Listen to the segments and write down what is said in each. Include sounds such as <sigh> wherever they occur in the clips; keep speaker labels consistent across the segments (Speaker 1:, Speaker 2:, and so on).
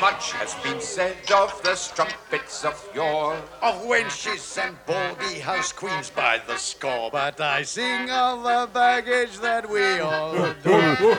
Speaker 1: Much has been said of the strumpets of yore.
Speaker 2: of wenches and baldy house queens by the score. But I sing of the baggage that we all do.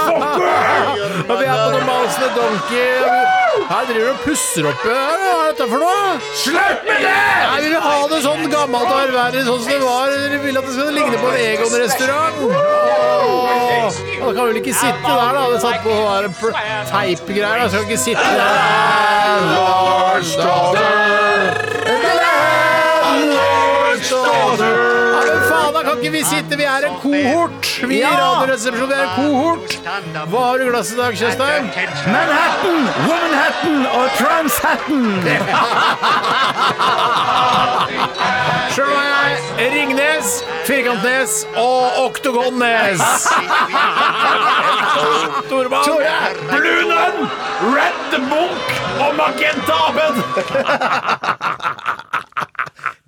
Speaker 3: Og vi er på The Mouse and the Donkey. Her driver du og pusser opp ja, Hva er dette for noe? Slutt med det! Jeg vil ha det sånn gammelt og ærverdig sånn som det var. Dere vil at det skal ligne på en Egon-restaurant. Åh, Da kan vel ikke sitte der, da. Det satt på sånne der pl- teipgreier. da. Skal ikke sitte der. Lars Ja, men faen, da kan ikke vi sitte? Vi er en kohort. Vi i Radioresepsjonen er en kohort. Hva har du i glasset i dag, Kjøstheim?
Speaker 4: Manhattan, Womanhattan og Transhattan.
Speaker 3: Sjøl har jeg Ringnes, Firkantnes og Oktogonnes.
Speaker 4: Tore. Blue Nun, Red the Munch og Magenta Abed.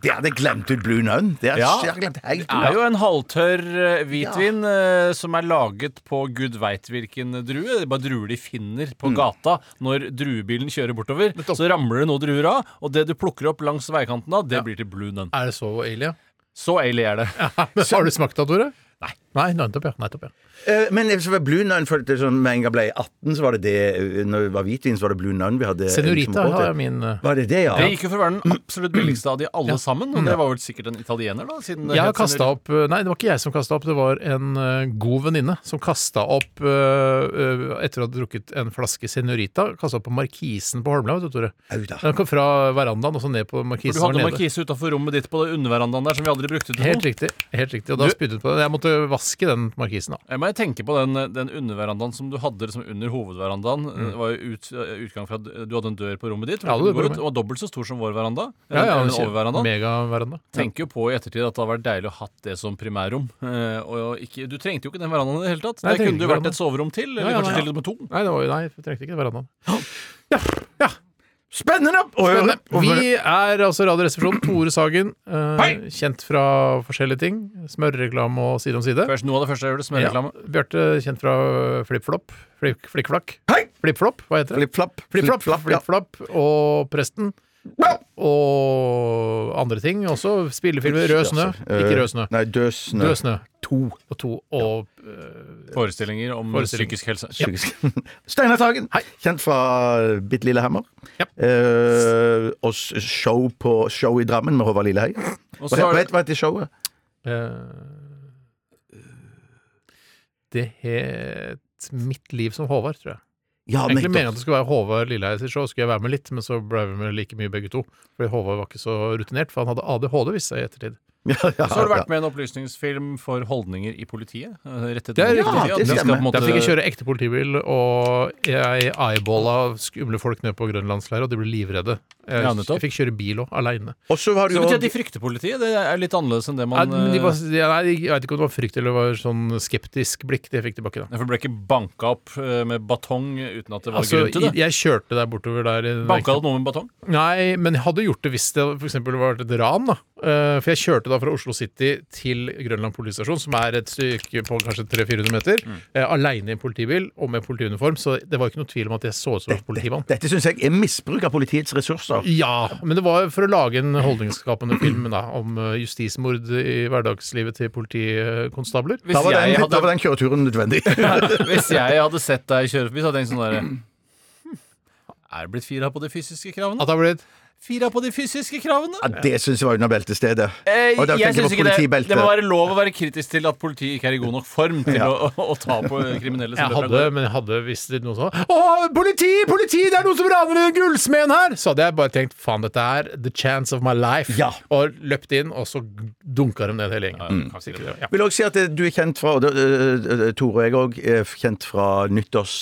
Speaker 4: Det hadde jeg glemt ut Blue Nun. Det hadde
Speaker 3: Ja.
Speaker 4: jeg hadde glemt helt
Speaker 5: Det er jo en halvtørr eh, hvitvin eh, som er laget på gud veit hvilken drue. Det er bare druer de finner på
Speaker 3: Mm.
Speaker 5: gata når druebilen kjører bortover. Så ramler det noen druer av, og det du plukker opp langs veikanten da, det blir til Blue Nun.
Speaker 3: Er det så ille?
Speaker 5: Så eilig er det.
Speaker 3: Men <laughs> har du smakt det, Tore? Nei. Nei, nettopp, ja. Nettopp, ja.
Speaker 4: Eh, Men jeg- så var Blue Nun følte jeg sånn, Med en gang jeg ble 18, så var det det eh, Når det var hvitvin, så var det Blue Nun vi hadde som
Speaker 3: Senorita
Speaker 4: båt, ja.
Speaker 3: har min eh,
Speaker 4: Var det det, ja?
Speaker 5: Det gikk jo for å være den absolutt billigste av de alle sammen, og det var vel sikkert en italiener, da? Siden det
Speaker 3: Mm. Jeg har
Speaker 5: het
Speaker 3: kastet opp eh, Nei, det var ikke jeg som kasta opp, det var en eh, god venninne som kasta opp eh, eh, etter å ha drukket en flaske Senorita. Kasta opp på markisen på Holmlia, vet du, Tore.
Speaker 4: Au da.
Speaker 3: Den kom fra verandaen og så ned på
Speaker 5: For
Speaker 3: markisen.
Speaker 5: Du hadde
Speaker 3: her nede.
Speaker 5: markise utafor rommet ditt på det underverandaen der som vi aldri brukte til
Speaker 3: Helt
Speaker 5: noe.
Speaker 3: riktig. helt riktig, Og da spydde hun på den. Jeg måtte vaske den markisen, da.
Speaker 5: Jeg må tenke på den, den underverandaen som du hadde liksom under hovedverandaen. Det var jo ut, utgang fra, du hadde en dør på rommet ditt.
Speaker 3: Mm. Ja,
Speaker 5: hvor du
Speaker 3: det var
Speaker 5: kunne gå
Speaker 3: rommet.
Speaker 5: ut, og var dobbelt så stor som vår veranda. eller den oververandaen.
Speaker 3: Megaveranda.
Speaker 5: Tenker jo på i ettertid at det hadde vært deilig å hatt det som primærrom. Eh, og ikke, du trengte jo ikke den verandaen i det hele tatt.
Speaker 3: Nei,
Speaker 5: Det
Speaker 3: jeg
Speaker 5: kunne
Speaker 3: trengte
Speaker 5: jo
Speaker 3: ikke
Speaker 5: vært et soverom til, eller
Speaker 3: ja,
Speaker 5: kanskje
Speaker 3: ja.
Speaker 5: til og med to.
Speaker 3: Nei, det var, jo- nei, jeg trengte ikke verandaen.
Speaker 4: Spennende! å høre.
Speaker 3: Spennende. Vi er altså Radioresepsjonen. Tore Sagen, eh, kjent fra forskjellige ting. Smørreklame og Side om side.
Speaker 5: Først, noe av det første jeg gjorde,
Speaker 3: Ja.
Speaker 5: smørreklame.
Speaker 3: Bjarte, kjent fra FlippFlopp. Flipp- Flikkflakk.
Speaker 4: Hei!
Speaker 3: Flippflopp, hva heter det?
Speaker 4: Flipp-flapp.
Speaker 3: Flippflopp.
Speaker 4: Flipp-flapp, ja.
Speaker 3: Flippflapp og Presten. Og andre ting også. Spillefilmer. Rød snø.
Speaker 4: Eh,
Speaker 3: Ikke Rød snø.
Speaker 4: Nei, Død snø.
Speaker 3: Rød snø.
Speaker 4: To.
Speaker 3: Og to. Og
Speaker 5: Forestillinger om
Speaker 3: Forestilling.
Speaker 5: psykisk helse.
Speaker 4: Steinar Sagen, kjent fra Bitte lille hammer. Eh, og s- show, på, show i Drammen med Håvard Lilleheie.
Speaker 5: Og så
Speaker 4: Hva het- hva
Speaker 5: er det
Speaker 4: heter det showet?
Speaker 3: Eh, Det het Mitt liv som Håvard, tror jeg.
Speaker 4: Ja,
Speaker 3: Egentlig
Speaker 4: nettopp.
Speaker 3: mener jeg at det skulle være Håvard Lilleheie sitt show, skulle jeg være med litt, men så ble vi med like mye begge to. Fordi Håvard var ikke så rutinert, for han hadde ADHD, viste seg i ettertid.
Speaker 4: Ja, ja,
Speaker 5: så har du
Speaker 4: ja.
Speaker 5: vært med i en opplysningsfilm for holdninger i politiet. eh, Rettet
Speaker 3: Det er
Speaker 5: mot
Speaker 3: riktig.
Speaker 5: politiet,
Speaker 4: Ja,
Speaker 5: at de
Speaker 4: det
Speaker 5: skal på en
Speaker 4: stemmer.
Speaker 5: måte-
Speaker 3: Der fikk jeg kjøre ekte politibil, og jeg eyeballa skumle folk ned på grønlandsleiret, og de ble livredde. Jeg,
Speaker 5: Ja, nettopp.
Speaker 3: jeg fikk kjøre bil òg, aleine.
Speaker 4: Og så har du
Speaker 5: Så det betyr at de
Speaker 4: jo
Speaker 5: frykter politiet? Det er litt annerledes enn det
Speaker 3: Nei,
Speaker 5: man
Speaker 3: men de var-
Speaker 5: eh,
Speaker 3: nei, jeg veit ikke om det var frykt eller det var sånn skeptisk blikk det jeg fikk tilbake da.
Speaker 5: for ble ikke banka opp eh, med batong uten at det var
Speaker 3: Altså,
Speaker 5: grunn til det?
Speaker 3: jeg kjørte der bortover der. i-
Speaker 5: Banka opp noen med batong?
Speaker 3: Nei, men jeg hadde gjort det hvis det for eksempel var et ran. da Eh, For jeg kjørte da fra Oslo City til Grønland politistasjon, som er et stykke på kanskje 300-400 meter,
Speaker 5: Mm.
Speaker 3: eh, aleine i en politibil og med politiuniform, så det var ikke noe tvil om at jeg så ut som en politimann.
Speaker 4: Dette syns jeg er misbruk av politiets ressurser.
Speaker 3: Ja, men det var for å lage en holdningsskapende film da, om eh, justismord i hverdagslivet til politikonstabler.
Speaker 5: Hvis
Speaker 4: Da var
Speaker 5: jeg
Speaker 4: den,
Speaker 5: hadde
Speaker 4: da var den kjøreturen
Speaker 5: <laughs>
Speaker 4: nødvendig.
Speaker 5: Hvis jeg hadde sett «Hm, deg kjøre forbi, så hadde jeg tenkt sånn derre Er det blitt fire her på de fysiske kravene?
Speaker 3: At det har blitt
Speaker 5: fira på de fysiske kravene.
Speaker 4: Ja, <laughs> det syns jeg var under beltestedet.
Speaker 5: Eh,
Speaker 4: Og da
Speaker 5: jeg
Speaker 4: tenker
Speaker 5: synes
Speaker 4: jeg
Speaker 5: ikke
Speaker 4: på
Speaker 5: det, det
Speaker 4: politibeltet.
Speaker 5: må være lov å være kritisk til at politiet ikke er i god nok form til
Speaker 4: Ja.
Speaker 5: å, å, å ta på kriminelle. som
Speaker 3: Jeg
Speaker 5: løper av
Speaker 3: hadde,
Speaker 5: gårde.
Speaker 3: men jeg hadde visst det noe sånn Å, politi, politi, det er noen som raner den gullsmeden her! Så hadde jeg bare tenkt, faen, dette er the chance of my life.
Speaker 4: Ja.
Speaker 3: Og løpt inn, og så dunka de ned hele gjengen. Sikkert, ja.
Speaker 4: Jeg vil også si at eh, du er kjent fra, og det, eh, eh, Tore og jeg òg, er kjent fra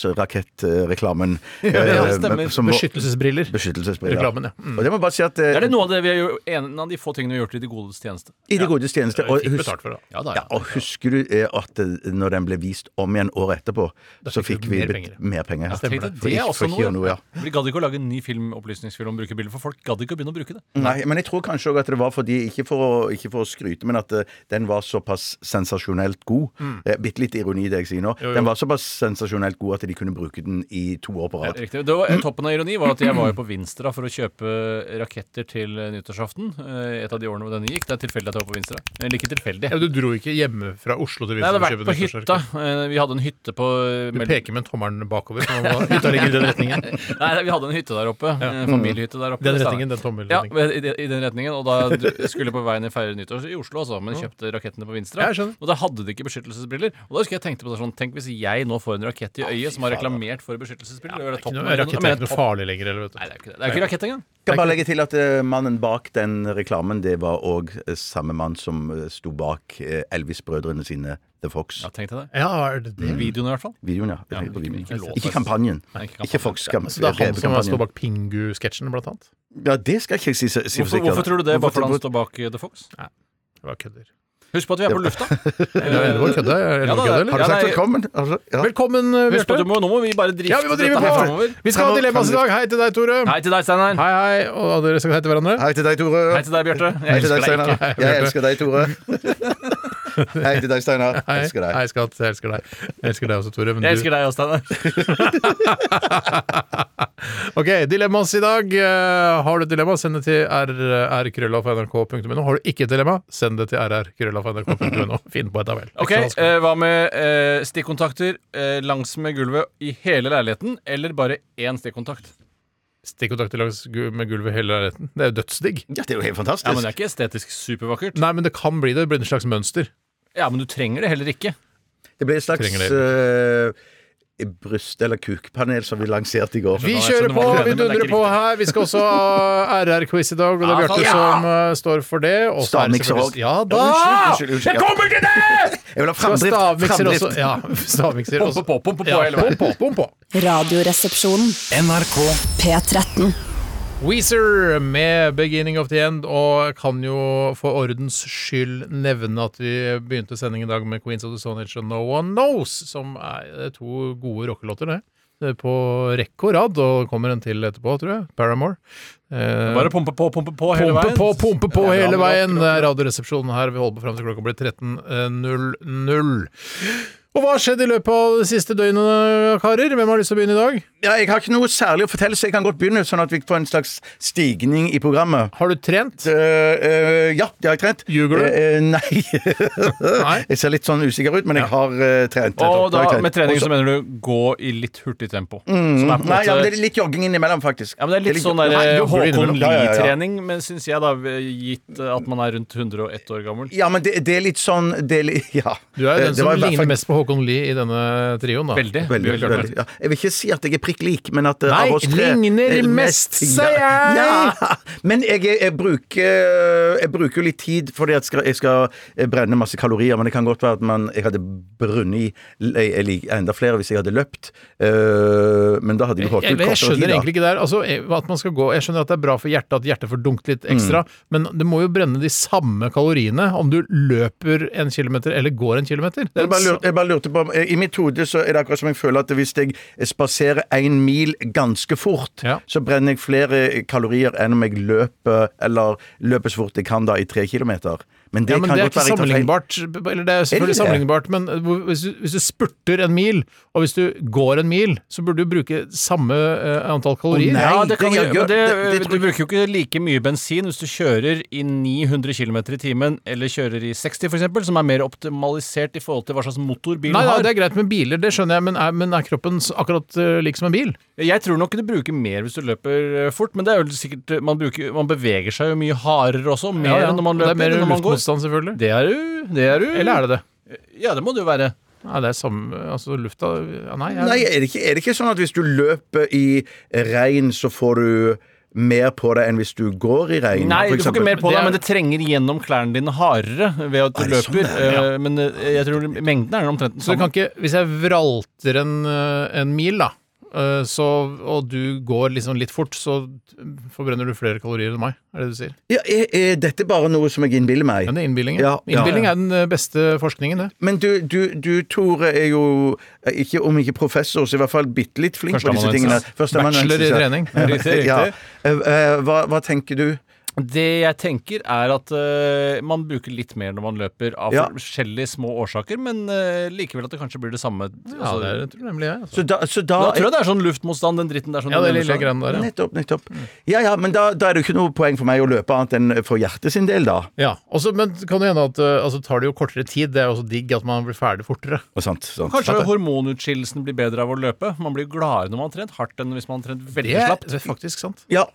Speaker 5: <laughs>
Speaker 4: nyttårsrakettreklamen.
Speaker 5: det
Speaker 4: eh,
Speaker 5: stemmer.
Speaker 4: som var-
Speaker 3: Beskyttelsesbriller.
Speaker 4: Beskyttelsesbriller.
Speaker 3: Reklamen, ja. Mm.
Speaker 4: Og det må jeg bare si at eh,
Speaker 5: Er det noe av det vi har gjort, en av de få tingene vi har gjort i de godes tjeneste?
Speaker 4: i det godes tjeneste
Speaker 3: Vi
Speaker 4: og
Speaker 3: Fikk
Speaker 4: husk-
Speaker 3: betalt for det.
Speaker 5: Ja da,
Speaker 4: Ja, og husker du eh, at eh, når den ble vist om igjen året etterpå, så
Speaker 3: fikk
Speaker 4: fikk
Speaker 3: du
Speaker 4: vi
Speaker 3: mer
Speaker 4: bet-
Speaker 3: penger.
Speaker 4: mer penger.
Speaker 5: Tenk deg, det er
Speaker 4: For ikke- for
Speaker 5: også
Speaker 4: ikke å gjøre
Speaker 5: noe.
Speaker 4: noe, ja.
Speaker 5: Vi gadd ikke å lage en ny film, opplysningsfilm om brukerbiler, for folk gadd ikke å begynne å bruke det.
Speaker 4: Nei, men jeg tror kanskje også at det var fordi, ikke for å, ikke for å skryte, men at eh, den var såpass sensasjonelt god.
Speaker 5: Mm.
Speaker 4: Eh, Bitte litt ironi i det jeg sier nå. Den var såpass sensasjonelt god at de kunne bruke den i to år på rad.
Speaker 5: Riktig. Det var, toppen av ironi var at jeg var jo på Vinstra for å kjøpe raketter til eh, nyttårsaften. eh, Et av de årene hvor denne gikk. Det er tilfeldig at jeg var på Vinstra. Eller ikke tilfeldig.
Speaker 3: Ja, du dro ikke hjemme fra Oslo til
Speaker 5: Nei, jeg hadde
Speaker 3: Vinstra
Speaker 5: vært på hytta. Eh, Vi hadde en hytte på eh,
Speaker 3: Du
Speaker 5: mellom-
Speaker 3: peker med tommelen bakover. sånn at Hytta ligger i den retningen.
Speaker 5: Nei, vi hadde en hytte der oppe. En familiehytte der oppe.
Speaker 3: Den
Speaker 5: Det stemmer.
Speaker 3: retningen, den tommelen.
Speaker 5: Ja, men i, de- i den retningen. Og da d- skulle jeg på veien i feire nyttår i Oslo, altså, men kjøpte rakettene på Vinstra.
Speaker 3: Jeg skjønner.
Speaker 5: Og da hadde de ikke beskyttelsesbriller. Og da husker jeg tenkte på det sånn, tenk hvis jeg nå får en rakett i øyet som har reklamert for beskyttelsesbriller. det er
Speaker 3: Ikke
Speaker 5: toppen
Speaker 3: noe-
Speaker 5: av
Speaker 3: Rakett
Speaker 5: Men
Speaker 3: er ikke noe
Speaker 5: topp-
Speaker 3: farlig lenger, eller vet
Speaker 5: Nei, det er
Speaker 3: du.
Speaker 5: jo ikke det. Det er jo ikke rakett engang.
Speaker 4: Kan bare legge til at eh, mannen bak den reklamen, det var òg samme mann som eh, sto bak eh, Elvis-brødrene sine The Fox.
Speaker 5: Ja, tenkte jeg det.
Speaker 3: Ja, er det det?
Speaker 5: Videoen i hvert fall.
Speaker 4: Videoen, ja.
Speaker 5: Ja, men ikke- ikke
Speaker 4: ikke,
Speaker 5: låta.
Speaker 4: kampanjen.
Speaker 5: Nei, ikke kampanjen. altså,
Speaker 4: Ikke Fox-kampanjen.
Speaker 3: Så det er han som står bak Pingu-sketsjen, blant annet?
Speaker 4: Ja, det skal ikke jeg si, si for
Speaker 5: Hvorfor,
Speaker 4: sikkert.
Speaker 5: hvorfor tror du det? Bare
Speaker 4: Hvorfor-
Speaker 5: fordi han står bak eh, The Fox?
Speaker 3: Det var kødder.
Speaker 5: Husk på at vi er på lufta. Eh,
Speaker 3: Det er lov å kødde, er det lov å kødde, eller?
Speaker 4: Har du sagt
Speaker 5: Ja, nei,
Speaker 4: velkommen? Altså, ja.
Speaker 3: Velkommen, eh,
Speaker 5: Husk på at du
Speaker 3: Bjarte.
Speaker 5: må, nå må vi bare drifte
Speaker 3: Ja, vi må drive
Speaker 5: dette her
Speaker 3: på!
Speaker 5: framover.
Speaker 3: Vi skal ha dilemmas i dag. Hei til deg, Tore.
Speaker 5: Hei til deg, Steinar.
Speaker 3: Hei, hei. Og dere skal hei til hverandre.
Speaker 4: Hei til deg, Tore.
Speaker 5: Hei til deg, Bjarte. Jeg
Speaker 4: Hei til
Speaker 5: elsker
Speaker 4: deg,
Speaker 5: deg ikke.
Speaker 4: Steinar. Jeg elsker deg, Tore. <laughs> Hei til deg, Steinar. Jeg Elsker
Speaker 3: Hei,
Speaker 4: deg.
Speaker 3: skatt. Jeg elsker deg. Jeg elsker deg også, Tore. Men
Speaker 5: Jeg elsker deg også, Steinar.
Speaker 3: du... Ok, dilemmas i dag. Eh, Har du et dilemma, send det til rrkrøllalfa.nrk.no. Har du ikke et dilemma, send det til rrkrøllalfa.nrk.no. Finn på et, da vel.
Speaker 5: Ok,
Speaker 3: Ikke så vanskelig.
Speaker 5: eh, Hva med eh, stikkontakter eh, langsmed gulvet i hele leiligheten, eller bare én stikkontakt?
Speaker 3: Stikkontakt langs gu- med gulvet i hele leiligheten. Det er jo dødsdigg.
Speaker 4: Ja, det er jo helt
Speaker 5: Ja, men Det
Speaker 4: fantastisk.
Speaker 5: er ikke estetisk supervakkert.
Speaker 3: Nei, men det kan bli det. Det blir et slags mønster.
Speaker 5: Ja, Men du trenger det heller ikke.
Speaker 4: Det ble et slags
Speaker 3: Trenger
Speaker 4: eh, bryst- eller kukpanel som vi lanserte i går.
Speaker 3: Vi
Speaker 5: jeg
Speaker 3: kjører
Speaker 5: skjønner
Speaker 3: på,
Speaker 5: hva du mener, men
Speaker 3: vi
Speaker 5: det er
Speaker 3: dundrer
Speaker 5: ikke
Speaker 3: på her. Vi skal også ha RR-quiz i dag, og det er Bjarte som eh, står for det. Og så er det
Speaker 4: Stavmikser
Speaker 3: selvfølgelig-
Speaker 4: òg.
Speaker 3: Ja da!
Speaker 4: Unnskyld, unnskyld, unnskyld. Jeg kommer til det! <laughs> Jeg vil ha
Speaker 3: Skal
Speaker 4: framdrift.
Speaker 3: Stavmikser
Speaker 4: framdrift.
Speaker 3: også. Ja, <laughs> stavmikser også.
Speaker 5: på, pumpe på
Speaker 3: Ja,
Speaker 5: hele veien.
Speaker 3: pump på, pump på.
Speaker 6: Radioresepsjonen. NRK. P13.
Speaker 3: Weezer med 'Beginning of the End', og jeg kan jo for ordens skyld nevne at vi begynte sendingen i dag med 'Queens of the Stone Age' og 'No One Knows', som er det er to gode rockelåter, det. Det er På rekke og rad, og kommer en til etterpå, tror jeg. Paramore. Eh,
Speaker 5: Bare pumpe på, pumpe på hele
Speaker 3: Pumpe
Speaker 5: veien.
Speaker 3: på, pumpe på
Speaker 5: Ja,
Speaker 3: hele
Speaker 5: bra,
Speaker 3: veien.
Speaker 5: bra,
Speaker 3: Det
Speaker 5: bra.
Speaker 3: er Radioresepsjonen her. Vi holder på fram til klokka blir 13.00. Og hva har skjedd i løpet av det siste døgnet, karer? Hvem har lyst til å begynne i dag?
Speaker 4: Ja, jeg har ikke noe særlig å fortelle, så jeg kan godt begynne, sånn at vi får en slags stigning i programmet.
Speaker 3: Har du trent?
Speaker 4: Eh, eh, ja, det har jeg trent.
Speaker 3: Ljuger du?
Speaker 4: Eh, <laughs> eh, nei.
Speaker 3: Nei.
Speaker 4: jeg ser litt sånn usikker ut, men jeg har eh, trent.
Speaker 5: Og da,
Speaker 4: har jeg trent.
Speaker 5: med trening så
Speaker 4: Også-
Speaker 5: mener du gå i litt hurtig tempo. Som er på en
Speaker 4: Nei, ja, men
Speaker 5: måte
Speaker 4: det er litt jogging innimellom, faktisk.
Speaker 5: ja, men Det er litt sånn der,
Speaker 3: Nei,
Speaker 5: eh,
Speaker 3: jobber du
Speaker 5: Håkon
Speaker 3: innimellom?
Speaker 4: Ja, ja, ja, ja.
Speaker 5: Lie-trening, men syns jeg, da, gitt eh, at man er rundt 101 år gammel.
Speaker 4: Ja, men det, det er litt <laughs> sånn det er, li- Ja.
Speaker 3: Du er jo
Speaker 4: Eh, det
Speaker 3: den som
Speaker 4: var i hvert fall-
Speaker 3: ligner mest på Håkon Lie i denne trioen, da.
Speaker 5: Veldig.
Speaker 4: Veldig, veldig, veldig, ja. Jeg vil ikke si at jeg er prikk lik, men at eh,
Speaker 3: Nei,
Speaker 4: av oss tre
Speaker 3: ligner
Speaker 4: eh,
Speaker 3: mest,
Speaker 4: ja.
Speaker 3: sier jeg!
Speaker 4: Ja. Men jeg, er- jeg bruker Jeg bruker jo litt tid fordi at skal- jeg skal eh, brenne masse kalorier, men det kan godt være at man, jeg hadde brunnet i jeg liker enda flere hvis jeg hadde løpt. Eh, men da hadde jeg holdt
Speaker 3: Jeg,
Speaker 4: ut
Speaker 3: jeg
Speaker 4: kortere
Speaker 3: skjønner
Speaker 4: tid. da.
Speaker 3: egentlig ikke det her. Altså, eh, at man skal gå, jeg skjønner at det er bra for hjertet at hjertet får dunket litt
Speaker 4: Mm.
Speaker 3: ekstra, men det må jo brenne de samme kaloriene om du løper en kilometer eller går en kilometer. Det er
Speaker 4: Jeg bare,
Speaker 3: den
Speaker 4: lurte, jeg bare lurte på om- eh, I mitt hode så er det akkurat som jeg føler at hvis jeg eh, spaserer én mil ganske fort,
Speaker 3: Ja.
Speaker 4: så brenner jeg eh, flere kalorier enn om jeg løper eller løper så fort jeg kan da i tre kilometer. Men det
Speaker 3: Ja, men
Speaker 4: kan
Speaker 3: det er ikke
Speaker 4: godt være jeg tar feil.
Speaker 3: sammenlignbart. Eller det er selvfølgelig
Speaker 4: Er det det?
Speaker 3: sammenlignbart, men hvor- hvis du, hvis du spurter en mil, og hvis du går en mil, så burde du bruke samme eh, antall kalorier.
Speaker 4: nei.
Speaker 3: Ja,
Speaker 5: Ja, det kan
Speaker 4: det
Speaker 5: du,
Speaker 4: gjør-
Speaker 5: men det,
Speaker 4: det- det tror
Speaker 5: du
Speaker 4: jeg-
Speaker 5: bruker jo ikke like mye bensin hvis du kjører i 900 km i timen eller kjører i 60 f.eks., som er mer optimalisert i forhold til hva slags motor bilen
Speaker 3: Nei, nei,
Speaker 5: har.
Speaker 3: det er greit med biler, det skjønner jeg, men er, men er kroppen s- akkurat eh, lik som en bil?
Speaker 5: Jeg tror nok du bruker mer hvis du løper eh, fort, men det er jo sikkert eh, man, bruker, man beveger seg jo mye hardere også, mer enn når man
Speaker 3: Det
Speaker 5: løper.
Speaker 3: er mer
Speaker 5: enn når man går.
Speaker 3: luftmotstand, selvfølgelig.
Speaker 5: Det er du. Det er du.
Speaker 3: Eller er det det?
Speaker 5: Ja, det må det jo være.
Speaker 3: Nei, det er samme Altså, lufta ja, Nei. Jeg,
Speaker 4: Nei, er det, ikke, er det ikke sånn at hvis du løper i regn, så får du mer på deg enn hvis du går i regn?
Speaker 5: Nei,
Speaker 4: for
Speaker 5: du får
Speaker 4: eksempel?
Speaker 5: ikke mer på
Speaker 3: Det
Speaker 5: deg,
Speaker 3: er-
Speaker 5: men det trenger gjennom klærne dine hardere ved at du
Speaker 4: Er det sånn
Speaker 5: løper.
Speaker 4: det er,
Speaker 5: eh, Men eh, jeg tror mengden er omtrent den
Speaker 3: Så
Speaker 5: samme.
Speaker 3: det kan ikke Hvis jeg vralter en, eh, en mil, da, eh, så, og du går liksom litt fort, så forbrenner du flere kalorier enn meg, er det du sier?
Speaker 4: Ja, er, er dette bare noe som jeg innbiller meg?
Speaker 3: Men det er innbilling. Ja.
Speaker 4: Ja, ja.
Speaker 3: Innbilling er den eh, beste forskningen, det.
Speaker 4: Men du, du, du, Tore, er jo eh, ikke, om ikke professor, så i hvert fall bitte litt flink på disse tingene.
Speaker 3: Førsteamanuensis. Bachelor i
Speaker 4: ja.
Speaker 3: trening.
Speaker 5: Riktig, riktig.
Speaker 4: Ja. Eh, eh, Hva, hva tenker du?
Speaker 5: Det jeg tenker, er at eh, man bruker litt mer når man løper, av
Speaker 4: Ja.
Speaker 5: forskjellige små årsaker, men eh, likevel at det kanskje blir det samme.
Speaker 3: Ja,
Speaker 5: altså,
Speaker 3: det er, tror jeg nemlig jeg. Altså.
Speaker 4: Så da, så da,
Speaker 5: da tror jeg det er sånn luftmotstand, den dritten der. Sånn
Speaker 3: Ja, det lille greiene der, ja.
Speaker 4: Nettopp, nettopp. Ja ja, men da, da er det jo ikke noe poeng for meg å løpe annet enn for hjertet sin del, da.
Speaker 3: ja. Også, men det kan det hende at eh, altså, tar det jo kortere tid. Det er jo også digg at man blir ferdig fortere.
Speaker 4: Og sant, sant.
Speaker 5: Kanskje hormonutskillelsen blir bedre av å løpe. Man blir gladere når man har trent hardt enn hvis man har trent veldig slapt.
Speaker 3: det er faktisk sant.
Speaker 4: Ja,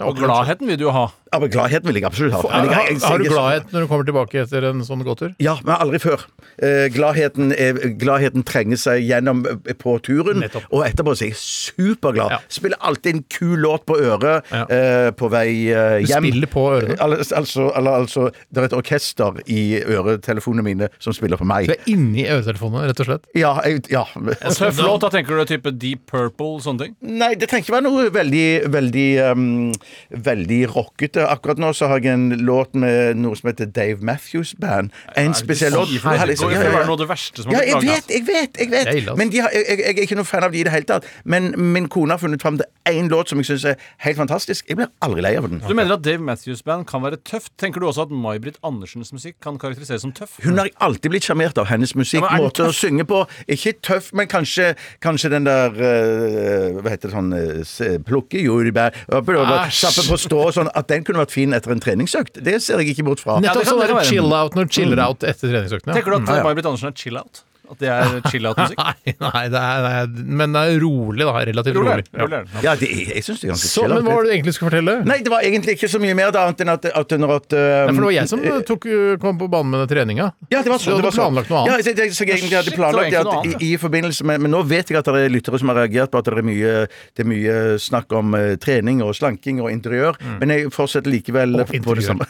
Speaker 5: Og gladheten vil du jo ha.
Speaker 4: ja, men gladheten vil jeg absolutt ha.
Speaker 3: Har,
Speaker 4: Men jeg- jeg- sånn- jeg-
Speaker 3: har du gladhet når du kommer tilbake etter en sånn gåtur?
Speaker 4: Ja, men aldri før. Eh, gladheten, er, gladheten trenger seg gjennom eh, på turen,
Speaker 3: Nettopp.
Speaker 4: og etterpå så er jeg superglad.
Speaker 3: Ja.
Speaker 4: Spiller alltid en kul låt på øret
Speaker 3: Ja.
Speaker 4: eh, på vei eh,
Speaker 3: Du
Speaker 4: hjem.
Speaker 3: spiller på ørene?
Speaker 4: Al altså, al altså, det er et orkester i øretelefonene mine som spiller på meg.
Speaker 3: Du er inni øretelefonene, rett og slett.
Speaker 4: Ja, jeg, ja.
Speaker 5: Tøff låt, da tenker du type Deep Purple, sånne ting?
Speaker 4: Nei, det trenger ikke være noe veldig, veldig, ehm, veldig rockete. Akkurat nå så har jeg en låt med noe som heter Dave Matthews Band. En spesiell låt.
Speaker 5: Herregud,
Speaker 4: Ja,
Speaker 5: det
Speaker 4: liksom, ja,
Speaker 5: må jo
Speaker 4: ja, ja.
Speaker 5: være noe av det verste som
Speaker 4: Ja,
Speaker 5: har
Speaker 4: jeg
Speaker 5: blitt laget.
Speaker 4: vet, jeg vet! jeg vet
Speaker 3: Det er ille, altså.
Speaker 4: Men de har, jeg, jeg jeg er ikke noen fan av de i det hele tatt. Men min kone har funnet fram til én låt som jeg syns er helt fantastisk. Jeg blir aldri lei av den.
Speaker 5: Du mener at Dave Matthews Band kan være tøft. Tenker du også at May-Britt Andersens musikk kan karakteriseres som tøff?
Speaker 4: Hun har jeg alltid blitt sjarmert av. Hennes musikk,
Speaker 5: Ja, men er den
Speaker 4: måte å synge på. Ikke tøff, men kanskje, kanskje den der eh, Hva heter det sånn eh, se- Plukke jordbær og prøve å
Speaker 3: Æsj.
Speaker 4: Stappe på strå og sånn. At den kunne vært fin etter en treningsøkt. Det ser jeg ikke bort fra.
Speaker 5: Ja,
Speaker 3: Nettopp
Speaker 5: det kan-
Speaker 3: sånn
Speaker 5: det kan
Speaker 3: der
Speaker 5: være.
Speaker 3: chill-out når chiller-out etter treningsøktene. Mm.
Speaker 5: Tenker du at
Speaker 4: ja, ja.
Speaker 5: May-Britt Andersen er chill-out? At det er chill-out-musikk?
Speaker 3: Nei, nei, det er, nei, men det er rolig, da. Relativt
Speaker 5: <laughs> Rolig er
Speaker 3: rolig.
Speaker 5: det, rolig er det.
Speaker 4: Ja, det, jeg, jeg syns det er ganske
Speaker 3: Så,
Speaker 4: chill
Speaker 3: men
Speaker 4: out,
Speaker 3: hva var
Speaker 4: det.
Speaker 3: det du egentlig skulle fortelle?
Speaker 4: Nei, det var egentlig ikke så mye mer da, annet enn at, at når at eh,
Speaker 3: Nei, for det var jeg som eh, tok, eh, kom på banen med den treninga.
Speaker 4: Ja, det var
Speaker 3: Du
Speaker 4: sånn.
Speaker 3: hadde
Speaker 4: det var sånn.
Speaker 3: planlagt noe
Speaker 4: Ja,
Speaker 3: annet.
Speaker 4: så, jeg- så jeg egentlig hadde
Speaker 5: Shit, det var
Speaker 4: planlagt
Speaker 5: egentlig noe
Speaker 4: at
Speaker 5: annet,
Speaker 4: i, i forbindelse med Men nå vet jeg at det er lyttere som har reagert på at det er mye, det er mye snakk om eh, trening og slanking og interiør, men jeg fortsetter likevel
Speaker 3: Mm. Og
Speaker 4: på- på det
Speaker 3: interiør.
Speaker 4: samme.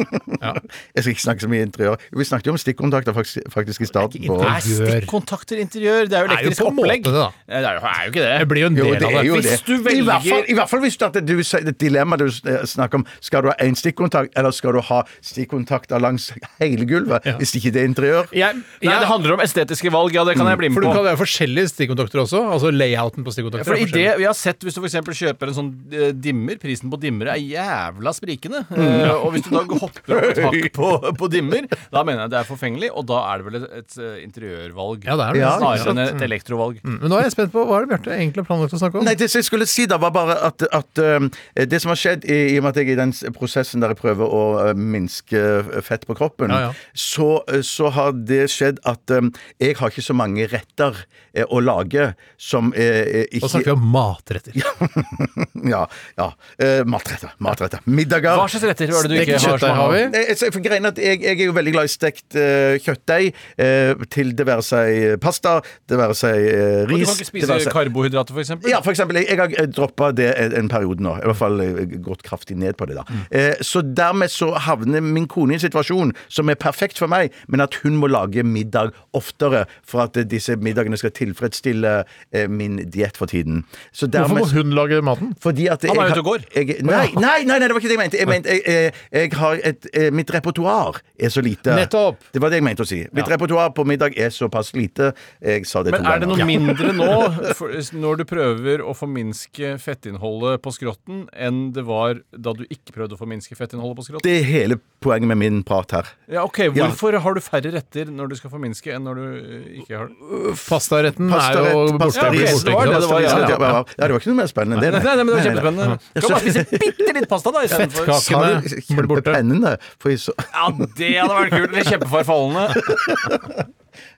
Speaker 4: <laughs> Jeg skal ikke snakke så mye interiør. Vi snakket jo om stikkontakter faktisk, faktisk i starten. på-
Speaker 5: Nei, stikkontakter interiør. Det er jo
Speaker 3: Det er jo
Speaker 5: elektrisk
Speaker 3: på en måte
Speaker 5: opplegg.
Speaker 3: det, da.
Speaker 5: Nei, Det er jo, er jo ikke
Speaker 3: Jeg
Speaker 5: det.
Speaker 3: blir jo en
Speaker 4: Jo,
Speaker 3: del
Speaker 4: det
Speaker 3: av
Speaker 4: er
Speaker 3: det.
Speaker 4: jo det.
Speaker 5: Hvis du velger-
Speaker 4: I hvert fall, i hvert fall hvis du, at du sier det dilemmaet du eh, snakker om. Skal du ha én stikkontakt, eller skal du ha stikkontakter langs hele gulvet? Hvis ikke det er interiør.
Speaker 3: Jeg,
Speaker 5: Nei, det handler om estetiske valg, ja, det Mm. kan jeg bli
Speaker 3: for
Speaker 5: med
Speaker 3: du kan
Speaker 5: på.
Speaker 3: være forskjellige stikkontakter også. Altså layouten på stikkontakter.
Speaker 5: For
Speaker 3: er
Speaker 5: i det
Speaker 3: forskjellig.
Speaker 5: vi har sett, Hvis du f.eks. kjøper en sånn eh, dimmer Prisen på dimmere er jævla sprikende. Eh, og hvis du da hopper opp et hakk på, på dimmer, da mener jeg det er forfengelig. Og da er det vel et, et eh, interiørvalg
Speaker 3: Ja, det er det.
Speaker 4: Ja,
Speaker 5: snarere enn et elektrovalg.
Speaker 3: Men nå er jeg spent på hva er det Bjarte egentlig har planlagt å snakke om?
Speaker 4: Nei, det som jeg skulle si da var bare at, at um, det som har skjedd i, i og med at jeg er i den s- prosessen der jeg prøver å uh, minske uh, fett på kroppen,
Speaker 3: Ja, ja.
Speaker 4: Så, uh, så har det skjedd at um, jeg har ikke så mange retter eh, å lage som eh, eh, ikke
Speaker 3: Da snakker vi om matretter.
Speaker 4: Ja. ja eh, matretter. Matretter. Middager.
Speaker 5: Hva slags retter er det du
Speaker 3: Stekt
Speaker 5: ikke har?
Speaker 3: kjøttdeig har vi.
Speaker 4: Nei, altså, for greien er at jeg, jeg er jo veldig glad i stekt eh, kjøttdeig, eh, til det være seg pasta, det være seg eh,
Speaker 5: Og
Speaker 4: ris
Speaker 5: du kan ikke spise
Speaker 4: det være seg-
Speaker 5: karbohydrater, f.eks.?
Speaker 4: Ja, for eksempel. Jeg, jeg har droppa det en- en periode nå. I hvert fall eh, gått kraftig ned på det, da.
Speaker 5: Mm.
Speaker 4: Eh, så dermed så havner min kone i en situasjon som er perfekt for meg, men at hun må lage middag oftere for at eh, disse middagene skal tilfredsstille eh, min diett for tiden. Så
Speaker 3: Hvorfor må
Speaker 4: dermed
Speaker 3: hun lage maten?
Speaker 4: fordi at
Speaker 5: Han er
Speaker 4: jeg
Speaker 5: ute og
Speaker 4: har-
Speaker 5: går.
Speaker 4: Jeg, nei, nei, nei, nei, det var ikke det jeg mente. Jeg, mente, jeg, jeg, jeg har et, eh, mitt repertoar er så lite.
Speaker 3: Nettopp.
Speaker 4: Det var det jeg mente å si. Mitt repertoar på middag er såpass lite. eh, Jeg sa det
Speaker 5: Men
Speaker 4: to ganger.
Speaker 5: er det noe
Speaker 4: Ja.
Speaker 5: mindre nå, for, når du prøver å forminske fettinnholdet på skrotten, enn det var da du ikke prøvde å forminske fettinnholdet på skrotten?
Speaker 4: Det er hele poenget med min prat her.
Speaker 5: Ja, ok, Hvorfor har du færre retter når du skal forminske, enn når du eh, ikke har det?
Speaker 3: Pastaretten er jo
Speaker 4: Pastarett,
Speaker 3: borte.
Speaker 4: pastarett.
Speaker 5: blir
Speaker 3: blir
Speaker 5: Ja, ok, det var
Speaker 3: borte,
Speaker 5: det det var,
Speaker 3: ikke
Speaker 4: Ja,
Speaker 3: sant?
Speaker 4: ja, ja. Ja, det var ikke noe mer spennende enn det.
Speaker 5: Nei, nei, men det var kjempespennende.
Speaker 4: Jeg
Speaker 5: Kan bare spise bitte litt pasta, da. istedenfor.
Speaker 3: Fettkake.
Speaker 4: Sa
Speaker 3: Kakene
Speaker 4: du
Speaker 3: blir borte.
Speaker 4: kjempepennende? For så,
Speaker 5: Ja, det hadde vært kult. Eller kjempeforfallende.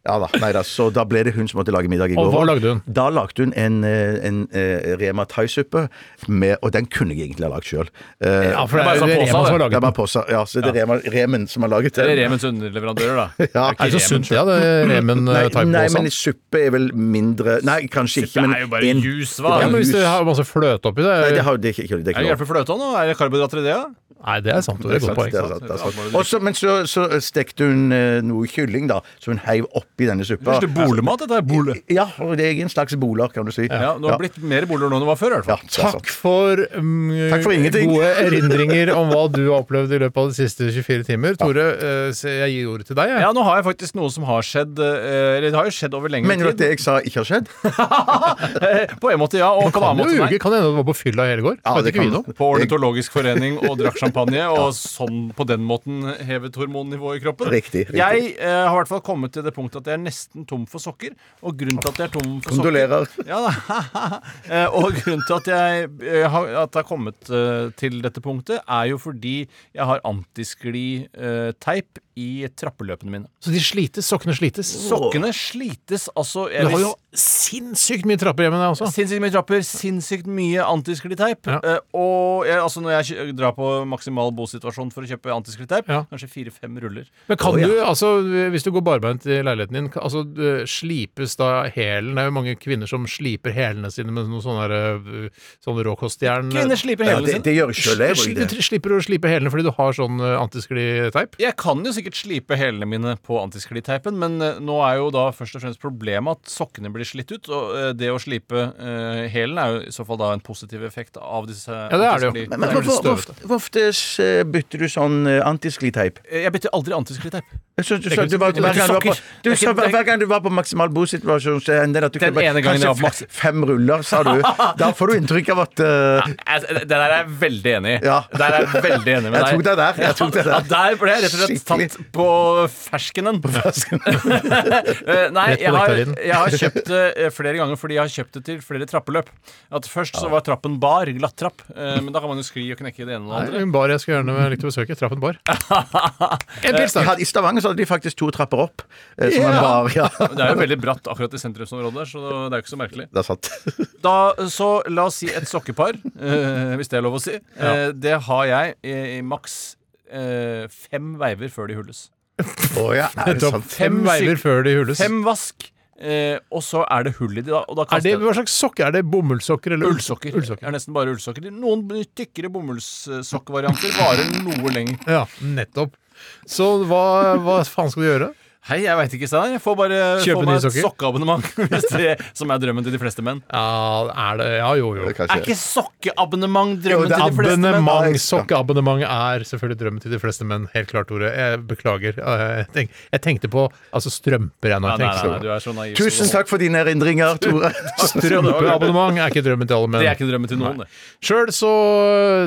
Speaker 4: ja da, nei da, så da ble det hun som måtte lage middag i går.
Speaker 3: Og hva lagde hun?
Speaker 4: Da lagde hun en, eh, en, eh, Rema thaisuppe, med- og den kunne jeg egentlig ha lagd sjøl.
Speaker 3: Ja, for det
Speaker 5: Bare
Speaker 3: er
Speaker 5: sånn
Speaker 3: Rema
Speaker 5: påsa,
Speaker 3: som har
Speaker 5: det.
Speaker 3: laget
Speaker 4: Det er
Speaker 3: den.
Speaker 4: bare påsa. Ja, så det er Rema, Remen som har laget
Speaker 5: Eller
Speaker 4: den.
Speaker 5: Remens underleverandører, da.
Speaker 4: Ja.
Speaker 3: Er ikke så sunt, ja, det Remen eh,
Speaker 4: Nei, nei, men liksom-
Speaker 3: Type-påsen.
Speaker 4: suppe er vel mindre Nei, kanskje ikke,
Speaker 5: Det
Speaker 4: men
Speaker 5: er jo bare
Speaker 4: en-
Speaker 5: juice,
Speaker 3: Ja,
Speaker 5: hva?
Speaker 3: men hvis det har masse fløte oppi det
Speaker 4: Nei, det har det er ikke, ikke, det er
Speaker 5: Er det
Speaker 4: ikke lov.
Speaker 5: hjelper fløta nå? Er det karbohydrater i det? da?
Speaker 3: Nei, det er sant. Det er et godt
Speaker 4: Det er
Speaker 3: poeng.
Speaker 4: sant, det er sant. Også, men så, så stekte hun eh, noe kylling, da, som hun heiv oppi denne suppa.
Speaker 5: Første bolemat, dette er bole.
Speaker 4: Ja, og det er en slags boler, kan du si.
Speaker 5: Ja, det har blitt mer boler nå enn det var før, i hvert
Speaker 4: Ja,
Speaker 5: fall.
Speaker 4: det sånn. er sant.
Speaker 3: Takk for, mm,
Speaker 4: Takk for ingenting.
Speaker 3: gode erindringer om hva du har opplevd i løpet av de siste 24 timer. Tore, eh, se, jeg gir ordet til deg. Jeg.
Speaker 5: Ja, nå har jeg faktisk noe som har skjedd eh, Eller det har jo skjedd over lengre
Speaker 4: Mener du at
Speaker 5: tid.
Speaker 4: det jeg sa, ikke har skedd?
Speaker 5: <laughs> På en måte, ja. Og på en
Speaker 3: Kan
Speaker 5: annen
Speaker 3: jo
Speaker 5: måte,
Speaker 3: ljuge.
Speaker 5: nei.
Speaker 3: Kan hende du var på fylla i hele går.
Speaker 4: Ja,
Speaker 3: Vet
Speaker 4: det
Speaker 3: ikke vi
Speaker 4: kan-
Speaker 3: noe om.
Speaker 5: På Ornitologisk forening og drakk
Speaker 4: <laughs>
Speaker 5: champagne, og sånn på den måten hevet hormonnivået i kroppen.
Speaker 4: Riktig, riktig.
Speaker 5: Jeg eh, har i hvert fall kommet til det punktet at jeg er nesten tom for sokker. Og grunnen til at jeg er tom for
Speaker 4: Kondolerer.
Speaker 5: sokker ja, da. <laughs> Eh, Og grunnen til at jeg, eh, har- at jeg har kommet eh, til dette punktet, er jo fordi jeg har antiskli-teip i trappeløpene mine.
Speaker 3: Så de slites, sokkene slites.
Speaker 5: Sokkene slites altså jeg
Speaker 3: Du har
Speaker 5: vil-
Speaker 3: jo sinnssykt mye trapper hjemme, deg også.
Speaker 5: Sinnssykt mye trapper, sinnssykt mye antiskliteip.
Speaker 3: Ja.
Speaker 5: Eh, og jeg, altså når jeg kjø- drar på maksimal bosituasjon for å kjøpe antiskliteip,
Speaker 3: Ja.
Speaker 5: kanskje fire-fem ruller.
Speaker 3: Men kan du, altså, hvis du går barbeint i leiligheten din, kan- altså, du- slipes da hælen? Det er jo mange kvinner som sliper hælene sine med noen sånne, der, øh, sånne råkostjern.
Speaker 5: Kvinner sliper
Speaker 4: Ja,
Speaker 5: hælene
Speaker 4: det,
Speaker 5: sine.
Speaker 4: det gjør jeg sjøl, jeg. bruker
Speaker 3: Sli-
Speaker 4: det.
Speaker 3: Du slipper å slipe hælene fordi du har sånn øh, antiskliteip?
Speaker 5: Jeg kan jo sikkert slipe hælene mine på antiskliteipen, men eh, nå er jo da først og fremst problemet at sokkene blir slitt ut. Og eh, det å slipe eh, hælen er jo i så fall da en positiv effekt av disse
Speaker 3: Ja, det er det jo.
Speaker 5: antiskli-
Speaker 4: Men, men hvor, hvor, ofte- hvor ofte eh, bytter du sånn eh, antiskliteip?
Speaker 5: Eh, Jeg bytter aldri antiskliteip.
Speaker 4: Jeg synes Du sa du var-
Speaker 5: Det er
Speaker 4: hver
Speaker 5: ikke
Speaker 4: gang du var på-
Speaker 5: sokker.
Speaker 4: du
Speaker 5: Det er
Speaker 4: sa
Speaker 5: ikke- det
Speaker 4: hver
Speaker 5: er-
Speaker 4: hver gang du var på maksimal bosituasjon, så hendte det at du
Speaker 5: Den
Speaker 4: bare-
Speaker 5: ene gangen jeg var på
Speaker 4: kanskje fe- Fem ruller,
Speaker 5: <laughs>
Speaker 4: sa du. Da får du inntrykk av at eh,
Speaker 5: Altså, Det der er jeg veldig enig i.
Speaker 4: Ja.
Speaker 5: Der er jeg veldig enig med
Speaker 4: Jeg tok deg der, jeg
Speaker 5: Ja,
Speaker 4: tok deg der.
Speaker 5: ja, der ble jeg rett og slett
Speaker 4: Skikkelig.
Speaker 5: tatt på ferskenen. <laughs> Eh, Nei,
Speaker 3: Rett på
Speaker 5: jeg har,
Speaker 3: nektarinen.
Speaker 5: jeg har kjøpt det eh, flere ganger fordi jeg har kjøpt det til flere trappeløp. At Først så var trappen bar, glattrapp, eh, men da kan man jo skli og knekke i det ene og det andre.
Speaker 3: Nei, En bar jeg skulle gjerne likt å besøke. Traff en bar. En pils,
Speaker 4: de
Speaker 3: da.
Speaker 4: hadde- Eh, I Stavanger så hadde de faktisk to trapper opp. eh, Som en bar, ja.
Speaker 5: <laughs> Men Det er jo veldig bratt akkurat i sentrumsområdet der, så det er jo ikke så merkelig.
Speaker 4: Det er sant.
Speaker 5: Da, så la oss si et sokkepar, eh, hvis det er lov å si. Eh, det har jeg i, i maks eh, fem veiver før de hulles.
Speaker 4: Å ja, er det
Speaker 3: Topp
Speaker 4: sant?
Speaker 3: fem
Speaker 5: Fem
Speaker 3: veiver
Speaker 5: syk-
Speaker 3: før de hules.
Speaker 5: Fem vask, eh, og så er det hull i de, da. Og da
Speaker 3: Er
Speaker 5: kaster
Speaker 3: det,
Speaker 5: jeg
Speaker 3: hva slags sokker? Er det bomullssokker eller
Speaker 5: ullsokker. Det er nesten bare ullsokker. Noen tykkere bomullssokkvarianter varer noe lenger.
Speaker 3: Ja, nettopp. Så hva, hva faen skal du gjøre?
Speaker 5: Hei, jeg veit ikke, Steinar. Jeg får bare
Speaker 3: Kjøpe
Speaker 5: få meg
Speaker 3: nye
Speaker 5: et
Speaker 3: sokker.
Speaker 5: sokkeabonnement, <laughs> hvis det som er drømmen til de fleste menn.
Speaker 3: Ja, er det Ja, jo, jo.
Speaker 4: Kanskje.
Speaker 5: Er ikke sokkeabonnement drømmen
Speaker 4: Jo, det er
Speaker 5: til de fleste menn?
Speaker 4: da,
Speaker 3: Abonnement,
Speaker 4: ikke sant?
Speaker 3: sokkeabonnement er selvfølgelig drømmen til de fleste menn. Helt klart, Tore. Jeg beklager. Eh, Jeg, tenk, jeg tenkte på altså strømper. jeg nå.
Speaker 5: Nei,
Speaker 3: Jeg
Speaker 5: nei,
Speaker 3: tenkte sånn,
Speaker 5: nei, nei, du er så naiv.
Speaker 4: Tusen takk for dine erindringer, Tore.
Speaker 3: Strømpeabonnement er ikke drømmen til alle
Speaker 5: Det er
Speaker 3: menn.
Speaker 5: ikke drømmen til noen, det.
Speaker 3: Sjøl så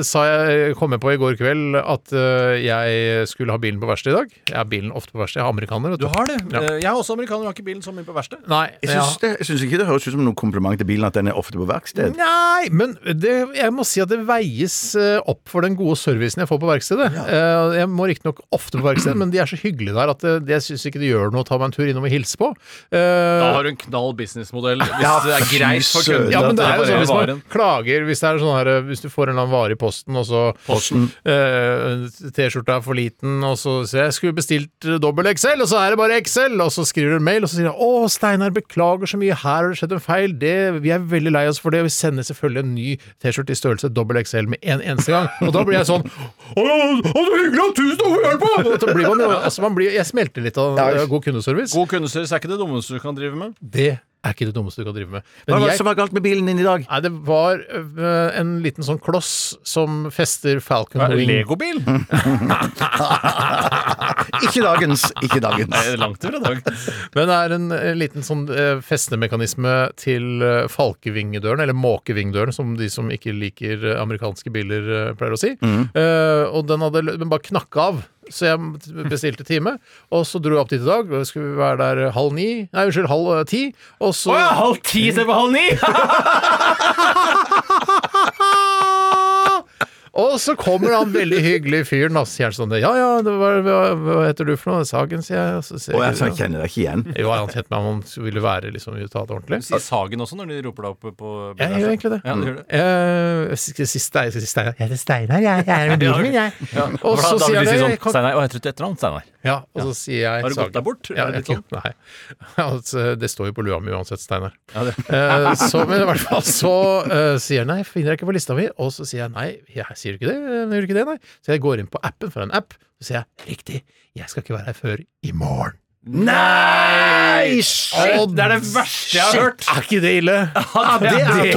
Speaker 3: eh, sa jeg, kom jeg på i går kveld at eh, jeg skulle ha bilen på verksted i dag. Jeg har bilen ofte på verksted. Jeg er amerikaner. vet
Speaker 5: Du har det.
Speaker 3: Ja.
Speaker 5: Eh, Jeg er også amerikaner, jeg har ikke bilen så mye på verksted.
Speaker 3: Nei,
Speaker 4: Jeg
Speaker 3: ja.
Speaker 4: syns, det, jeg syns ikke det høres ut som noen kompliment til bilen at den er ofte på verksted.
Speaker 3: Nei, men det, jeg må si at det veies eh, opp for den gode servicen jeg får på verkstedet. Eh, Jeg må riktignok ofte på verkstedet, men de er så hyggelige der at eh, det- jeg syns ikke det gjør noe å ta meg en tur innom og hilse på. Eh,
Speaker 5: Da har du en knall businessmodell, hvis det er greit for kunden.
Speaker 3: ja, men det er jo
Speaker 5: at
Speaker 3: sånn
Speaker 5: reparerer
Speaker 3: hvis man
Speaker 5: varen.
Speaker 3: klager Hvis, det er sånn her, eh, hvis du får en eller annen vare i posten, og så eh, T-skjorta er for liten, og så sier jeg 'skulle bestilt eh, dobbel XL', og så er det bare XL, og så skriver du en mail, og så sier jeg 'Å, Steinar, beklager så mye, her har det skjedd en feil', det, vi er veldig lei oss for det, og vi sender selvfølgelig en ny T-skjorte i størrelse dobbel XL med en eneste gang. Og da blir jeg sånn 'Å, å, så hyggelig, og tusen takk for hjelpen'! Og så blir man jo altså, man blir, Jeg smelter litt av eh, god kundeservice.
Speaker 5: God kundeservice er ikke det dummeste du kan drive med.
Speaker 3: Det er ikke det dummeste du kan drive med.
Speaker 4: Hva
Speaker 3: Men
Speaker 4: var det
Speaker 3: jeg-
Speaker 4: som var galt med bilen din i dag?
Speaker 3: Nei, det var øh, en liten sånn kloss som fester Falcon
Speaker 5: Er det
Speaker 3: Wing.
Speaker 5: Legobil?
Speaker 4: Ikke dagens. Ikke dagens.
Speaker 3: Det er Langt ifra dag. <laughs> Men det er en eh, liten sånn eh, festnemekanisme til eh, falkevingedøren, eller måkevingdøren, som de som ikke liker eh, amerikanske biler, eh, pleier å si. Eh, og den hadde l- den bare knakka av. Så jeg bestilte time, og så dro jeg opp dit i dag. og Skulle vi være der halv ni Nei, unnskyld, halv eh, ti. Og så
Speaker 5: halv ti til halv ni!
Speaker 3: <laughs> Og så kommer han veldig hyggelig fyren, og så sier han sånn Ja, ja, det var, hva, hva heter du for noe? Sagen, sier jeg. Og så sier
Speaker 4: Å, jeg, jeg
Speaker 3: jeg,
Speaker 4: kjenner deg ikke igjen.
Speaker 3: jo, han het meg, han ville være liksom ta det ordentlig.
Speaker 5: Sier Sagen også når de roper deg opp på
Speaker 3: Jeg gjør egentlig det.
Speaker 5: Ja, du gjør det.
Speaker 3: Eh, jeg skal si Stein- jeg skal si Steinar. Jeg heter Steinar, jeg. Jeg
Speaker 5: <laughs>
Speaker 3: er med bilen min, jeg.
Speaker 5: For
Speaker 3: Og
Speaker 5: da-
Speaker 3: så
Speaker 5: da vil
Speaker 3: sier
Speaker 5: de si
Speaker 3: jeg
Speaker 5: sånn
Speaker 3: det. kan-
Speaker 5: Steinar, å, jeg trodde etternavn. Steinar.
Speaker 3: Ja, og så sier jeg
Speaker 5: Har du gått
Speaker 3: Sagen.
Speaker 5: deg bort,
Speaker 3: Ja,
Speaker 5: eller
Speaker 3: jeg,
Speaker 5: litt
Speaker 3: nei. <laughs> Altså, det står jo på lua mi uansett, Steinar.
Speaker 5: Ja, det-
Speaker 3: Eh, så, men i hvert fall så eh, sier jeg nei, finner jeg ikke på lista mi. Og så sier jeg nei, jeg sier du ikke det? Jeg Gjør du ikke det, nei? Så jeg går inn på appen for en app, så sier jeg riktig, jeg skal ikke være her før i morgen.
Speaker 4: Nei! Shit!
Speaker 5: Det er det verste jeg har hørt!
Speaker 3: Er ikke det ille?
Speaker 4: Det er tungt.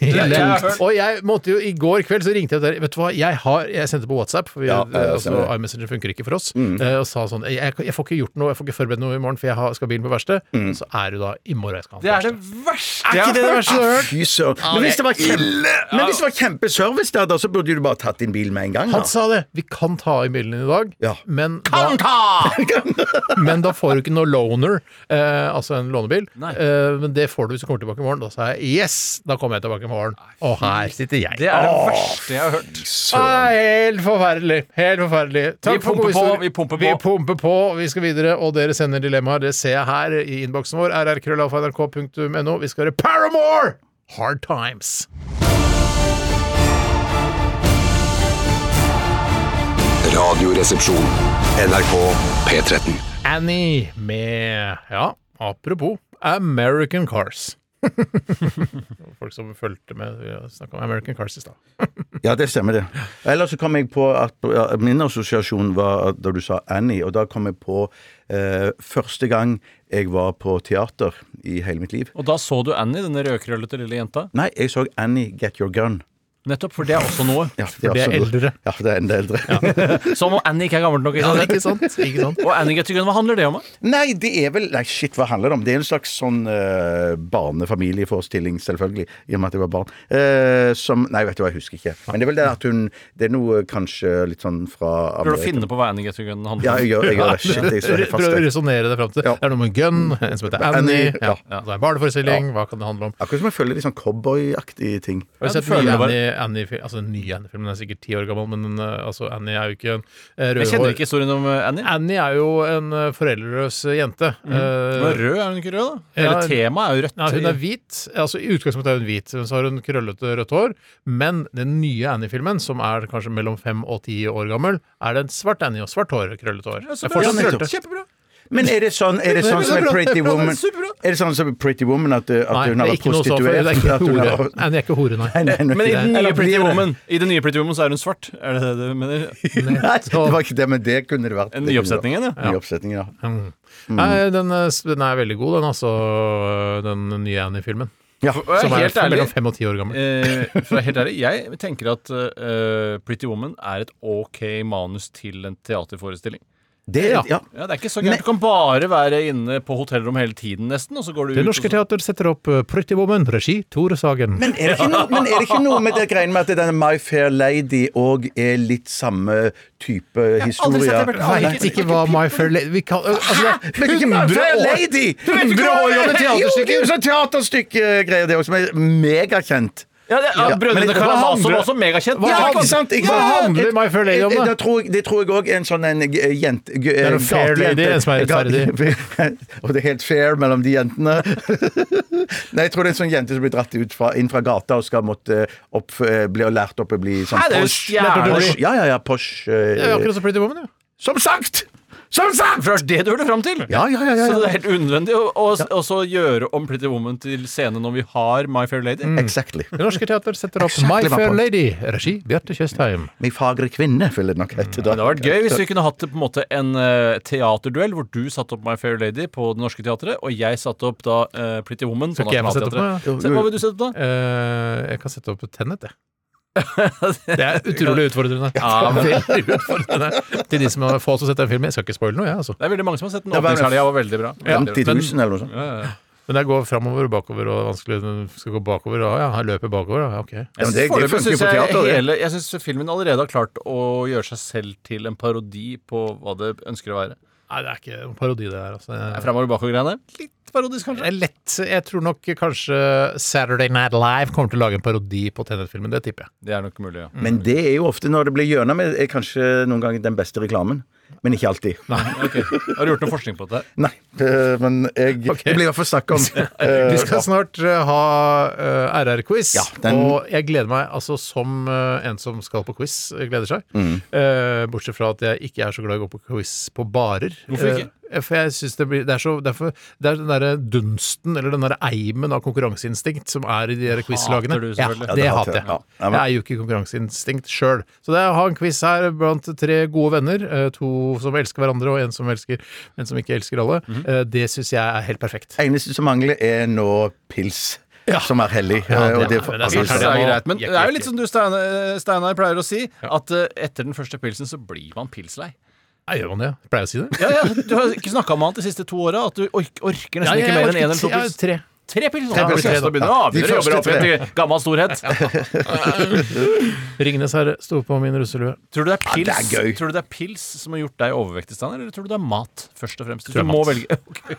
Speaker 5: jeg har hørt.
Speaker 3: Og jeg måtte jo i går kveld så ringte jeg der Vet du hva, jeg har Jeg sendte på WhatsApp, for vi,
Speaker 4: Ja, ja,
Speaker 3: altså,
Speaker 4: stemmer det. Mm.
Speaker 3: iMessenger funker ikke for oss, eh, og sa sånn jeg, jeg får ikke gjort noe, jeg får ikke forberedt noe i morgen, for jeg har, skal ha bilen på verksted.
Speaker 4: Mm.
Speaker 3: Så er du da i morgen jeg skal ha
Speaker 5: Det er
Speaker 3: den på
Speaker 5: det
Speaker 3: verksted.
Speaker 5: verste
Speaker 3: Er
Speaker 5: jeg
Speaker 3: ikke det
Speaker 5: har
Speaker 3: det
Speaker 5: hørt!
Speaker 3: verste du har hørt?
Speaker 4: Fy søren. Men hvis det var kjempe, men hvis det var kjempeservice der, da, så burde du bare tatt din bil med en gang.
Speaker 3: Han
Speaker 4: Da.
Speaker 3: sa det! Vi kan ta i bilen din i dag,
Speaker 4: Ja.
Speaker 3: men, da, <laughs> men da får du ikke noe loaner, eh, altså en lånebil.
Speaker 5: Nei.
Speaker 3: Eh, men det får du hvis du kommer tilbake i morgen. Da sa jeg yes! Da kommer jeg tilbake i morgen. Og her sitter jeg.
Speaker 5: Det er det verste jeg har hørt.
Speaker 3: Ah, helt forferdelig. Helt forferdelig.
Speaker 5: Vi pumper
Speaker 3: gode
Speaker 5: på,
Speaker 3: historier.
Speaker 5: vi pumper på.
Speaker 3: Vi pumper på, vi skal videre, og dere sender dilemmaer. Det ser jeg her i innboksen vår. rrkrøllalfa.nrk.no. Vi skal høre Paramore! Hard Times.
Speaker 7: Radioresepsjon. NRK P13.
Speaker 3: Annie med Ja, apropos American Cars. Folk som fulgte med, snakka om American Cars i stad.
Speaker 4: Ja, det stemmer, det. Ellers så kom jeg på at ja, min assosiasjon var at da du sa Annie, og da kom jeg på eh, første gang jeg var på teater i hele mitt liv.
Speaker 5: Og da så du Annie, denne rødkrøllete lille jenta.
Speaker 4: Nei, jeg så Annie Get Your Gun.
Speaker 5: Nettopp, for det er også noe.
Speaker 4: Ja,
Speaker 3: For det er
Speaker 4: altså-
Speaker 3: eldre.
Speaker 4: Ja, det er enda eldre.
Speaker 5: Som om Annie ikke er gammel nok. Ikke sant?
Speaker 3: Ikke
Speaker 5: <laughs>
Speaker 3: sant? Ikke sant?
Speaker 5: Og Annie Get Your Gun, hva handler det om? da?
Speaker 4: <laughs> Nei, det er vel Nei, shit, hva handler det om? Det er en slags sånn uh, barnefamilieforestilling, selvfølgelig, i og med at jeg var barn. Eh, som Nei, vet du hva, jeg husker ikke. Men det er vel det at hun Det er noe kanskje litt sånn fra
Speaker 5: Prøver å finne på hva Annie Get Your Gun handler om.
Speaker 4: Ja, jeg gjør, jeg gjør det. Shit, jeg står helt fast.
Speaker 3: Prøv å
Speaker 4: der.
Speaker 3: resonnere deg fram til.
Speaker 4: Ja.
Speaker 3: Det er noe med en gun, en som heter Annie.
Speaker 4: Annie,
Speaker 3: Ja,
Speaker 4: ja.
Speaker 3: Det er en barneforestilling. Hva kan det handle om?
Speaker 4: Akkurat som jeg føler litt sånn cowboyaktige ting.
Speaker 3: Har du
Speaker 5: Ja,
Speaker 3: sett
Speaker 5: du føler
Speaker 3: nye
Speaker 5: det bare-
Speaker 3: Annie, Annie, altså, den nye Annie-filmen? Den er sikkert ti år gammel, men den, eh, altså, Annie er jo ikke en eh,
Speaker 5: Jeg kjenner
Speaker 3: rødhår.
Speaker 5: ikke historien om eh, Annie.
Speaker 3: Annie er jo en eh, foreldreløs jente. Eh,
Speaker 5: Hun er rød, er hun ikke rød, da?
Speaker 3: Ja,
Speaker 5: Hele temaet er jo rødt.
Speaker 3: Nei, hun er hvit. Altså I utgangspunktet er hun hvit, men så har hun krøllete rødt hår. Men den nye Annie-filmen, som er kanskje mellom fem og ti år gammel, er det en svart Annie og svart hår og krøllete hår. Det er fortsatt
Speaker 4: Ja,
Speaker 3: krøllete.
Speaker 5: Kjempebra!
Speaker 4: Men er det sånn, er det sånn som er Pretty Woman Er det sånn som i Pretty Woman at, uh, at
Speaker 3: Nei,
Speaker 4: hun
Speaker 3: det
Speaker 4: har
Speaker 3: er
Speaker 4: vært
Speaker 3: ikke noe sånt. Det
Speaker 4: prostituert?
Speaker 3: er ikke
Speaker 4: <laughs> at hun har-
Speaker 3: hore. Annie er ikke hore, nei.
Speaker 4: Nei, nei, nei,
Speaker 5: Men i den
Speaker 4: nei.
Speaker 5: nye
Speaker 4: Eller
Speaker 5: Pretty
Speaker 4: blir det?
Speaker 5: Woman I den nye Pretty Woman så er hun svart. Er det det du mener?
Speaker 4: Nei, det var ikke det, men det kunne det vært.
Speaker 5: En
Speaker 4: Det kunne
Speaker 5: nyoppsetning
Speaker 4: det vært.
Speaker 5: igjen, ja.
Speaker 4: Ny oppsetning, ja.
Speaker 3: Mm. Nei, den, eh, s- den er veldig god, den altså, den nye Annie-filmen.
Speaker 4: ja.
Speaker 3: Som er
Speaker 5: Helt
Speaker 3: fra
Speaker 5: ærlig.
Speaker 3: mellom fem og ti år gammel.
Speaker 5: Eh, for å være helt ærlig, jeg tenker at eh, Pretty Woman er et ok manus til en teaterforestilling.
Speaker 4: Det,
Speaker 3: Ja.
Speaker 4: ja.
Speaker 5: Ja, det er ikke så gærent. Du kan bare være inne på hotellrom hele tiden, nesten, og så går du ut
Speaker 3: Det Norske
Speaker 5: og så-
Speaker 3: Teater setter opp eh, Pretty Woman, regi Tore Sagen.
Speaker 4: Men er, det ikke noe, men er det ikke noe med det greiene med at denne My Fair Lady òg er litt samme type
Speaker 5: sett
Speaker 4: historie?
Speaker 5: det, Bjarte. Aldri.
Speaker 4: Nei.
Speaker 3: Vet ikke hva My Fair Lady vi kan, altså, det er
Speaker 4: Men ikke
Speaker 3: 100
Speaker 4: My Fair
Speaker 3: år-
Speaker 4: Lady!
Speaker 3: Du vet ikke hva det er!
Speaker 4: Jo, det er
Speaker 3: Jo,
Speaker 4: jo sånn teaterstykkegreier, det òg, som er megakjent.
Speaker 5: Ja, det, ja,
Speaker 4: Ja, men
Speaker 5: Brødrene
Speaker 4: det- hva
Speaker 5: Karamazov
Speaker 3: handler-
Speaker 5: var også megakjent.
Speaker 3: Hva
Speaker 4: Ja,
Speaker 5: Ja,
Speaker 4: ikke sant? Ikke
Speaker 3: Hva
Speaker 4: sant?
Speaker 3: handler My Fair Lady om,
Speaker 4: Eh,
Speaker 3: da?
Speaker 4: eh, Det tror jeg- det tror jeg òg er en sånn en eh, jente Det
Speaker 3: er en fair lady, en som er
Speaker 4: <laughs> Og det er helt fair mellom de jentene. <laughs> Nei, jeg tror det er en sånn jente som blir dratt ut fra, inn fra gata og skal måtte opp, eh, bli og lært opp å bli sånn
Speaker 5: Nei, det er jo
Speaker 4: posh.
Speaker 5: stjerne-
Speaker 4: Posh. Ja, ja, ja, posh. eh,
Speaker 3: Det er jo akkurat som Pretty Woman, jo.
Speaker 4: Som sagt! Som sagt!
Speaker 5: For det er det du hørte fram til!
Speaker 4: Ja, ja, ja, ja, ja.
Speaker 5: Så det er helt unødvendig å å- å så gjøre om Pretty Woman til scene når vi har My Fair Lady.
Speaker 4: <laughs> Exactly.
Speaker 3: Det Norske Teater setter opp
Speaker 4: Exactly
Speaker 3: My
Speaker 4: my
Speaker 3: Fair
Speaker 4: point.
Speaker 3: Lady, regi Bjarte Tjøstheim.
Speaker 4: Min fagre kvinne, ville det nok hete da.
Speaker 5: Det hadde vært gøy hvis vi kunne hatt på en måte en eh, teaterduell hvor du satte opp My Fair Lady på Det Norske Teatret, og jeg satte opp da eh, Pretty Woman på
Speaker 3: Skal ikke Sånn jeg få sette opp
Speaker 5: Nationaltheatret.
Speaker 3: noe?
Speaker 5: Se, Hva vil du sette opp da?
Speaker 3: <laughs> Eh, jeg kan sette opp Tennet, jeg. Det er utrolig utfordrende. <laughs> Ja, veldig utfordrende. Til de som har få som har sett den filmen. Jeg skal ikke spoile noe, jeg, altså.
Speaker 5: Det er veldig mange som har sett den.
Speaker 4: Det var-
Speaker 5: Åpningshelga var veldig bra.
Speaker 3: Ja,
Speaker 4: 50 000
Speaker 3: men-
Speaker 4: eller noe sånt.
Speaker 5: Ja, ja.
Speaker 3: Men det går framover og bakover og vanskelig den skal gå bakover. Og ja, han løper bakover. Ja, ok.
Speaker 4: Ja, men det, det
Speaker 5: Foreløpig
Speaker 4: funker jo
Speaker 5: synes
Speaker 4: på
Speaker 5: jeg,
Speaker 4: teater, det.
Speaker 5: hele- jeg syns filmen allerede har klart å gjøre seg selv til en parodi på hva det ønsker å være.
Speaker 3: Nei, det er ikke noen parodi, det her. Altså. Jeg-
Speaker 5: Fremover bakover-greiene. Litt parodisk,
Speaker 3: Det
Speaker 5: kanskje.
Speaker 3: er lett. Jeg tror nok kanskje Saturday Night Live kommer til å lage en parodi på Tenet-filmen. Det tipper jeg.
Speaker 5: Det er nok mulig, ja.
Speaker 4: Men det er jo ofte når det blir gjennom, er kanskje noen ganger den beste reklamen. Men ikke alltid. Nei.
Speaker 5: Ok. Har du gjort noe forskning på dette?
Speaker 4: eh, Men jeg
Speaker 3: <laughs>
Speaker 4: Det blir i hvert fall snakk om. <laughs>
Speaker 3: Vi skal snart eh, ha eh, RR-quiz,
Speaker 4: Ja, den-
Speaker 3: og jeg gleder meg altså som eh, en som skal på quiz, eh, gleder seg.
Speaker 4: Mm.
Speaker 3: Eh, bortsett fra at jeg ikke er så glad i å gå på quiz på barer.
Speaker 5: Hvorfor ikke?
Speaker 3: Eh, for jeg synes det blir Det er så derfor, Det er den derre dunsten, eller den derre eimen av konkurranseinstinkt som er i de der quizlagene.
Speaker 5: Hater du
Speaker 3: Ja,
Speaker 5: selvfølgelig.
Speaker 3: det,
Speaker 4: Ja, det hater
Speaker 3: hater
Speaker 4: jeg.
Speaker 3: jeg.
Speaker 4: Ja. Nei, men-
Speaker 3: Jeg er jo ikke konkurranseinstinkt sjøl. Så det er å ha en quiz her blant tre gode venner, eh, to som elsker hverandre, og en som, elsker, en som ikke elsker alle,
Speaker 5: Mhm.
Speaker 3: eh, det syns jeg er helt perfekt.
Speaker 4: eneste som mangler, er nå pils, som er hellig.
Speaker 3: Ja,
Speaker 4: eh, og
Speaker 3: det-
Speaker 4: det-
Speaker 3: men det er
Speaker 4: altså,
Speaker 5: Pils er
Speaker 3: det nå-
Speaker 5: greit, men det
Speaker 3: jekke,
Speaker 5: er jo litt
Speaker 3: jekke.
Speaker 5: som du Steinar Steinar pleier å si, at eh, etter den første pilsen så blir man pilslei.
Speaker 3: Nei, gjør man det? Jeg pleier å si det.
Speaker 5: Ja, ja, Du har ikke snakka med han de siste to åra, at du ork orker nesten ikke mer enn én eller to pils.
Speaker 3: tre.
Speaker 5: Tre pils!
Speaker 3: Tre
Speaker 5: Ja,
Speaker 3: pils,
Speaker 5: så
Speaker 3: ja.
Speaker 5: da begynner å
Speaker 4: De
Speaker 5: avgjøre
Speaker 4: første
Speaker 5: jobber opp igjen til gammel <laughs> storhet.
Speaker 3: Ringnes herre sto på min russelue.
Speaker 5: Tror du, det er pils,
Speaker 4: det er gøy.
Speaker 5: tror du det er pils som har gjort deg overvektig, Steinar, eller tror du det er mat, først og fremst? Du
Speaker 3: Tror det er
Speaker 5: må
Speaker 3: mat.
Speaker 5: velge <laughs> Ok.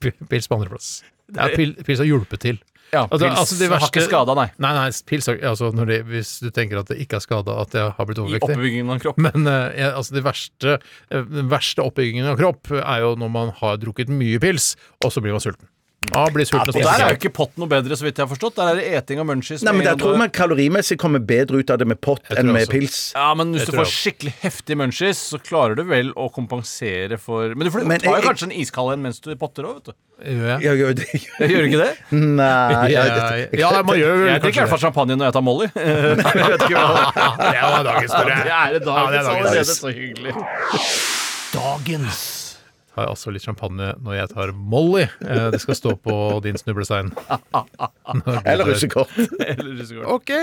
Speaker 3: P- Pils på andreplass. Ja, pil, pils har hjulpet til.
Speaker 5: Ja, pils
Speaker 3: Altså, altså, de
Speaker 5: har ikke
Speaker 3: verste-
Speaker 5: skada, nei.
Speaker 3: Nei, nei, pils har altså, når det, Hvis du tenker at det ikke er skada at jeg har blitt
Speaker 5: I
Speaker 3: overvektig.
Speaker 5: oppbyggingen av en kropp.
Speaker 3: <laughs> Men eh, jeg, altså, det verste, eh, den verste oppbyggingen av kropp er jo når man har drukket mye pils, og så blir man sulten. Ja, blir sulten
Speaker 5: Og
Speaker 3: og
Speaker 5: der er jo
Speaker 3: spiser.
Speaker 5: ikke pott noe bedre, så vidt jeg har forstått. Der er det eting av munchies.
Speaker 4: Nei,
Speaker 5: med
Speaker 4: men jeg
Speaker 5: en
Speaker 4: tror
Speaker 5: og-
Speaker 4: man kalorimessig kommer bedre ut av det med pott
Speaker 3: tror
Speaker 4: enn med
Speaker 3: også.
Speaker 4: pils.
Speaker 5: Ja, men hvis
Speaker 3: Jeg
Speaker 5: du
Speaker 3: tror
Speaker 5: får skikkelig heftig munchies, så klarer du vel å kompensere for Men du får,
Speaker 4: Men
Speaker 5: tar
Speaker 4: jeg-
Speaker 5: jo kanskje en iskald en mens du potter òg, vet du.
Speaker 3: Gjør jeg?
Speaker 4: Ja, gjør det. <laughs>
Speaker 5: Gjør du ikke <laughs> det?
Speaker 4: Nei
Speaker 3: Ja,
Speaker 4: jeg- jeg-
Speaker 3: ja, man gjør vel
Speaker 5: Jeg drikker i hvert fall champagne når jeg tar Molly. <laughs> Jeg vet ikke hva-
Speaker 3: Det var dagens historie.
Speaker 5: Ja, det er dagens allerede.
Speaker 3: dagens.
Speaker 5: Så hyggelig.
Speaker 3: tar jeg altså litt champagne når jeg tar Molly. Eh, Det skal stå på din snublestein. Når du
Speaker 4: Eller
Speaker 3: tar-
Speaker 4: russekort.
Speaker 3: <laughs>
Speaker 5: Eller russekort.
Speaker 3: OK!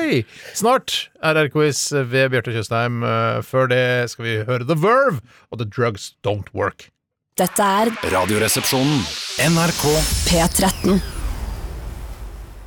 Speaker 3: Snart RR-quiz ved Bjarte Tjøstheim. Eh, Før det skal vi høre The Verve og The Drugs Don't Work.
Speaker 6: Dette er
Speaker 7: Radioresepsjonen. NRK.
Speaker 6: P13.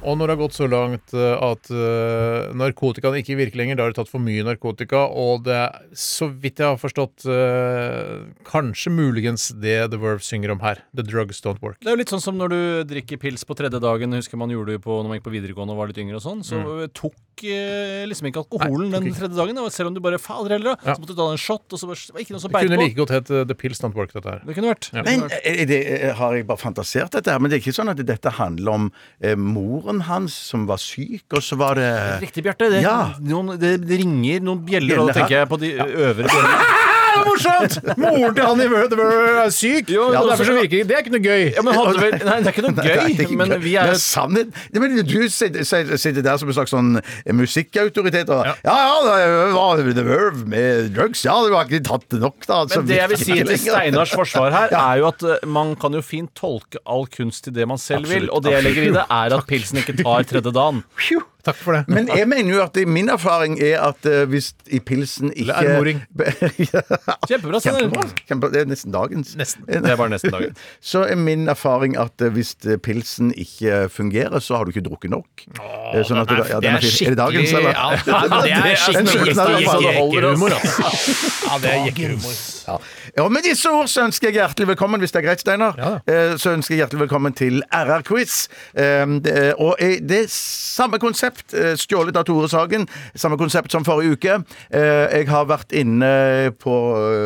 Speaker 3: Og når det har gått så langt eh, at eh, narkotikaen ikke virker lenger, da har du tatt for mye narkotika, og det er, så vidt jeg har forstått, eh, kanskje muligens det The Verve synger om her. The Drugs Don't Work.
Speaker 5: Det er jo litt sånn som når du drikker pils på tredje dagen, husker man gjorde det på når man gikk på videregående og var litt yngre og sånn, så eh,
Speaker 3: Mm.
Speaker 5: tok eh, liksom ikke alkoholen den tredje dagen, da, selv om du bare fader heller, da,
Speaker 3: Ja.
Speaker 5: så måtte du ta deg en shot, og så bare, det var ikke noe som
Speaker 3: Det
Speaker 5: beit
Speaker 3: kunne
Speaker 5: på.
Speaker 3: like godt hett eh, The Pills Don't Work, dette her.
Speaker 5: Det kunne vært. Det
Speaker 4: Men
Speaker 5: kunne vært.
Speaker 4: er det, er- har jeg bare fantasert dette her? Men det er ikke sånn at dette handler om eh, moren hans som var syk, og så var det
Speaker 5: eh, Riktig, Bjarte. Det,
Speaker 4: Ja.
Speaker 5: noen- det det ringer noen bjeller, og
Speaker 4: Bjeller
Speaker 5: da tenker jeg på de
Speaker 3: <laughs>
Speaker 5: øvre bjellene.
Speaker 3: morsomt! Moren til han i Word er syk,
Speaker 5: Ja,
Speaker 3: og
Speaker 5: men
Speaker 3: derfor så virker det Det er ikke noe gøy.
Speaker 5: altså, Ja, men hadde
Speaker 3: <laughs>
Speaker 5: vel, nei, det er ikke noe
Speaker 4: Nei, det er
Speaker 5: gøy,
Speaker 4: ikke
Speaker 5: men
Speaker 4: gøy.
Speaker 5: vi er
Speaker 4: Men sannhet Nei, men Du sitter- sitter sitter der som en slags sånn musikkautoritet. Og, ja. ja, det var The Verve med drugs. Ja, du har ikke tatt det nok, da. så
Speaker 5: Men det jeg vil
Speaker 4: virker
Speaker 5: si
Speaker 4: ikke
Speaker 5: til
Speaker 4: lenger.
Speaker 5: Steinars forsvar
Speaker 4: <laughs>
Speaker 5: her, er jo at eh, man kan jo fint tolke all kunst til det man selv vil,
Speaker 4: Absolutt,
Speaker 5: og det jeg legger i det, er at pilsen ikke tar tredje
Speaker 4: <laughs>
Speaker 5: dagen.
Speaker 4: Phew.
Speaker 3: Takk for det.
Speaker 4: Men jeg mener jo at det- min erfaring er at eh, hvis i pilsen ikke
Speaker 3: er det moring.
Speaker 4: <laughs> ja.
Speaker 5: Kjempebra, Steinar.
Speaker 4: Kjempebra. Kjempe, det er nesten dagens.
Speaker 3: Nesten.
Speaker 5: Det er bare nesten dagen.
Speaker 4: Så er min erfaring at eh, hvis eh, pilsen ikke fungerer, så har du ikke drukket nok. Eh, sånn at du da- ja, den er fin. Er det dagens, eller? <laughs>
Speaker 3: Ja, nei, men det er
Speaker 4: En
Speaker 3: skikkelig
Speaker 4: slutten av det, altså.
Speaker 3: jekkerhumor, altså. Ja, det er jekkerhumor.
Speaker 4: Ja, og Med disse ord så ønsker jeg hjertelig velkommen, hvis det er greit, Steinar,
Speaker 3: Ja
Speaker 4: eh, så ønsker jeg hjertelig velkommen til RR-quiz. Eh, det er- Og eh, det er samme konsept, eh, stjålet av Tore Sagen, samme konsept som forrige uke. Eh, Jeg har vært inne på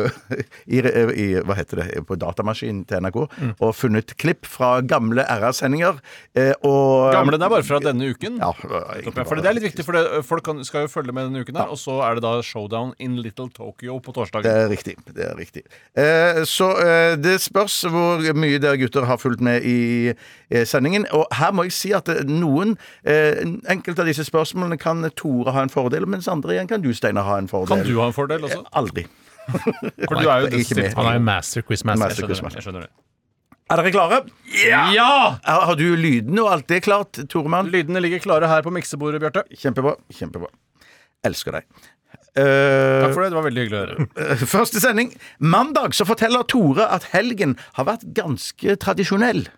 Speaker 4: eh, i, i, Hva heter det? På datamaskinen til NRK
Speaker 5: Mm.
Speaker 4: og funnet klipp fra gamle RR-sendinger. eh, Og
Speaker 5: Gamle, det er bare fra denne uken.
Speaker 4: Ja,
Speaker 5: Ja, Fordi det er litt viktig, for det, ø, folk kan, skal jo følge med denne uken her, og så er det da showdown in Little Tokyo på
Speaker 4: Det
Speaker 5: torsdag.
Speaker 4: er riktig. det er riktig. Eh, så eh, det spørs hvor mye dere gutter har fulgt med i eh, sendingen. Og her må jeg si at eh, noen eh, Enkelte av disse spørsmålene kan Tore ha en fordel, mens andre igjen kan du, Steinar, ha en fordel.
Speaker 5: Kan du ha en fordel også?
Speaker 4: Aldri.
Speaker 5: For du er jo
Speaker 4: jeg er ikke med.
Speaker 5: stilt-
Speaker 3: Han er jo master quizmaster.
Speaker 4: Master
Speaker 5: Skjønner det, Jeg skjønner det.
Speaker 4: Er dere klare?
Speaker 5: Ja!
Speaker 4: Har har du lydene og alt det klart, Toremann?
Speaker 5: Lydene ligger klare her på miksebordet, Bjarte.
Speaker 4: Kjempebra. Kjempebra. Elsker deg. Eh,
Speaker 5: Takk for det, det var veldig hyggelig å
Speaker 4: <laughs>
Speaker 5: høre.
Speaker 4: Første sending. Mandag så forteller Tore at helgen har vært ganske tradisjonell.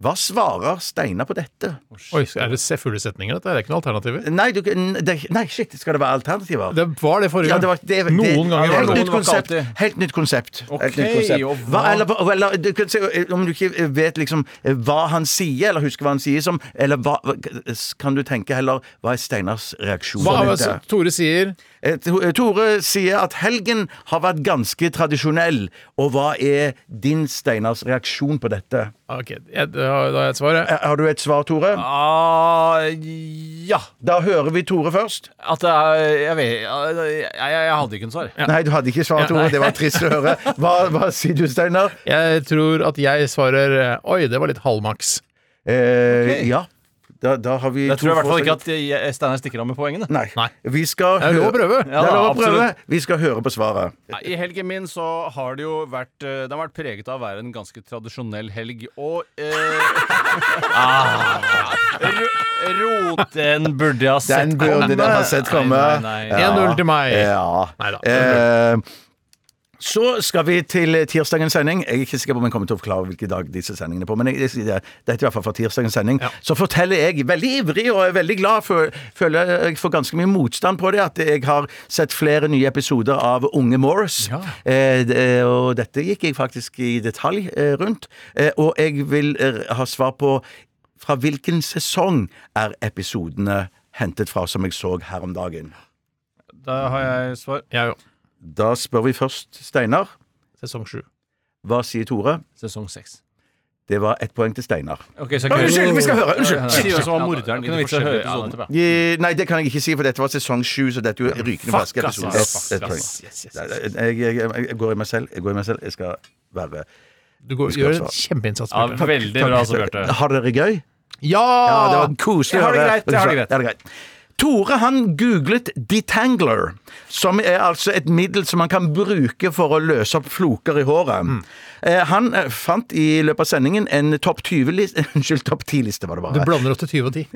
Speaker 4: Hva svarer Steinar på dette?
Speaker 3: Oi, er det se- fulle setninger, dette? Er det ikke noen alternativer?
Speaker 4: Nei, du, det, nei shit, skal det være alternativer?
Speaker 3: Det var det forrige
Speaker 4: Ja,
Speaker 3: gang.
Speaker 4: det var, det, det,
Speaker 3: noen ganger
Speaker 4: helt
Speaker 3: var det
Speaker 4: nytt
Speaker 5: det.
Speaker 4: konsept.
Speaker 5: Det var ikke alltid.
Speaker 4: Helt nytt konsept. helt nytt
Speaker 5: Ok,
Speaker 4: konsept.
Speaker 5: og
Speaker 4: Hva,
Speaker 5: hva-
Speaker 4: eller, eller, du kan si, om du ikke vet liksom hva han sier, eller husker hva han sier som Eller hva, kan du tenke heller Hva er Steinars reaksjon?
Speaker 3: Hva, altså-
Speaker 4: på
Speaker 3: hva
Speaker 4: dette?
Speaker 3: Tore sier
Speaker 4: Eh, To- eh, Tore sier at helgen har vært ganske tradisjonell, og hva er din, Steinars, reaksjon på dette?
Speaker 3: Ok, jeg, da har da har jeg svaret.
Speaker 4: Eh, Har du et svar, Tore?
Speaker 5: Ah, ja.
Speaker 4: Da hører vi Tore først.
Speaker 5: At det er Jeg vet Jeg, jeg, jeg hadde ikke noe svar.
Speaker 4: Nei, du hadde ikke svar, Tore. Det var trist å høre. Hva, hva sier du, Steinar?
Speaker 3: Jeg tror at jeg svarer eh, Oi, det var litt halvmaks.
Speaker 4: Eh, Ja. Da, da har vi
Speaker 5: Jeg tror i hvert fall ikke
Speaker 4: forslag.
Speaker 5: at jeg- Steinar stikker av med poengene.
Speaker 4: Nei.
Speaker 3: Nei.
Speaker 4: Vi skal
Speaker 3: Det er lov å
Speaker 4: hø-
Speaker 3: prøve.
Speaker 4: Det er lov å
Speaker 5: Ja,
Speaker 4: prøve.
Speaker 5: absolutt.
Speaker 4: Vi skal høre på svaret.
Speaker 5: Nei, I helgen min så har det jo vært eh, Det har vært preget av å være en ganske tradisjonell helg. Og <laughs> eh, ah, ro- Roten burde jeg ha sett
Speaker 4: Den burde den ha sett komme.
Speaker 5: Nei, nei, nei.
Speaker 3: 1-0 til meg.
Speaker 4: Ja.
Speaker 3: Neida.
Speaker 4: Eh, så skal vi til eh, tirsdagens sending. Jeg er ikke sikker på om jeg kommer til å forklare hvilke dag disse sendingene er på, men jeg, jeg, sier det dette er i hvert fall fra tirsdagens sending. Så forteller jeg, veldig ivrig og jeg er veldig glad, for, føler jeg får ganske mye motstand på det, at jeg har sett flere nye episoder av Unge Morris. Eh, det- og dette gikk jeg faktisk i detalj eh, rundt. Eh, og jeg vil eh, ha svar på fra hvilken sesong er episodene hentet fra, som jeg så her om dagen.
Speaker 5: Da har jeg svar.
Speaker 3: Jeg òg.
Speaker 4: Da spør vi først Steinar.
Speaker 3: Sesong sju.
Speaker 4: Hva sier Tore?
Speaker 5: Sesong seks.
Speaker 4: Det var ett poeng til Steinar.
Speaker 5: Ok, så
Speaker 4: Å, unnskyld, vi skal høre, unnskyld.
Speaker 5: Si hvem som var morderen i
Speaker 3: Ikke
Speaker 5: de
Speaker 3: noe vits i å høre
Speaker 5: forskjellige episodene.
Speaker 3: episodene.
Speaker 4: Eh, Nei, det kan jeg ikke si, for dette var sesong sju, så dette er jo rykende
Speaker 5: Fuck,
Speaker 4: ferske
Speaker 5: ass,
Speaker 4: episoder.
Speaker 5: ass,
Speaker 4: Et- et poeng.
Speaker 3: ass, yes, yes, yes.
Speaker 4: Nei, nei, Jeg, jeg, jeg, jeg går i meg selv. Jeg går i meg selv. Jeg skal være
Speaker 3: Du går,
Speaker 4: skal
Speaker 3: gjør
Speaker 4: svare.
Speaker 3: en kjempeinnsats.
Speaker 5: Ja,
Speaker 3: Bjarte.
Speaker 5: veldig bra, altså, Bjarte.
Speaker 4: Har dere det gøy?
Speaker 3: Ja!
Speaker 4: Ja, det var koselig
Speaker 5: Jeg
Speaker 4: å
Speaker 5: har det
Speaker 4: høre.
Speaker 5: greit, jeg har det greit.
Speaker 4: Ja, Tore han googlet detangler, som er altså et middel som man kan bruke for å løse opp floker i håret.
Speaker 5: Mm.
Speaker 4: Eh, Han eh, fant i løpet av sendingen en topp 20-liste <laughs> Unnskyld, topp 10-liste var det bare.
Speaker 3: Du blander opp til 20 og 10.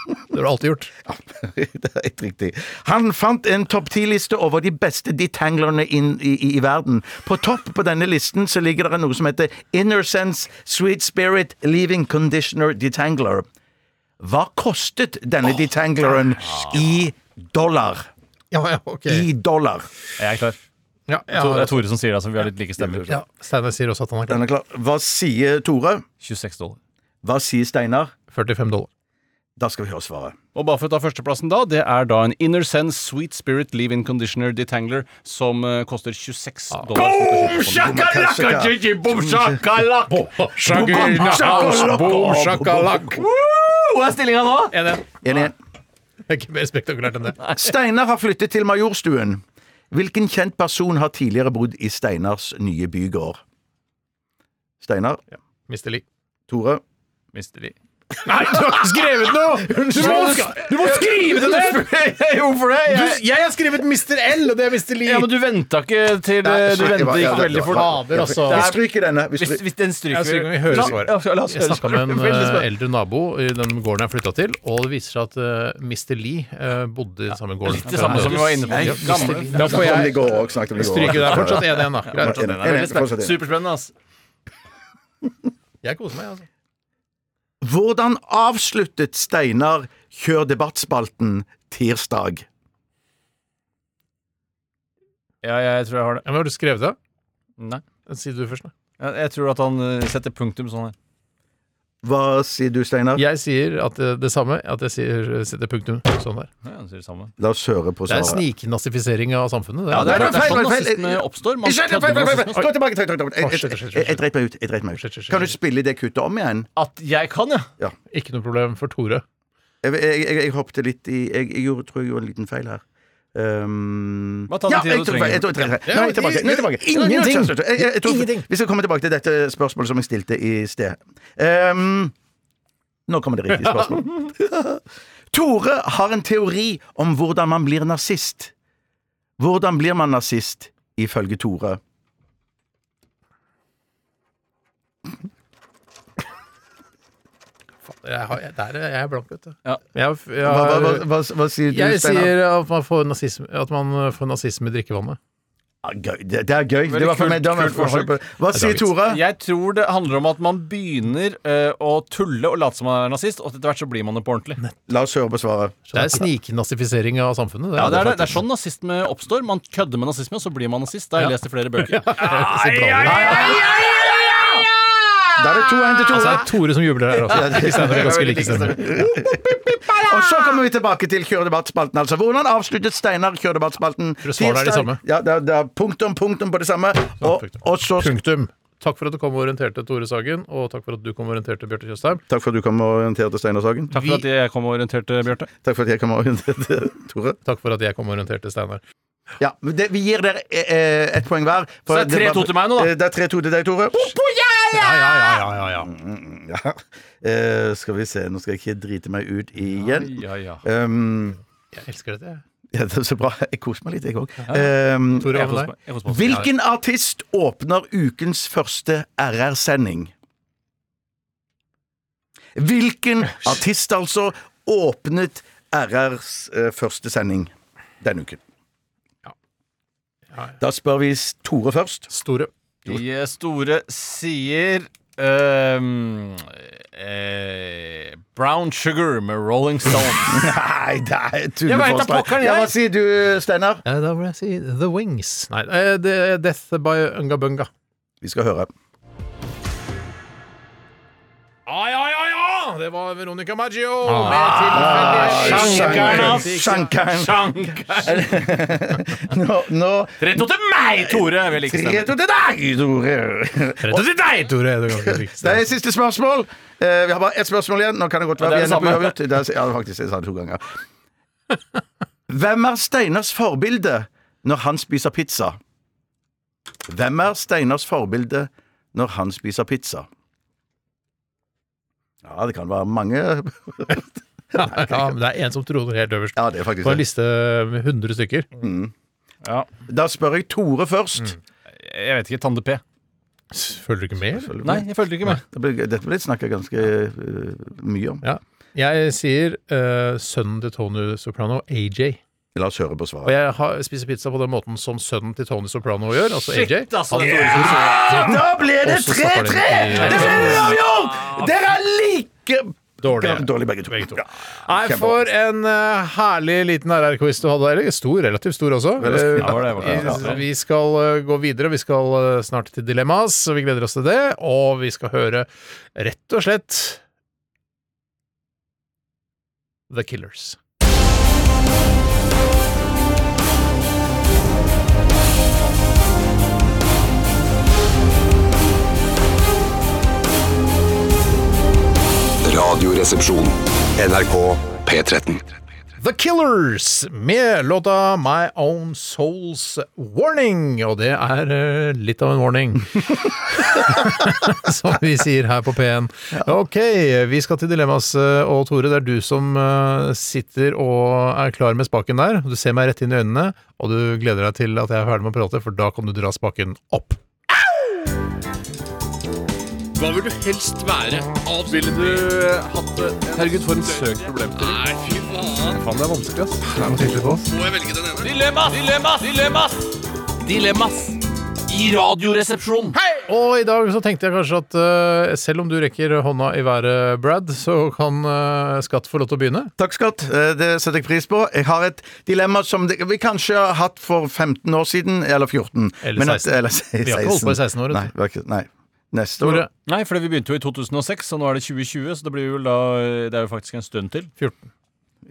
Speaker 3: <laughs> det har du alltid gjort.
Speaker 4: <laughs> det er helt riktig. Han fant en topp ti-liste over de beste detanglerne inn i, i, i verden. På topp på denne listen så ligger det noe som heter Inner Sense Sweet Spirit Leaving Conditioner Detangler. Hva kostet denne detangleren i dollar?
Speaker 3: Ja, ja, ok.
Speaker 4: I dollar.
Speaker 5: Jeg er klar.
Speaker 3: Ja, ja,
Speaker 5: Det er Tore som sier det, så vi har litt like stemmer.
Speaker 3: ja. Steinar sier også at han har
Speaker 4: Den
Speaker 3: klart
Speaker 4: er klar. Hva sier Tore?
Speaker 5: 26 dollar.
Speaker 4: Hva sier Steinar?
Speaker 3: 45 dollar.
Speaker 4: Da skal vi høre svaret.
Speaker 5: Og bare for å ta førsteplassen da, det er da en Inner Sense Sweet Spirit Leave-In Conditioner Detangler som eh, koster 26 dollar. Boom, Hvor er stillinga nå?
Speaker 4: Enig?
Speaker 3: Det er ikke mer spektakulært enn det.
Speaker 4: Steinar har flyttet til Majorstuen. Hvilken kjent person har tidligere bodd i Steinars nye bygård? Steinar?
Speaker 3: Mr. Lee.
Speaker 4: Tore?
Speaker 5: Mister de.
Speaker 3: Nei, du har ikke skrevet
Speaker 5: <laughs>
Speaker 3: noe! Du må, du må skrive det ned!
Speaker 5: Hvorfor det?
Speaker 3: Du,
Speaker 5: Jeg...
Speaker 3: jeg har skrevet Mr. L, og det er Mr. Lee.
Speaker 5: Ja, men du venta ikke til eh,
Speaker 4: Nei,
Speaker 5: Du
Speaker 4: sorry,
Speaker 5: ventet
Speaker 4: hva- ja,
Speaker 5: ikke
Speaker 4: det-
Speaker 5: veldig
Speaker 4: det-
Speaker 5: fort.
Speaker 3: Fader, altså.
Speaker 4: Vi stryker denne. Vi
Speaker 5: Hvis,
Speaker 4: stryker.
Speaker 5: hvis den
Speaker 3: Jeg
Speaker 5: stryker
Speaker 3: skal ikke høre
Speaker 5: La-
Speaker 3: svaret.
Speaker 5: ja, la oss <laughs>
Speaker 3: Jeg
Speaker 5: høre
Speaker 3: snakka med en
Speaker 5: svaret. Veldig
Speaker 3: eh,
Speaker 5: spennende.
Speaker 3: eldre nabo i den gården jeg flytta til, og det viser seg at eh, Mr. Lee eh, bodde i den samme gården.
Speaker 5: Litt det samme som vi var inne på.
Speaker 4: Nei,
Speaker 5: Ja, gamle.
Speaker 4: vi
Speaker 3: Da får
Speaker 4: snakket om det i
Speaker 3: jeg
Speaker 4: går også, snakket om det i går
Speaker 3: stryke
Speaker 4: også.
Speaker 3: der. Fortsatt 1-1, da. Greit.
Speaker 4: Enig,
Speaker 5: Det er
Speaker 4: enig,
Speaker 5: veldig spennende.
Speaker 4: fortsatt enig.
Speaker 5: Superspennende, altså.
Speaker 3: Jeg koser meg, altså.
Speaker 4: Hvordan avsluttet Steinar Kjør debattspalten tirsdag?
Speaker 5: Ja, jeg tror jeg har det.
Speaker 3: Ja, men har du skrevet det?
Speaker 5: Nei.
Speaker 3: Si det du først, da.
Speaker 5: Jeg jeg tror at han eh, setter punktum sånn her.
Speaker 4: Hva sier du, Steinar?
Speaker 3: Jeg sier at eh, det samme, at jeg sier, setter punktum sånn der.
Speaker 5: Ja, han sier det samme.
Speaker 4: La oss høre på
Speaker 3: Det er en
Speaker 4: svaret.
Speaker 3: sniknazifisering av samfunnet. Det
Speaker 5: Ja,
Speaker 3: er,
Speaker 5: det er, det er
Speaker 4: feil,
Speaker 5: sånn
Speaker 4: feil,
Speaker 5: nazisme
Speaker 4: feil.
Speaker 5: oppstår. Man
Speaker 4: Ikke-
Speaker 5: kødder med nazisme.
Speaker 4: Gå tilbake! tilbake, tilbake. Jeg-
Speaker 3: shit, shit,
Speaker 4: jeg-
Speaker 3: shit.
Speaker 4: Jeg dreit meg ut. Jeg dreit
Speaker 3: Shit,
Speaker 4: meg
Speaker 3: shit,
Speaker 4: ut.
Speaker 3: shit,
Speaker 4: Kan du
Speaker 3: shit.
Speaker 4: spille det kuttet om igjen?
Speaker 5: At jeg kan, ja.
Speaker 3: Ikke noe problem for Tore.
Speaker 4: Jeg, jeg, jeg, jeg hoppet litt i Jeg, jeg gjorde, tror jeg gjorde en liten feil her. Um,
Speaker 5: Bare ta den tiden
Speaker 4: jeg
Speaker 5: du
Speaker 4: tror-
Speaker 5: trenger.
Speaker 4: jeg tror- jeg tror- Nei, tilbake. Nei, tilbake.
Speaker 3: Ingenting.
Speaker 4: Jeg- jeg- jeg tror-
Speaker 3: Ingenting.
Speaker 4: Vi skal komme tilbake til dette spørsmålet som jeg stilte i sted. Um, nå kommer det riktige spørsmålet.
Speaker 5: <laughs>
Speaker 4: Tore har en teori om hvordan man blir nazist. Hvordan blir man nazist, ifølge Tore?
Speaker 3: Fader, jeg, har, jeg, der er jeg er blank, vet du.
Speaker 5: Ja.
Speaker 3: Jeg, har- jeg,
Speaker 4: Hva, hva, hva,
Speaker 3: har-
Speaker 4: hva, hva sier du,
Speaker 3: jeg
Speaker 4: Steinar?
Speaker 3: sier at man får nazisme, at man får nazisme i drikkevannet.
Speaker 4: Ja, Ah, gøy. Det, det er gøy. Det var for
Speaker 5: kult-
Speaker 4: meg, da, men,
Speaker 5: kult forsøk.
Speaker 4: hva sier Tora?
Speaker 5: <laughs> Jeg tror det handler om at man begynner eh, å tulle og late som man er nazist, og etter hvert så blir man det på ordentlig.
Speaker 4: La oss høre på svaret.
Speaker 3: Det er sniknazifisering av samfunnet.
Speaker 5: Ja, det er, det. det er sånn nazisme oppstår. Man kødder med nazisme, og så blir man nazist. Det har jeg lest i flere <laughs> bøker.
Speaker 4: Da er det to hen til
Speaker 3: Altså, det
Speaker 4: Tora.
Speaker 3: er Tore som jubler her altså. også. Ikke Steinar, vi er ganske like stemmer.
Speaker 4: Og så kommer vi tilbake til Kjøredebattspalten. Altså, hvordan avsluttet Steinar Kjøredebattspalten?
Speaker 3: Tror svaret er det samme.
Speaker 4: Ja, det er, det er punktum, punktum på det samme. Og,
Speaker 3: punktum.
Speaker 4: og så
Speaker 3: Punktum. Takk for at du kom og orienterte, Tore Sagen, og takk for at du kom og orienterte, Bjarte Tjøstheim.
Speaker 4: Takk for at du kom og orienterte Steinar Sagen.
Speaker 5: Takk for at jeg kom og orienterte, Bjarte.
Speaker 4: Takk for at jeg kom og orienterte Tore.
Speaker 3: Takk for at jeg kom og orienterte, Steinar.
Speaker 4: Ja, men det, Vi gir dere eh, ett poeng hver. for
Speaker 5: Så det er
Speaker 4: var-
Speaker 5: 3-2 til meg nå, da.
Speaker 4: Eh, Det er 3-2 til deg, Tore. Mm,
Speaker 3: Ja, ja, ja, ja, ja, ja.
Speaker 4: Ja. Eh, skal vi se, nå skal jeg ikke drite meg ut igjen.
Speaker 5: Ja, ja.
Speaker 4: Um,
Speaker 3: Jeg elsker dette. jeg.
Speaker 4: ja, det er så bra. Jeg koser meg litt, jeg òg. Um,
Speaker 3: Tore,
Speaker 5: Jeg
Speaker 3: hva
Speaker 5: koser
Speaker 3: med
Speaker 5: meg.
Speaker 3: deg?
Speaker 5: Jeg koser meg.
Speaker 4: hvilken artist åpner ukens første RR-sending? Hvilken artist, altså, åpnet RRs eh, første sending denne uken?
Speaker 3: Ja, ja.
Speaker 4: Da spør vi Tore først.
Speaker 3: Store.
Speaker 5: De eh, store sier ehm, eh, Brown Sugar med Rolling <laughs> Stones.
Speaker 4: <laughs> Nei, det er et
Speaker 5: Jeg vet da
Speaker 4: tulleforslag.
Speaker 5: pokker, jeg.
Speaker 4: Ja, hva sier du, Steinar?
Speaker 3: Eh, Da vil jeg si The Wings. Nei, eh, det er Death by Unga Bunga.
Speaker 4: Vi skal høre.
Speaker 3: Ja, ja, ja, ja! Det var Veronica Maggio. Ah,
Speaker 4: Shankaren, Shankaren.
Speaker 5: Sjank!
Speaker 4: Nå, nå
Speaker 5: Rett og til meg, Tore! Jeg vil ikke
Speaker 4: Tre
Speaker 5: stemme.
Speaker 4: til deg, Tore!
Speaker 3: Rett og slett deg, Tore. Det er ganske riktig.
Speaker 4: Det er siste spørsmål. Eh, vi har bare ett spørsmål igjen. Nå kan det godt være
Speaker 5: Ja, det
Speaker 4: vi
Speaker 5: er
Speaker 4: ender på
Speaker 5: det
Speaker 4: uavgjort. Det er, ja, faktisk, jeg sa det to ganger. <laughs> Hvem er Steiners forbilde når han spiser pizza? Hvem er Steiners forbilde når han spiser pizza? Ja, det kan være mange.
Speaker 3: Ja, men det er en som troner helt øverst.
Speaker 4: Ja, det er faktisk
Speaker 3: På en
Speaker 4: det.
Speaker 3: liste med 100 stykker.
Speaker 5: Ja,
Speaker 4: Da spør jeg Tore først.
Speaker 5: jeg vet ikke. Tande P.
Speaker 3: Følger du ikke med? eller?
Speaker 5: Nei, jeg følte ikke med.
Speaker 4: Det blir- Dette blir det snakka ganske eh, mye om.
Speaker 3: Ja. Jeg sier eh, sønnen til Tony Soprano, AJ.
Speaker 4: La oss høre på
Speaker 3: Og
Speaker 4: svaret.
Speaker 3: jeg har, spiser pizza på den måten som sønnen til Tony Soprano gjør, altså AJ.
Speaker 5: altså, det er Tore som sier det.
Speaker 4: Da ble det
Speaker 3: Ah! Og så stopper
Speaker 4: 3-3!
Speaker 3: de i-
Speaker 4: Det ble uavgjort! Dere er like
Speaker 3: Dårlige.
Speaker 4: Dårlig begge to.
Speaker 3: Begge to.
Speaker 4: Ja.
Speaker 3: Nei, for en eh, herlig liten RR-quiz du hadde. Eller stor, relativt stor også. Eh,
Speaker 5: Ja, var det, var det, var det.
Speaker 3: Vi skal eh, gå videre. Vi skal eh, snart til Dilemmas, og vi gleder oss til det. Og vi skal høre rett og slett The Killers.
Speaker 8: Radioresepsjon. NRK P13.
Speaker 3: The Killers med låta My Own Soul's Warning. Og det er eh, litt av en warning, <laughs> som vi sier her på P1. Ok, vi skal til Dilemmas. eh, Og Tore, det er du som eh, sitter og er klar med spaken der. Du ser meg rett inn i øynene, og du gleder deg til at jeg er ferdig med å prate, for da kan du dra spaken opp.
Speaker 5: Herregud, for en søk problemstilling. Faen, det er vanskelig, ass. Dilemmas! Dilemmas! Dilemmas! Dilemmas! I Radioresepsjonen.
Speaker 3: Og i dag så tenkte jeg kanskje at eh, selv om du rekker hånda i været, Brad, så kan eh, Skatt få lov til å begynne.
Speaker 4: Takk, Skatt. Eh, Det setter jeg pris på. Jeg har et dilemma som det- vi kanskje har hatt for 15 år siden, eller 14.
Speaker 3: Eller
Speaker 4: men at-
Speaker 3: 16.
Speaker 4: Eller
Speaker 3: Vi har ikke holdt på i 16 år, vet du.
Speaker 4: Nei, vi har ikke- nei. Neste
Speaker 3: Tore.
Speaker 4: år.
Speaker 5: Nei, for vi begynte jo i 2006, og nå er det 2020, så det blir jo da Det er jo faktisk en stund til.
Speaker 3: 14.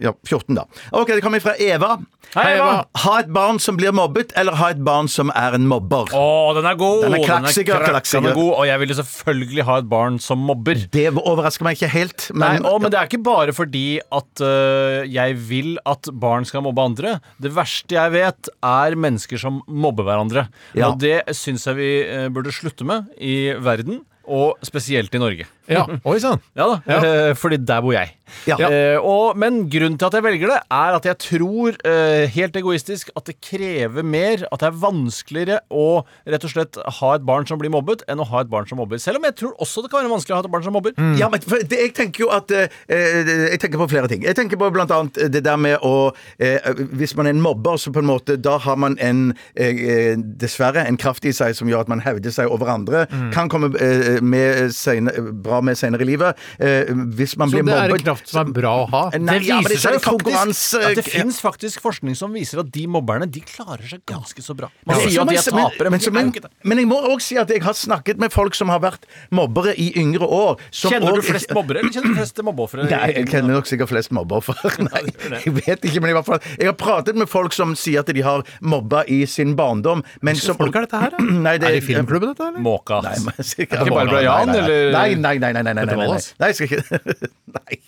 Speaker 4: Ja, 14, da. Ok, Det kommer fra Eva.
Speaker 5: Hei, Eva!
Speaker 4: Ha et barn som blir mobbet, eller ha et barn som er en mobber.
Speaker 5: Å, den er god!
Speaker 4: Den er klaksiker,
Speaker 5: krakk-
Speaker 4: klaksiker.
Speaker 5: den er god, Og jeg ville selvfølgelig ha et barn som mobber.
Speaker 4: Det overrasker meg ikke helt, men,
Speaker 5: Nei, å, men det er ikke bare fordi at øh, jeg vil at barn skal mobbe andre. Det verste jeg vet, er mennesker som mobber hverandre.
Speaker 4: Ja.
Speaker 5: Og det syns jeg vi øh, burde slutte med i verden, og spesielt i Norge.
Speaker 3: Ja, oi sann.
Speaker 5: Ja da, eh, fordi der bor jeg.
Speaker 4: Ja.
Speaker 5: Eh, og, men grunnen til at jeg velger det, er at jeg tror, eh, helt egoistisk, at det krever mer, at det er vanskeligere å rett og slett ha et barn som blir mobbet, enn å ha et barn som mobber. Selv om jeg tror også det kan være vanskelig å ha et barn som mobber.
Speaker 4: Ja, men for det, jeg tenker jo at eh, eh, Jeg tenker på flere ting. Jeg tenker på blant annet det der med å eh, Hvis man er en mobber, så på en måte Da har man en eh, eh, Dessverre en kraft i seg som gjør at man hevder seg over andre. Kan komme eh, med senere, bra med senere i livet. Eh, hvis man
Speaker 3: Så
Speaker 4: blir
Speaker 3: det er
Speaker 4: mobbet
Speaker 3: en kraft som er bra å ha.
Speaker 4: Nei, ja, men det er sånn konkurranse-
Speaker 5: faktisk at det fins faktisk forskning som viser at de mobberne de klarer seg ganske så bra. Man
Speaker 4: Men-
Speaker 5: sier at de er
Speaker 4: men-
Speaker 5: tapere,
Speaker 4: men,
Speaker 5: men de
Speaker 4: som-
Speaker 5: er jo ikke det.
Speaker 4: men jeg må òg si at jeg har snakket med folk som har vært mobbere i yngre år. Som
Speaker 5: Kjenner
Speaker 4: og-
Speaker 5: du flest mobbere, eller kjenner du flest mobbeofre?
Speaker 4: Nei, jeg kjenner nok sikkert flest mobbeoffer. Nei, jeg vet ikke, men i hvert fall Jeg har pratet med folk som sier at de har mobba i sin barndom, men som
Speaker 3: folk er dette her, da?
Speaker 4: <clears throat> Nei, det
Speaker 3: Er det filmklubben, dette, eller?
Speaker 5: Måka.
Speaker 4: Nei, men sikkert
Speaker 5: Ikke Barbara Jan,
Speaker 4: Nei, nei,
Speaker 5: eller-
Speaker 4: Nei, nei, nei. nei, nei, nei, nei, nei, nei.
Speaker 3: Wallace?
Speaker 4: nei jeg skal ikke <laughs> Nei.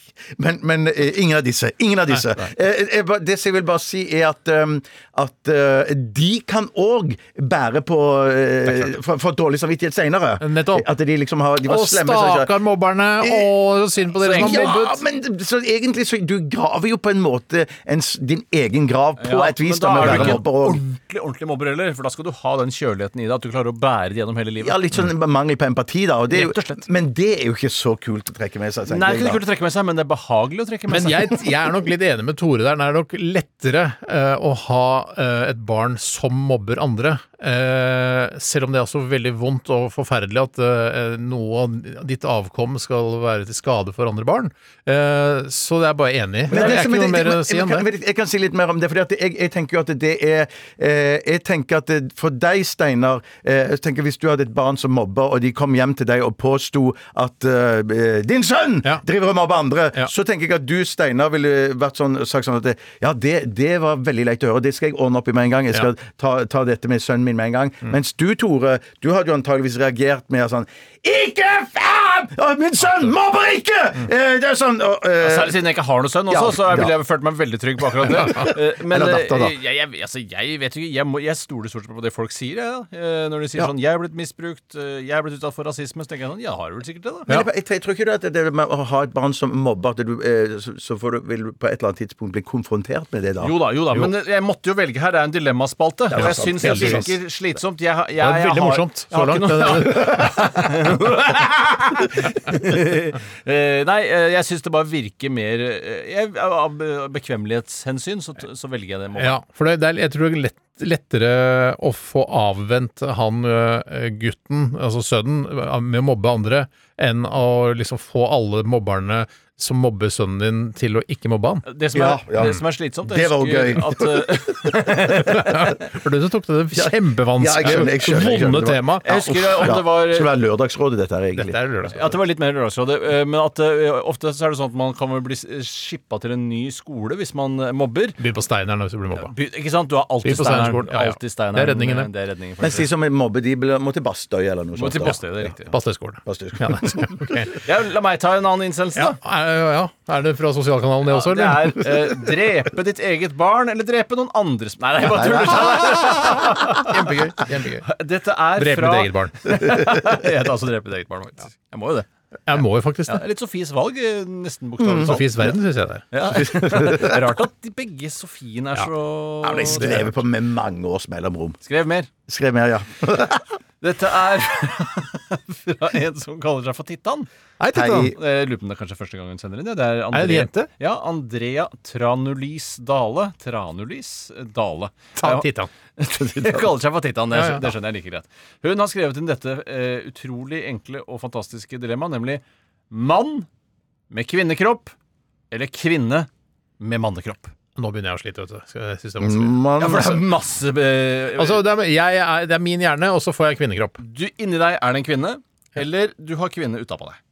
Speaker 4: Men, men eh, ingen av disse. Ingen av disse. Eh, jeg ba- det som jeg vil bare si, er at, um, at eh, de kan òg bære på eh, for, for dårlig samvittighet seinere.
Speaker 3: Nettopp.
Speaker 4: At de liksom har De var
Speaker 3: Å,
Speaker 4: slemme. så ikke-
Speaker 3: stakkar mobberne! Å, så synd på dere som har mobbet.
Speaker 4: ja, men så egentlig så du graver jo på en måte en, s- din egen grav på et vis. da,
Speaker 5: men da er
Speaker 4: med å
Speaker 5: du
Speaker 4: være
Speaker 5: ikke
Speaker 4: mobber og,
Speaker 5: ordentlig ordentlig mobber heller, for da skal du ha den kjøligheten i deg at du klarer å bære det gjennom hele livet.
Speaker 4: ja, litt sånn mangel på empati, da. Og det er
Speaker 5: Rett og
Speaker 4: jo,
Speaker 5: slett.
Speaker 4: men det er jo ikke så kult å trekke med seg. tenker
Speaker 5: Nei, det er
Speaker 4: jeg,
Speaker 5: ikke
Speaker 4: da.
Speaker 5: kult å trekke med seg, men det er behagelig å trekke med
Speaker 3: Men
Speaker 5: seg.
Speaker 3: jeg, jeg er nok litt enig med Tore der. Det er nok lettere eh, å ha eh, et barn som mobber andre. Eh, selv om det er også veldig vondt og forferdelig at eh, noe av ditt avkom skal være til skade for andre barn. Eh, så det er jeg bare enig i. Det
Speaker 4: Men
Speaker 3: er
Speaker 4: det
Speaker 3: ikke
Speaker 4: som-
Speaker 3: noe
Speaker 4: men-
Speaker 3: mer å
Speaker 4: men-
Speaker 3: si enn
Speaker 4: men-
Speaker 3: det.
Speaker 4: men Jeg kan si litt mer om det. Fordi at jeg, jeg tenker jo at det er eh, Jeg tenker at det, for deg, Steinar eh, jeg tenker Hvis du hadde et barn som mobber, og de kom hjem til deg og påsto at eh, 'Din sønn
Speaker 3: Ja.
Speaker 4: driver og mobber andre',
Speaker 3: Ja.
Speaker 4: så tenker jeg at du, Steinar, ville vært sånn, sagt sånn at det, 'Ja, det, det var veldig leit å høre. Det skal jeg ordne opp i med en gang. Jeg skal ta, ta dette med sønnen min med en gang.'
Speaker 3: Mm.
Speaker 4: Mens du, Tore, du hadde jo antageligvis reagert med sånn 'Ikke faen! Å, Min sønn mobber ikke!'
Speaker 3: Mm.
Speaker 4: Eh, det er sånn og, eh,
Speaker 3: Altså,
Speaker 5: Særlig siden jeg ikke har noe sønn også,
Speaker 4: Ja,
Speaker 5: så jeg
Speaker 4: ja.
Speaker 5: ville jeg følt meg veldig trygg på akkurat
Speaker 4: <laughs>
Speaker 5: det. Eh, Men
Speaker 4: Eller datter, da.
Speaker 5: eh, jeg, jeg, altså, jeg vet jo ikke Jeg, må, jeg stoler stort sett på det folk sier, jeg, da. Eh, Når de sier
Speaker 4: Ja.
Speaker 5: sånn 'Jeg er blitt misbrukt', eh, 'Jeg er blitt utsatt for rasisme', så tenker jeg sånn Jeg har vel sikkert det, da.
Speaker 4: Men jeg, jeg tror ikke det at det med å ha et barn som mobber, at du, eh, så, så får du, vil du på et eller annet tidspunkt bli konfrontert med det da.
Speaker 5: Jo da, jo da, men jeg måtte jo velge her. Det er en dilemmaspalte. Og jeg
Speaker 4: sant.
Speaker 5: syns det
Speaker 4: Veldig sant.
Speaker 5: virker slitsomt. Jeg, har- jeg,
Speaker 3: Det er
Speaker 5: jeg
Speaker 3: veldig
Speaker 5: har-
Speaker 3: morsomt
Speaker 5: jeg har
Speaker 3: så
Speaker 5: ikke
Speaker 3: langt.
Speaker 5: noe- <laughs>
Speaker 3: <laughs> Det er-
Speaker 5: Eh, nei, eh, jeg syns det bare virker mer eh, jeg, Av be- bekvemmelighetshensyn så, t- så velger jeg det. mobbet.
Speaker 3: Ja, for det, det er, jeg tror det er lett, lettere å få avvent han ø, gutten, altså sønnen, med å mobbe andre, enn å liksom få alle mobberne som mobber sønnen din, til å ikke mobbe han.
Speaker 5: Det som,
Speaker 4: Ja,
Speaker 5: er,
Speaker 4: ja.
Speaker 5: det som er slitsomt
Speaker 4: Det var jo
Speaker 5: husker
Speaker 4: gøy.
Speaker 5: At, eh, <laughs>
Speaker 3: For du som tok det
Speaker 4: Ja, jeg skjønner, jeg
Speaker 3: kjempevanskelige,
Speaker 4: skjønner, jeg skjønner.
Speaker 3: vonde tema.
Speaker 5: jeg husker eh,
Speaker 4: Uff,
Speaker 5: om
Speaker 4: ja.
Speaker 5: det var
Speaker 4: Skal være lørdagsrådet dette her, egentlig.
Speaker 3: Dette er lørdag.
Speaker 5: at det var litt mer Lørdagsrådet, eh, men at eh, ofte så er det sånn at man kan vel bli skippa til en ny skole hvis man eh, mobber.
Speaker 3: Begynn på Steinar hvis du blir mobba.
Speaker 5: By- Ikke sant? Du har alltid
Speaker 3: Vi på Steinerskolen,
Speaker 5: steineren.
Speaker 3: ja, ja.
Speaker 5: alltid steineren.
Speaker 3: Det er redningen, det.
Speaker 5: det. er redningen for
Speaker 4: Mens de
Speaker 5: det.
Speaker 4: som er mobber, de blir- må til Bastøy eller noe
Speaker 5: Må
Speaker 4: sånt.
Speaker 5: til
Speaker 4: da.
Speaker 5: Bastøy, det er riktig.
Speaker 3: Pass deg i skolen.
Speaker 4: Bastøy.
Speaker 3: Ja, det
Speaker 4: <laughs>
Speaker 3: er- ok.
Speaker 5: Ja, la meg ta en annen innsendelse,
Speaker 3: ja,
Speaker 5: da.
Speaker 3: er, ja, er det fra sosialkanalen det også,
Speaker 5: Det
Speaker 3: eller?
Speaker 5: er eh, drepe ditt eget barn eller drepe noen andres Nei, nei, jeg bare tuller.
Speaker 3: Kjempegøy. kjempegøy.
Speaker 5: Dette er
Speaker 3: Drepe
Speaker 5: fra
Speaker 3: ditt eget barn.
Speaker 5: <laughs> Jeg heter altså drepe ditt eget barn, faktisk. Jeg må jo det.
Speaker 3: Jeg må jo faktisk
Speaker 5: Ja,
Speaker 3: det.
Speaker 5: litt Sofies valg, eh, nesten bokstavelig talt.
Speaker 3: Mm, Sofies verden, syns jeg det er.
Speaker 5: Ja. <laughs> Det er Rart at de begge Sofiene er
Speaker 4: Ja, men jeg
Speaker 5: så
Speaker 4: skrev på med mange års mellomrom.
Speaker 5: Skrev mer.
Speaker 4: Skrev mer, ja.
Speaker 5: Dette er <laughs> fra en som kaller seg for Tittan.
Speaker 3: Hei, Titan.
Speaker 4: Hei.
Speaker 5: Eh, Jeg lurer på om det er kanskje første gang hun sender inn. det. Det er, Andre...
Speaker 3: Er det en jente?
Speaker 5: Ja, Andrea Tranulis Dale. Tranulis Dale.
Speaker 3: Ta
Speaker 5: Ja.
Speaker 3: Titan.
Speaker 5: <laughs> Hun kaller seg for Titan, det,
Speaker 3: Ja, ja.
Speaker 5: det skjønner jeg like greit. Hun har skrevet inn dette eh, utrolig enkle og fantastiske dilemmaet, nemlig mann med kvinnekropp eller kvinne med mannekropp. Altså-
Speaker 3: Nå begynner jeg å slite, vet du. Skal- Jeg synes det er vanskelig.
Speaker 4: Man,
Speaker 5: Ja, for det er masse
Speaker 4: Mm.
Speaker 5: eh,
Speaker 3: Altså, det, er, jeg er, det er min hjerne, og så får jeg kvinnekropp.
Speaker 5: du, Inni deg er det en kvinne, eller du har kvinne utapå deg.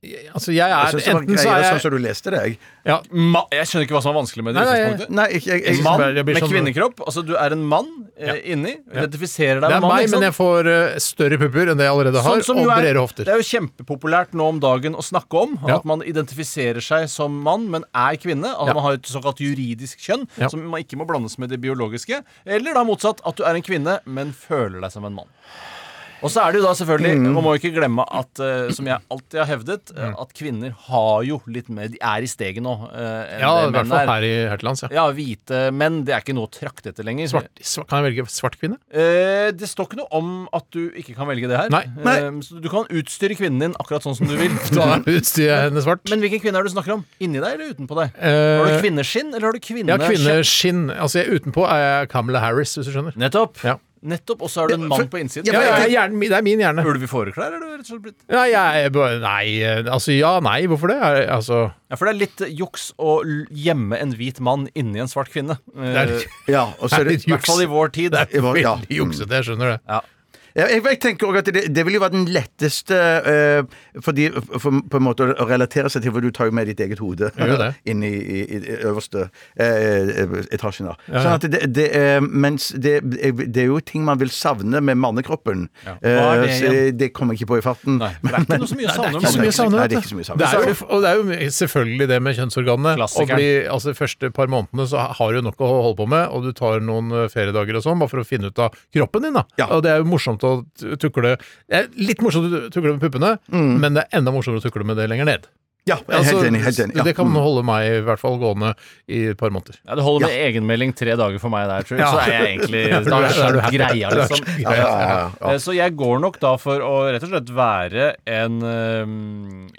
Speaker 3: Jeg- Altså, jeg er,
Speaker 4: jeg synes det var
Speaker 3: enten så er
Speaker 4: greiere sånn
Speaker 3: jeg
Speaker 4: som du leste det, jeg.
Speaker 3: ja,
Speaker 5: Ma jeg skjønner ikke hva som er vanskelig med det. i
Speaker 3: Nei, nei,
Speaker 5: utgangspunktet.
Speaker 4: Nei, ikke jeg, jeg,
Speaker 5: Mann
Speaker 3: jeg blir
Speaker 5: med
Speaker 3: sånn-
Speaker 5: kvinnekropp. Altså, du er en mann eh, inni. Identifiserer deg
Speaker 3: Det er
Speaker 5: med mann.
Speaker 3: meg,
Speaker 5: ikke sant?
Speaker 3: men jeg får eh, større pupper enn det jeg allerede har,
Speaker 5: liksom- Sånn som
Speaker 3: og
Speaker 5: jo er-
Speaker 3: bredere hofter.
Speaker 5: Det er jo kjempepopulært nå om dagen å snakke om
Speaker 3: Ja.
Speaker 5: at man identifiserer seg som mann, men er kvinne. Altså
Speaker 3: Ja.
Speaker 5: man har et såkalt juridisk kjønn
Speaker 3: Ja.
Speaker 5: som man ikke må blandes med det biologiske. Eller da motsatt, at du er en kvinne, men føler deg som en mann. Og så er det jo da
Speaker 3: Mm.
Speaker 5: selvfølgelig Man må ikke glemme at, eh, som jeg alltid har hevdet, eh, at kvinner har jo litt mer De er i steget nå. eh, enn
Speaker 3: Ja,
Speaker 5: det
Speaker 3: i
Speaker 5: menn
Speaker 3: hvert fall
Speaker 5: er.
Speaker 3: her, i, her til lands. Ja.
Speaker 5: Ja, hvite menn. Det er ikke noe å trakte etter lenger.
Speaker 3: Svart, sva- kan jeg velge svart kvinne?
Speaker 5: Eh, det står ikke noe om at du ikke kan velge det her.
Speaker 3: Nei.
Speaker 5: Eh, så du kan utstyre kvinnen din akkurat sånn som du vil.
Speaker 3: <laughs> Da er utstyret henne svart.
Speaker 5: Men hvilken kvinne er det du snakker om? Inni deg eller utenpå deg?
Speaker 3: Eh,
Speaker 5: har du kvinneskinn, eller har du
Speaker 3: ja,
Speaker 5: kvinneskjøtt?
Speaker 3: kvinneskinn. Altså, jeg, utenpå er jeg Kamala Harris, hvis du skjønner.
Speaker 5: Nettopp.
Speaker 3: Ja.
Speaker 5: Nettopp, Og så er du en mann på innsiden.
Speaker 3: Ja, jeg, er hjernen, det er min hjerne.
Speaker 5: Ulv i fåreklær, er du rett og slett blitt?
Speaker 3: Nei, jeg, er bare- nei, eh, altså ja, nei, hvorfor det? Er, altså,
Speaker 5: Ja, for det er litt eh, juks å l- gjemme en hvit mann inni en svart kvinne. Eh,
Speaker 3: det er,
Speaker 4: Ja, og så er det
Speaker 3: Det er
Speaker 5: I hvert fall i vår tid.
Speaker 4: Jeg var-
Speaker 3: <laughs>
Speaker 4: ja.
Speaker 3: veldig juksete, jeg skjønner det.
Speaker 4: Ja, jeg, jeg tenker også at det, det vil jo være den letteste eh, fordi, for, på en måte å relatere seg til, for du tar jo med ditt eget hode
Speaker 3: gjør det.
Speaker 4: <laughs> inn i, i, i øverste eh, etasjen. da. Sånn at det, det, er- mens det, det er jo ting man vil savne med mannekroppen.
Speaker 5: Hva er det
Speaker 4: Eh, så
Speaker 5: igjen?
Speaker 4: det kommer jeg ikke på i farten.
Speaker 5: Nei, for det er ikke noe så mye å savne om
Speaker 3: Ikke så mye
Speaker 5: mannekroppen.
Speaker 3: savner,
Speaker 4: Nei,
Speaker 3: vet
Speaker 4: det
Speaker 3: du.
Speaker 4: er ikke så mye savner.
Speaker 3: Det er jo, og det er jo selvfølgelig det med kjønnsorganene. Å
Speaker 5: Klassikeren.
Speaker 3: bli, altså, de første par månedene så har du nok å holde på med, og du tar noen eh, feriedager og sånn, bare for å finne ut av kroppen din. da. Og det er jo morsomt å t- tukle Det er litt morsomt å tukle med puppene, men det er enda morsommere å tukle med det lenger ned.
Speaker 4: Ja, Mm. jeg er helt enig. Helt enig. Ja.
Speaker 3: altså, Det kan
Speaker 4: Mm.
Speaker 3: holde meg i hvert fall gående i et par måneder.
Speaker 5: Ja, det holder med egenmelding tre dager for meg der, tror jeg.
Speaker 3: Ja.
Speaker 5: Så er jeg egentlig
Speaker 3: Ja, for
Speaker 5: da
Speaker 3: du er-
Speaker 5: er
Speaker 3: <laughs> da er du
Speaker 5: jeg
Speaker 3: happy.
Speaker 5: greia,
Speaker 3: Da er sånn. du
Speaker 5: liksom.
Speaker 3: greia, ja,
Speaker 4: ja.
Speaker 5: Eh, Så jeg går nok da for å rett og slett være en, eh,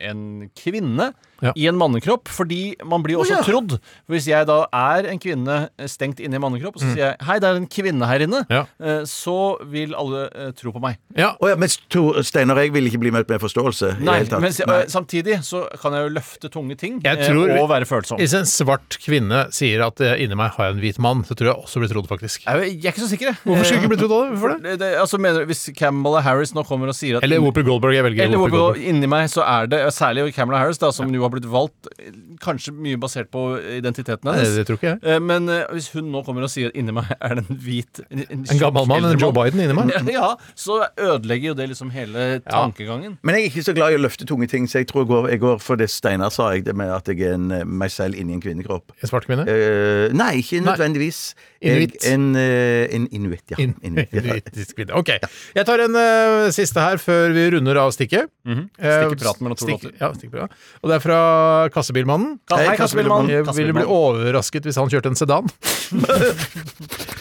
Speaker 5: en kvinne
Speaker 3: Ja.
Speaker 5: i en mannekropp, fordi man blir jo også
Speaker 4: Å, ja.
Speaker 5: trodd. For hvis jeg da er en kvinne eh, stengt inne i en mannekropp, og så sier jeg 'hei, det er en kvinne her inne',
Speaker 3: Mm. Ja.
Speaker 5: eh, så vil alle eh, tro på meg.
Speaker 3: Ja,
Speaker 4: Å ja, mens Tor Steinar og jeg vil ikke bli møtt med forståelse. i det
Speaker 5: Nei,
Speaker 4: hele tatt.
Speaker 5: men eh,
Speaker 4: Nei.
Speaker 5: samtidig så kan jeg jo løfte tunge ting
Speaker 3: Jeg
Speaker 5: eh,
Speaker 3: tror-
Speaker 5: og være følsom.
Speaker 3: Hvis en svart kvinne sier at eh, inni meg har jeg en hvit mann, så tror jeg også blir trodd, faktisk.
Speaker 5: Jeg er jo- jeg er ikke så sikker, jeg.
Speaker 3: Hvorfor skulle jeg ikke bli trodd av det? Hvorfor det?
Speaker 5: Det, det, altså mener, du, hvis Campbell og Harris nå kommer og sier at
Speaker 3: Eller Whooper Goldberg. Jeg velger
Speaker 5: Eller
Speaker 3: Whooper
Speaker 5: hvorfor
Speaker 3: Goldberg.
Speaker 5: inni meg så er det, særlig Camelot Harris, da, som jo har blitt valgt eh, kanskje mye basert på identiteten
Speaker 3: Nei,
Speaker 5: hennes.
Speaker 3: det tror ikke jeg.
Speaker 5: Eh, Men eh, hvis hun nå kommer og sier at inni meg <laughs> er det en hvit En, en
Speaker 3: En gammel mann, en
Speaker 5: eldre
Speaker 3: Joe Biden inni meg.
Speaker 5: <laughs> Ja, så ødelegger jo det liksom hele tankegangen.
Speaker 4: Men jeg er ikke så glad i å løfte tunge ting, så jeg tror jeg går, jeg går for det Steinar sa, jeg, det med at jeg er en, eh, meg selv inni en kvinnekropp.
Speaker 3: En svart kvinne.
Speaker 4: Eh, nei, ikke nødvendigvis. Jeg-
Speaker 3: Inuitt.
Speaker 4: En, eh, en inuitt, ja.
Speaker 3: In-
Speaker 4: Inuitt, ja.
Speaker 3: Inuittisk kvinne. Ok. Jeg tar en eh, siste her før vi runder av stikket.
Speaker 5: Mhm.
Speaker 3: Eh,
Speaker 5: Stikkepraten mellom to
Speaker 3: stikk-
Speaker 5: låter.
Speaker 3: Ja, stikkepraten. Og det er fra Kassebilmannen.
Speaker 5: Ka- Hei, Kassebilmannen.
Speaker 3: Jeg ville bli
Speaker 5: Kassebilmannen.
Speaker 3: overrasket hvis han kjørte en sedan. <laughs>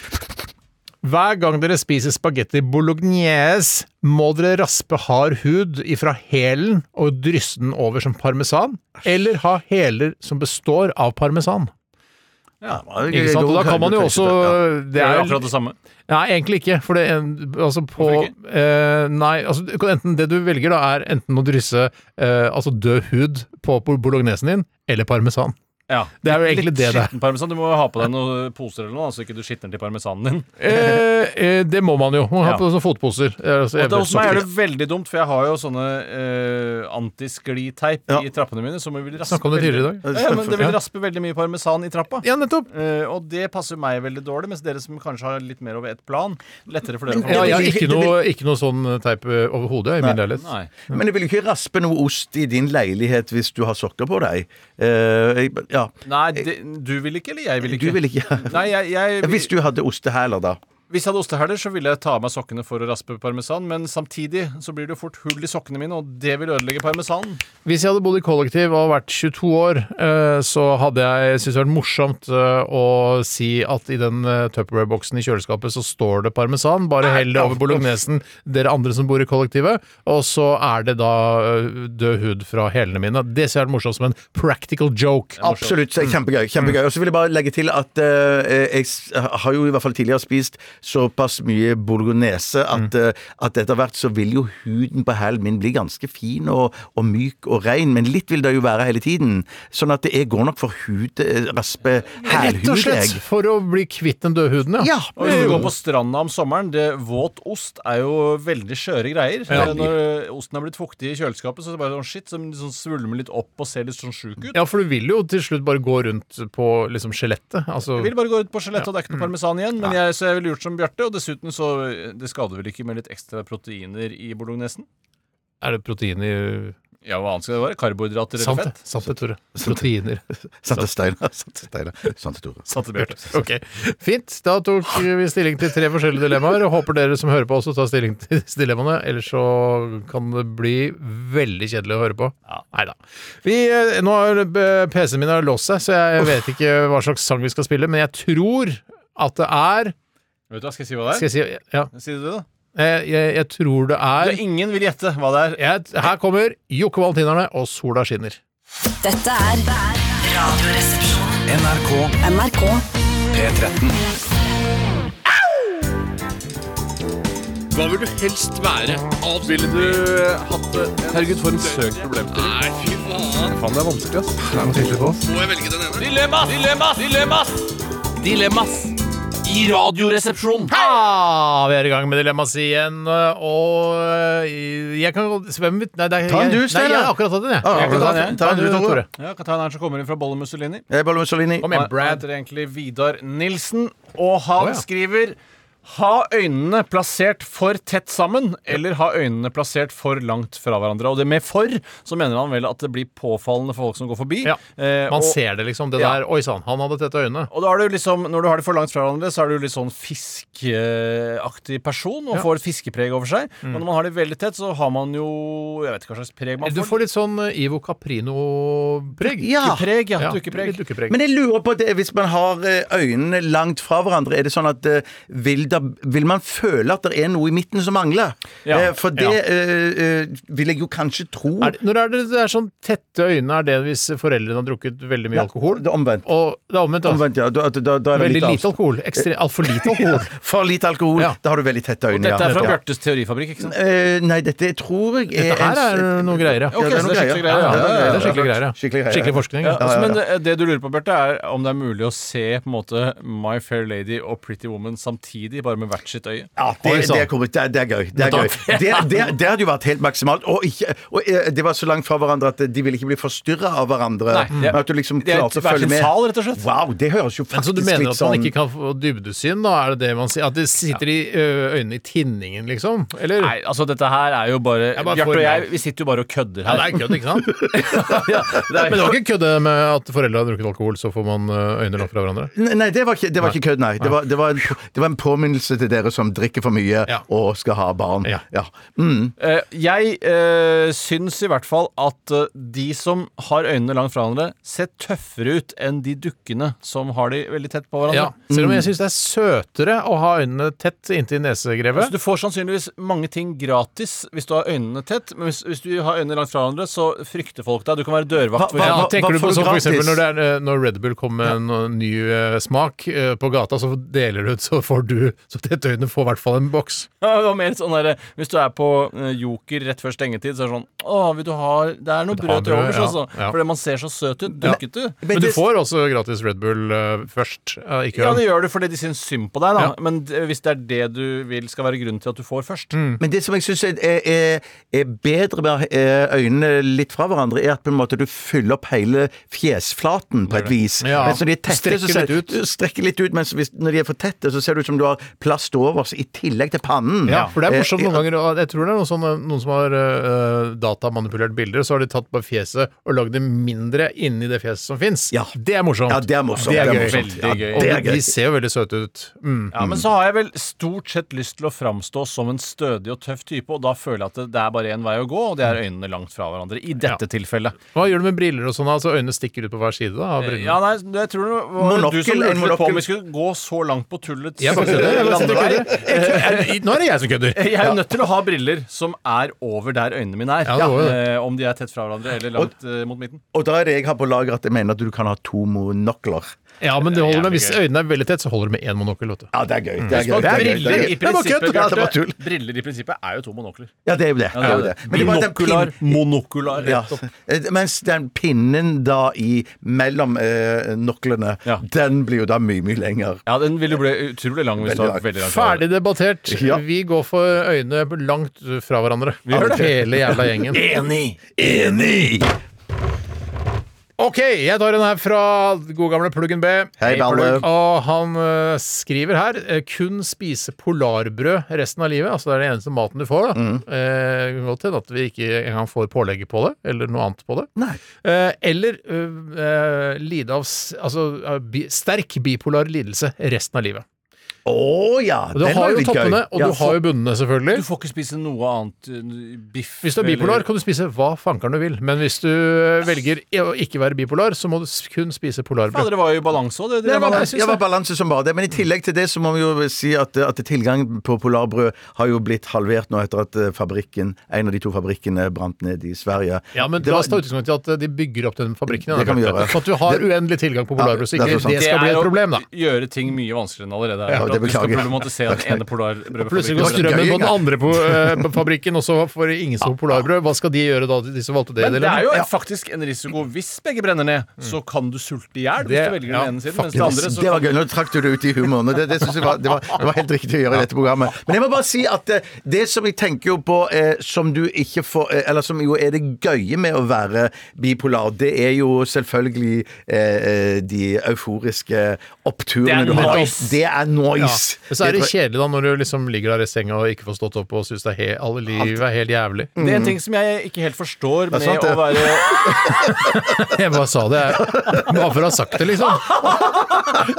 Speaker 3: Hver gang dere spiser spagetti bolognese, må dere raspe hard hud ifra hælen og drysse den over som parmesan, eller ha hæler som består av parmesan. Ikke sant? Og da kan man jo også
Speaker 5: Det er jo
Speaker 3: vel-
Speaker 5: akkurat det samme.
Speaker 3: Nei, egentlig ikke. For det en, altså på
Speaker 5: Hvorfor
Speaker 3: eh, Nei, altså du kan enten det du velger, da, er enten å drysse eh, altså død hud på bol- bolognesen din, eller parmesan.
Speaker 5: Ja.
Speaker 3: Det er jo egentlig det det er.
Speaker 5: Skitten parmesan. Du må jo ha på deg noen poser eller noe, så ikke du skitner til parmesanen din.
Speaker 3: Eh, eh, det må man jo. Man har
Speaker 5: Ja.
Speaker 3: på sånne fotposer. eh, Altså,
Speaker 5: Og det,
Speaker 3: evig
Speaker 5: hos meg er det
Speaker 3: sokker.
Speaker 5: veldig dumt, for jeg har jo sånne eh, antiskliteip i trappene mine. Som vil raspe
Speaker 3: Snakka om det
Speaker 5: veldig-
Speaker 3: tidligere i dag.
Speaker 5: Ja, ja, men det
Speaker 3: Ja.
Speaker 5: vil raspe veldig mye parmesan i trappa.
Speaker 3: Ja, nettopp.
Speaker 5: Eh, og det passer meg veldig dårlig, mens dere som kanskje har litt mer over ett plan, lettere for dere å
Speaker 3: Ja,
Speaker 5: forholde
Speaker 3: jeg har
Speaker 5: dere til.
Speaker 3: ikke noe, ikke noe sånn teip eh, over hodet i min leilighet.
Speaker 5: Nei.
Speaker 4: Men jeg vil jo ikke raspe noe ost i din leilighet hvis du har sokker på deg. Eh, jeg- ja.
Speaker 5: Nei, det, du vil ikke, eller jeg vil ikke?
Speaker 4: Du vil ikke.
Speaker 5: Nei, jeg, jeg,
Speaker 4: Hvis du hadde ostehæler, da.
Speaker 5: hvis jeg hadde ostehæler, så ville jeg ta av meg sokkene for å raspe parmesan, men samtidig så blir det jo fort hull i sokkene mine, og det vil ødelegge parmesanen.
Speaker 3: Hvis jeg hadde bodd i kollektiv og vært 22 år, eh, så hadde jeg syntes det vært morsomt eh, å si at i den eh, Tupperware-boksen i kjøleskapet så står det parmesan, bare hell det over bolognesen, dere andre som bor i kollektivet, og så er det da eh, død hud fra hælene mine. Det ser jeg er morsomt som en practical joke.
Speaker 4: Absolutt. så Kjempegøy. kjempegøy. Og så vil jeg bare legge til at eh, jeg s- har jo i hvert fall tidligere spist såpass mye bolognese at, eh, at etter hvert så vil jo huden på hælen min bli ganske fin og, og myk og rein, men litt vil det jo være hele tiden. Sånn at jeg går nok for hud, eh, raspe
Speaker 3: Rett og
Speaker 4: hælhud,
Speaker 3: slett
Speaker 4: jeg.
Speaker 3: for å bli kvitt den døde huden, ja.
Speaker 4: Ja.
Speaker 5: Og hvis du går på stranda om sommeren, det våt ost er jo veldig skjøre greier. Eh, Når eh, osten er blitt fuktig i kjøleskapet, så er det bare sånn shit som liksom svulmer litt opp og ser litt sånn sjuk ut.
Speaker 3: Ja, for du vil jo til slutt bare gå rundt på liksom skjelettet. Altså,
Speaker 5: Jeg vil bare gå ut på skjelettet, og det er ikke noe parmesan igjen. Men jeg, så jeg ville gjort som Bjarte, og dessuten så eh, Det skader vel ikke med litt ekstra proteiner i bolognesen?
Speaker 3: er det protein i
Speaker 5: Ja, hva annet skal det være? Karbohydrater
Speaker 3: Sant
Speaker 5: eller
Speaker 3: det.
Speaker 5: fett?
Speaker 3: Sant det, Tore. Proteiner.
Speaker 4: Sante Steinar. Sante Steinar. Sante Sånn Tore.
Speaker 5: Sant det, Bjarte.
Speaker 3: Ok, Fint. Da tok vi stilling til tre forskjellige dilemmaer. og Håper dere som hører på, også tar stilling til disse dilemmaene. Ellers så kan det bli veldig kjedelig å høre på. Neida. Vi, eh, nå har eh, PC-en min har låst seg, så jeg vet ikke hva slags sang vi skal spille. Men jeg tror at det er
Speaker 5: Vet du hva, skal jeg si hva det
Speaker 3: Skal
Speaker 5: er?
Speaker 3: jeg si Ja.
Speaker 5: Si det du, da.
Speaker 3: Eh, Jeg, jeg tror det
Speaker 5: Du,
Speaker 3: er
Speaker 5: ingen vil gjette hva det er.
Speaker 3: jeg, Her kommer Jokke Valentinerne og Sola skinner.
Speaker 6: Dette er Radioresepsjonen.
Speaker 7: NRK
Speaker 6: NRK
Speaker 7: P13.
Speaker 9: Hva vil du helst være? Avspille
Speaker 5: Herregud, for en søk problemstilling.
Speaker 9: Nei, fy faen.
Speaker 5: Faen, det er vanskelig, ass.
Speaker 9: Må jeg velge den ene?
Speaker 10: Dilemmas! Dilemmas! Dilemmas! Dilemmas i Radioresepsjonen.
Speaker 3: Ah, vi er i gang med Dilemmas igjen, og eh, jeg kan godt svømme ut Nei, det er,
Speaker 4: Ta en
Speaker 3: jeg-
Speaker 4: du,
Speaker 3: Nei,
Speaker 4: Steinar.
Speaker 3: jeg har akkurat tatt den, jeg.
Speaker 4: Ah,
Speaker 3: jeg kan
Speaker 4: akkurat
Speaker 3: ta
Speaker 4: tatt
Speaker 3: den.
Speaker 4: den. Ta en du, Tore.
Speaker 5: Ja, jeg kan ta en her som kommer inn fra Bolle Mussolini.
Speaker 4: Eh, Bolle Mussolini.
Speaker 3: Kom igjen,
Speaker 5: Han- Han
Speaker 3: Brad.
Speaker 5: heter egentlig Vidar Nilsen, og han
Speaker 3: Å, ja.
Speaker 5: skriver ha øynene plassert for tett sammen, eller ha øynene plassert for langt fra hverandre. Og det med for, så mener han vel at det blir påfallende for folk som går forbi.
Speaker 3: Ja.
Speaker 5: Eh,
Speaker 3: Man
Speaker 5: og,
Speaker 3: ser det liksom. Det
Speaker 5: Ja.
Speaker 3: der Oi sann, han hadde tette øyne.
Speaker 5: og da er det jo liksom, når du har det for langt fra hverandre, så er du litt sånn fiskeaktig person og får et fiskepreg over seg.
Speaker 3: Mm.
Speaker 5: Men når man har det veldig tett, så har man jo Jeg vet ikke hva slags preg man
Speaker 3: Du får litt sånn eh, Ivo Caprino-preg.
Speaker 4: Ja.
Speaker 5: Preg, ja.
Speaker 3: Ja,
Speaker 5: Dukkepreg.
Speaker 3: litt dukkepreg.
Speaker 4: Men jeg lurer på det, hvis man har eh, øynene langt fra hverandre, er det sånn at eh, vil, da, vil man føle at det er noe i midten som mangler?
Speaker 5: Ja,
Speaker 4: Eh, For det
Speaker 3: ja.
Speaker 4: eh, eh, vil jeg jo kanskje tro
Speaker 3: Er det, når er det, det er sånn tette øyne, er det hvis foreldrene har drukket veldig mye alkohol?
Speaker 4: Det er omvendt.
Speaker 3: Og det er omvendt, da.
Speaker 4: Omvendt, ja. Da, da, da er det
Speaker 3: Veldig
Speaker 4: litt
Speaker 3: lite
Speaker 4: avstand.
Speaker 3: alkohol. Ekstre- Altfor lite
Speaker 4: <laughs>
Speaker 3: alkohol.
Speaker 4: For lite alkohol,
Speaker 3: Ja.
Speaker 4: da har du veldig tette øyne.
Speaker 5: Dette er fra
Speaker 4: ja.
Speaker 5: Bjartes teorifabrikk, ikke sant?
Speaker 4: Eh, nei, dette tror jeg er
Speaker 3: Dette her er noe greier, ja.
Speaker 4: Ja, det er
Speaker 5: så
Speaker 4: noe
Speaker 5: det er
Speaker 4: greier.
Speaker 5: skikkelig greier, ja.
Speaker 4: Ja,
Speaker 3: Det er
Speaker 4: det er
Speaker 3: skikkelig greier, ja.
Speaker 4: Skikkelig greier.
Speaker 3: Skikkelig forskning.
Speaker 5: Ja,
Speaker 3: Ja.
Speaker 5: altså, Men det, det du lurer på, Bjarte, er om det er mulig å se på en måte My Fair Lady og Pretty Woman samtidig, bare med hvert sitt øye.
Speaker 4: Ja, det,
Speaker 3: Oi,
Speaker 4: det,
Speaker 3: sann.
Speaker 4: er korrekt. Det, er- det er gøy. Det, er gøy. det, det, det hadde jo vært helt maksimalt. Og, ikke, og eh, det var så langt fra hverandre at de ville ikke bli forstyrra av hverandre.
Speaker 5: Nei, det-
Speaker 4: men at du liksom
Speaker 5: det er
Speaker 4: klarte å
Speaker 5: hver sin
Speaker 4: følge med.
Speaker 5: sal, rett og slett.
Speaker 4: Wow, det høres jo
Speaker 3: Men så
Speaker 4: faktisk
Speaker 3: du mener
Speaker 4: litt
Speaker 3: at man
Speaker 4: sånn
Speaker 3: ikke kan få dybdesyn, da? Er det det man sier? At det sitter i ø, øynene i tinningen, liksom? Eller?
Speaker 5: Nei, altså dette her er jo bare,
Speaker 3: Jeg bare
Speaker 5: Bjarte
Speaker 3: får
Speaker 5: og jeg,
Speaker 3: meg.
Speaker 5: vi sitter jo bare og kødder
Speaker 3: Ja, det
Speaker 5: her.
Speaker 3: er kødd, ikke sant?
Speaker 5: Ja, det
Speaker 3: Men det
Speaker 5: er-
Speaker 3: var ikke kødd det med at foreldre har drukket alkohol, så får man ø, øyne langt fra hverandre?
Speaker 4: Nei, nei, det var ikke, det var ikke kødd, nei. Det var, det, var en, det var en påminnelse til dere som drikker for mye
Speaker 3: Ja.
Speaker 4: og skal ha barn.
Speaker 3: Ja.
Speaker 4: Mm.
Speaker 5: Eh, jeg eh, syns i hvert fall at eh, de som har øynene langt fra hverandre, ser tøffere ut enn de dukkene som har de veldig tett på
Speaker 3: Ja,
Speaker 5: hverandre.
Speaker 3: Selv om jeg syns det er søtere å ha øynene tett inntil
Speaker 5: Så
Speaker 3: nesegrevet.
Speaker 5: Altså, du får sannsynligvis mange ting gratis hvis du har øynene tett, men hvis, hvis du har øynene langt fra hverandre, så frykter folk deg. Du kan være dørvakt. for
Speaker 4: hva-
Speaker 3: Ja,
Speaker 5: eksempel.
Speaker 4: hva-
Speaker 3: tenker du på
Speaker 4: får du
Speaker 3: sånn for eksempel
Speaker 4: gratis?
Speaker 3: når, det er, ø, når Red Bull kommer med en ø, ny ø, smak ø, på gata, så deler du ut, så får du Så tette øynene får i hvert fall en boks.
Speaker 5: Ja, <laughs> det var mer sånn der, Hvis du er på eh, Joker rett før stengetid, så er det sånn Å, vil du ha Det er noe
Speaker 3: du ha
Speaker 5: brød til
Speaker 3: brød?»
Speaker 5: overs,
Speaker 3: Ja,
Speaker 5: altså.
Speaker 3: ja.
Speaker 5: Fordi man ser så søt ut. Dukket du?
Speaker 3: Men, du
Speaker 4: det-
Speaker 3: får også gratis Red Bull ø, først, ø,
Speaker 5: Ja,
Speaker 3: i køen.
Speaker 5: det gjør du fordi de syns synd på deg, da.
Speaker 3: Ja.
Speaker 5: Men d- hvis det er det du vil skal være grunnen til at du får først
Speaker 3: Mm.
Speaker 4: Men det som jeg syns er, er, er bedre med å ha, eh, øynene litt fra hverandre, er at på en måte du fyller opp hele fjesflaten på et vis.
Speaker 3: Ja.
Speaker 4: Mens når de er tette,
Speaker 3: Strekker
Speaker 4: så ser,
Speaker 3: litt ut.
Speaker 4: strekker litt ut. Mens hvis, når de er for tette, så ser det ut som du har plast overs i tillegg til pannen.
Speaker 3: Ja, for det er morsomt
Speaker 4: Eh,
Speaker 3: noen ganger. og Jeg tror det er noen, sånne, noen som har øh, datamanipulert bilder, og så har de tatt på fjeset og lagd det mindre inni det fjeset som fins.
Speaker 4: Ja.
Speaker 3: Det er morsomt.
Speaker 4: Ja, det er morsomt.
Speaker 3: Det er
Speaker 4: Det
Speaker 3: gøy.
Speaker 4: er morsomt.
Speaker 5: Veldig gøy.
Speaker 3: Og
Speaker 4: Det er
Speaker 3: de-
Speaker 4: gøy.
Speaker 3: de ser jo veldig søte ut. Mm.
Speaker 5: Ja, Men så har jeg vel stort sett lyst til å framstå som en stødig og tøff type, og da føler jeg at det, det er bare én vei å gå, og det er
Speaker 3: Mm.
Speaker 5: øynene langt fra hverandre. I dette tilfellet.
Speaker 3: Hva gjør du med briller og sånn? Altså øynene stikker ut på hver side da, av brillene?
Speaker 5: Ja, nei, jeg tror det var
Speaker 4: Monokkel,
Speaker 5: du som
Speaker 4: en
Speaker 5: lurte litt på
Speaker 4: monokkel.
Speaker 5: om vi skulle gå så langt på tullets
Speaker 3: Jeg bare kødder. Jeg bare sitter og kødder. Jeg kødder. <laughs> Jeg- Eh, Nå er det jeg som kødder.
Speaker 5: Jeg er jo nødt til å ha briller som er over der øynene mine er.
Speaker 3: Ja, det var jo det.
Speaker 5: Eh, om de er tett fra hverandre eller langt eh, mot midten.
Speaker 4: Og da er det jeg har på lager at jeg mener at du kan ha to monokler.
Speaker 3: Ja, men det holder med, hvis
Speaker 5: Jævlig gøy.
Speaker 3: øynene er veldig tett, så holder det med én monokkel. vet du.
Speaker 4: Ja, det er gøy. Det er gøy.
Speaker 5: Og
Speaker 4: det er gøy, det er
Speaker 5: briller,
Speaker 4: gøy.
Speaker 5: i
Speaker 4: Det er bare kødd,
Speaker 5: prinsippet,
Speaker 4: det er bare
Speaker 5: Bjarte,
Speaker 4: tull.
Speaker 5: briller i prinsippet er jo to monokler.
Speaker 4: Ja, det er jo det. det, er jo det. Men det var den
Speaker 5: Binokular,
Speaker 4: pin-
Speaker 5: monokular.
Speaker 4: Ja.
Speaker 5: nettopp.
Speaker 4: Eh, Mens den pinnen da i mellom eh, noklene,
Speaker 5: Ja.
Speaker 4: den blir jo da mye, mye lenger.
Speaker 5: Ja, den ville bli utrolig lang hvis du
Speaker 4: Veldig
Speaker 5: har
Speaker 4: lang.
Speaker 5: veldig langt hår.
Speaker 3: Ferdig debattert.
Speaker 4: Ja.
Speaker 3: Vi går for øyne langt fra hverandre.
Speaker 4: <laughs>
Speaker 5: gjør det.
Speaker 3: Hele jævla gjengen.
Speaker 5: Enig!
Speaker 4: Enig!
Speaker 3: OK, jeg tar en her fra gode gamle Pluggen B.
Speaker 4: Hei, Balle.
Speaker 3: Plugg. Og han eh, skriver her eh, kun spise polarbrød resten av livet. Altså det er den eneste maten du får. da.
Speaker 4: Mm.
Speaker 3: Eh, det kan godt hende at vi ikke engang får pålegget på det, eller noe annet på det.
Speaker 4: Nei.
Speaker 3: Eh, eller eh, eh, lide av s- altså, eh, bi, sterk bipolar lidelse resten av livet.
Speaker 4: Å ja!
Speaker 3: Og du
Speaker 4: den var
Speaker 3: har jo
Speaker 4: litt gøy.
Speaker 3: toppene, og
Speaker 4: Ja,
Speaker 3: du har jo bunnene, selvfølgelig.
Speaker 5: Du får ikke spise noe annet eh, biff
Speaker 3: Hvis du er
Speaker 5: eller-
Speaker 3: bipolar, kan du spise hva fankeren du vil. Men hvis du eh, velger å ikke være bipolar, så må du s- kun spise
Speaker 5: Ja,
Speaker 3: polarbrød.
Speaker 5: dere var jo i balanse òg,
Speaker 4: Det
Speaker 5: dere.
Speaker 4: var,
Speaker 3: jeg
Speaker 4: balanse,
Speaker 3: syns
Speaker 4: ja, det var
Speaker 3: det.
Speaker 4: balanse som bare det. Men i tillegg til det så må vi jo si at, at tilgang på polarbrød har jo blitt halvert nå etter at eh, fabrikken, en av de to fabrikkene brant ned i Sverige.
Speaker 3: Ja, men
Speaker 4: Det
Speaker 3: la
Speaker 4: var-
Speaker 3: oss ta utgangspunkt i at eh, de bygger opp den fabrikken.
Speaker 4: Det kan vi gjøre.
Speaker 3: Så at du har uendelig tilgang på polarbrød. Så
Speaker 4: Ja, det er
Speaker 3: ikke
Speaker 4: så sant.
Speaker 3: det skal bli et problem, da.
Speaker 5: Det er å gjøre ting mye vanskeligere enn allerede er.
Speaker 4: Ja,
Speaker 5: At du
Speaker 4: det
Speaker 5: skal
Speaker 4: beklager jeg.
Speaker 5: problematisere den ene
Speaker 3: Plutselig
Speaker 5: polarbrødfabrikken.
Speaker 3: går
Speaker 4: var ikke
Speaker 3: strømmen
Speaker 4: gøy
Speaker 3: på den
Speaker 4: engang.
Speaker 3: andre po eh, fabrikken, og så får ingen som polarbrød. Hva skal de gjøre da, de som valgte det?
Speaker 5: Men det
Speaker 3: dilemmaet?
Speaker 5: er jo
Speaker 3: Ja.
Speaker 5: en, faktisk en risiko. Hvis begge brenner ned, så kan du sulte i hjel hvis
Speaker 3: Det-
Speaker 5: du velger
Speaker 3: ja,
Speaker 5: den ene siden. Mens
Speaker 4: Mm. Det
Speaker 5: det
Speaker 4: var,
Speaker 5: andre så
Speaker 4: det var gøy. Nå trakk du det ut i humoren. og Det, det, synes jeg var, det, var, det var helt riktig å gjøre i dette programmet. Men jeg må bare si at det, det som jeg tenker jo på eh, som du ikke får eh, Eller som jo er det gøye med å være bipolar, det er jo selvfølgelig eh, eh, de euforiske oppturene
Speaker 5: Det er
Speaker 4: du har.
Speaker 5: nice.
Speaker 4: Det er nice.
Speaker 3: Men så er det
Speaker 4: tror jeg-
Speaker 3: kjedelig da når du liksom ligger der i senga og ikke får stått opp og syns alle livet er helt jævlig.
Speaker 4: Mm.
Speaker 5: Det er en ting som jeg ikke helt forstår med
Speaker 4: sant,
Speaker 5: å
Speaker 4: det.
Speaker 5: være <laughs>
Speaker 3: Jeg bare sa det, jeg. Bare for å ha sagt det, liksom.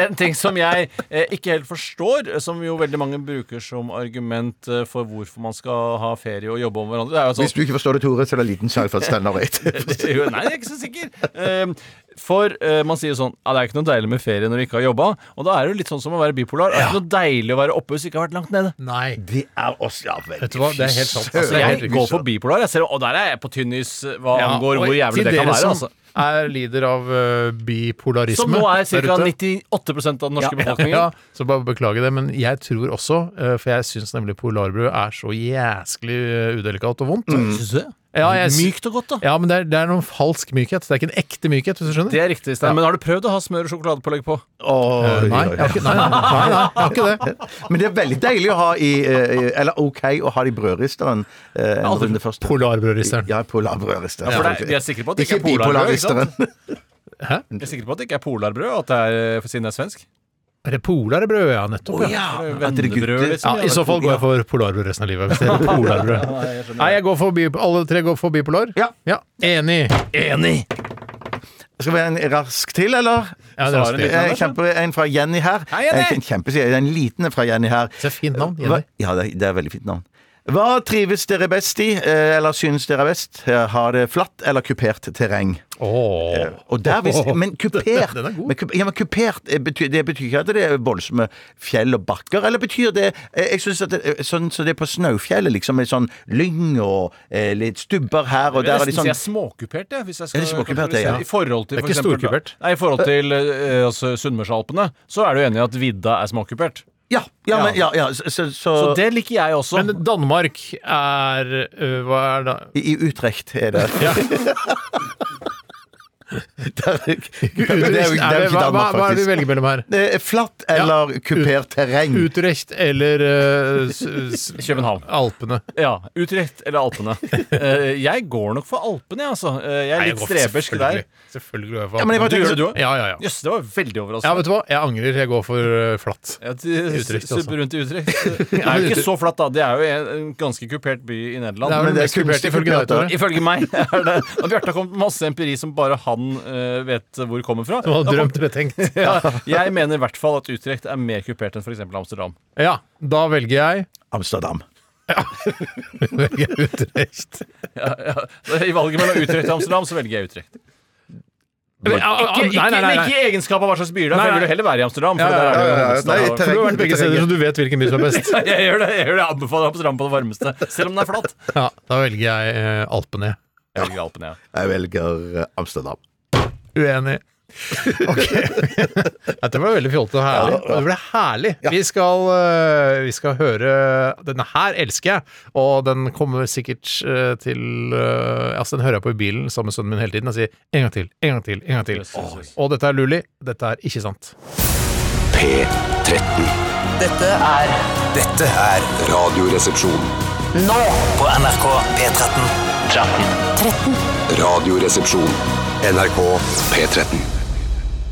Speaker 5: En ting som jeg eh, ikke helt forstår, eh, som jo veldig mange bruker som argument eh, for hvorfor man skal ha ferie og jobbe om hverandre. Det er jo sånn
Speaker 4: Hvis du ikke forstår det, Tore, så er det en liten sjanse for at Steinar vet.
Speaker 5: <laughs> Det- jo, Nei, jeg er ikke så sikker. Ehm, For eh, man sier jo sånn Ja, det er ikke noe deilig med ferie når du ikke har jobba. Og da er det jo litt sånn som å være bipolar. Det er ikke noe deilig å være oppe hvis du ikke har vært langt nede.
Speaker 3: Nei.
Speaker 4: Det er oss, ja vel.
Speaker 3: Vet du hva, det er helt sant. Altså,
Speaker 5: Så
Speaker 3: det er
Speaker 5: jeg
Speaker 3: helt
Speaker 5: går
Speaker 3: riktig.
Speaker 5: for bipolar. Jeg ser, og der er jeg på tynn is eh, hva
Speaker 3: Ja,
Speaker 5: angår
Speaker 3: og
Speaker 5: hvor jævlig
Speaker 3: til sånn
Speaker 5: det kan
Speaker 3: dere
Speaker 5: være.
Speaker 3: som
Speaker 5: Altså.
Speaker 3: Er lider av eh, bipolarisme.
Speaker 5: Som nå er
Speaker 3: der
Speaker 5: ca.
Speaker 3: ute.
Speaker 5: 98 av den norske befolkningen.
Speaker 3: Ja, så bare beklager det, men jeg tror også, eh, for jeg syns nemlig polarbrød er så jæsklig eh, udelikat og
Speaker 4: Mm.
Speaker 3: vondt.
Speaker 5: Synes du det?
Speaker 3: Ja, jeg sy-
Speaker 5: Mykt og godt, da.
Speaker 3: Ja, men det er, det er noen falsk mykhet. Det er ikke en ekte mykhet, hvis du skjønner.
Speaker 5: Det er riktig, Stein. Men har du prøvd å ha smør og sjokoladepålegg på?
Speaker 4: Oi,
Speaker 3: Eh, Nei,
Speaker 4: oi,
Speaker 3: jeg
Speaker 4: oi.
Speaker 3: har ikke, nei, nei, nei, nei, jeg har ikke det.
Speaker 4: Men det er veldig deilig å ha i eh, Eller OK å ha det i brødristeren. eh, en
Speaker 5: Aldri-
Speaker 4: runde først.
Speaker 3: Polarbrødristeren.
Speaker 4: Ja, polarbrødristeren.
Speaker 5: For det, er- de er sikre på at det ikke er polarbrød? Ikke sant? De er sikre på at det ikke er polarbrød, at det er eh, for siden det er svensk?
Speaker 3: Er det polarbrød? Ja, nettopp.
Speaker 4: Oh,
Speaker 3: ja.
Speaker 4: <laughs> At det er gutter.
Speaker 5: Vennebrød, liksom.
Speaker 3: Ja, I så fall går jeg for polarbrød resten av livet. Hvis det er polarbrød. Nei, jeg går for bi alle tre går for bipolar.
Speaker 4: Ja.
Speaker 3: Enig.
Speaker 4: Enig! Skal vi ha en rask til, eller?
Speaker 3: Ja, det er
Speaker 5: Svarer
Speaker 3: også det.
Speaker 5: litt.
Speaker 4: Eh, Kjempe, en fra Jenny her.
Speaker 5: Hei, Jenny!
Speaker 4: Eh, En, kjempe, sier jeg. en liten en fra Jenny her.
Speaker 3: Det er et fint navn.
Speaker 4: Hva,
Speaker 3: Jenny.
Speaker 4: ja, det er, det er et veldig fint navn. Hva trives dere best i, eh, eller synes dere er best? Eh, Har det flatt eller kupert terreng?
Speaker 3: Åh.
Speaker 4: Og der, hvis, men kupert,
Speaker 3: Den er god.
Speaker 4: men, kup- ja, men kupert eh, betyr, det betyr ikke at det er voldsomme fjell og bakker, eller betyr det eh, Jeg synes at det, eh, sånn som det er på Snaufjellet, liksom, med sånn lyng og eh, litt stubber her og
Speaker 5: Jeg
Speaker 4: der.
Speaker 5: vil nesten
Speaker 4: Er de
Speaker 5: si
Speaker 4: sånn,
Speaker 5: jeg er småkupert, jeg. Hvis jeg skal
Speaker 4: Ja, det er småkupert, det,
Speaker 5: kategorisere.
Speaker 4: ja.
Speaker 5: I forhold til
Speaker 3: Det er
Speaker 5: for
Speaker 3: ikke
Speaker 5: eksempel-
Speaker 3: storkupert.
Speaker 5: Nei, i forhold til eh, altså, Sunnmørsalpene, så er du enig i at vidda er småkupert.
Speaker 4: ja, ja, men, ja, ja, så, så, så,
Speaker 5: Så det liker jeg også.
Speaker 3: Men Danmark er øh, Hva er det?
Speaker 4: i, I Utrecht er det
Speaker 5: <laughs>
Speaker 3: Ja.
Speaker 4: Der- men <laughs> Det er jo
Speaker 3: Er
Speaker 4: det er jo
Speaker 3: det-
Speaker 4: ikke
Speaker 3: hva, hva,
Speaker 4: Danmark,
Speaker 3: hva er det du
Speaker 4: faktisk.
Speaker 3: velger mellom her?
Speaker 4: Det er flatt eller kupert terreng.
Speaker 3: Utrecht eller øh, s, s,
Speaker 5: København.
Speaker 3: Alpene.
Speaker 5: Ja, Utrecht eller
Speaker 3: <laughs>
Speaker 5: Alpene. Eh, jeg går nok for Alpene, jeg, altså. Eh, jeg er litt strebersk der.
Speaker 3: selvfølgelig. Selvfølgelig går jeg for
Speaker 4: Ja, men
Speaker 3: Alpene.
Speaker 4: jeg bare
Speaker 5: Du gjør det, du
Speaker 4: tenker-
Speaker 5: òg?
Speaker 3: Ja, ja, ja.
Speaker 5: Jøss, det var veldig
Speaker 3: Ja,
Speaker 5: overraskende.
Speaker 3: vet du hva? Jeg angrer. Jeg går for øh, flatt.
Speaker 5: Ja, de
Speaker 3: Utrecht,
Speaker 5: subber
Speaker 3: altså.
Speaker 5: rundt i
Speaker 3: <laughs>
Speaker 5: Utrecht. Det er jo ikke så flatt, da. Det er jo en, en ganske kupert by i Nederland.
Speaker 3: Det er
Speaker 4: men
Speaker 3: vel
Speaker 4: det er
Speaker 3: mest kupert
Speaker 4: kunstig
Speaker 3: ifølge deg,
Speaker 4: kupert, da.
Speaker 3: Tore.
Speaker 5: Ifølge meg er det Og Bjarte har kommet med masse empiri som bare han eh, vet hvor kommer
Speaker 3: <laughs>
Speaker 5: fra.
Speaker 3: Du hadde
Speaker 5: Da kom-
Speaker 3: drømt betenkt.
Speaker 5: ja, jeg mener i hvert fall at Utrecht er mer kupert enn f.eks. Amsterdam.
Speaker 3: Ja, da velger jeg
Speaker 4: sånn- Amsterdam.
Speaker 3: velger jeg Utrecht.
Speaker 5: Ja, ja. I valget mellom Utrecht og Amsterdam så velger jeg Utrecht.
Speaker 3: Nei, nei,
Speaker 5: Ikke,
Speaker 3: Ah, nei, nei.
Speaker 5: ikke, ikke i egenskap av hva slags byer det er, for
Speaker 3: Nei,
Speaker 5: jeg
Speaker 3: nei.
Speaker 5: vil jo heller være i Amsterdam. For
Speaker 3: Ja,
Speaker 5: der
Speaker 3: ja,
Speaker 5: er det jo hovedstaden
Speaker 4: nei,
Speaker 5: av-
Speaker 4: terreng-
Speaker 3: Du har vært begge steder, så du vet hvilken by som er
Speaker 5: <laughs>
Speaker 3: best.
Speaker 5: jeg gjør det. Jeg gjør det. Jeg anbefaler Amsterdam på det varmeste, selv om den er flatt.
Speaker 3: Ja, da velger jeg eh, Alpene.
Speaker 5: Jeg velger Alpene, ja.
Speaker 4: Jeg velger eh, Amsterdam.
Speaker 3: Uenig. Ok. Dette ble veldig fjollete og herlig. Det ble herlig. Vi, skal, øh, vi skal høre Denne her elsker jeg, og den kommer sikkert øh, til øh, Altså, den hører jeg på i bilen sammen med sønnen min hele tiden. Jeg sier en gang til, en gang til, en gang til. Og dette er Luli. Dette er ikke sant.
Speaker 8: P13.
Speaker 10: Dette er Dette er
Speaker 8: Radioresepsjon.
Speaker 10: Nå på NRK P13. 13.
Speaker 8: Radioresepsjon. NRK P13.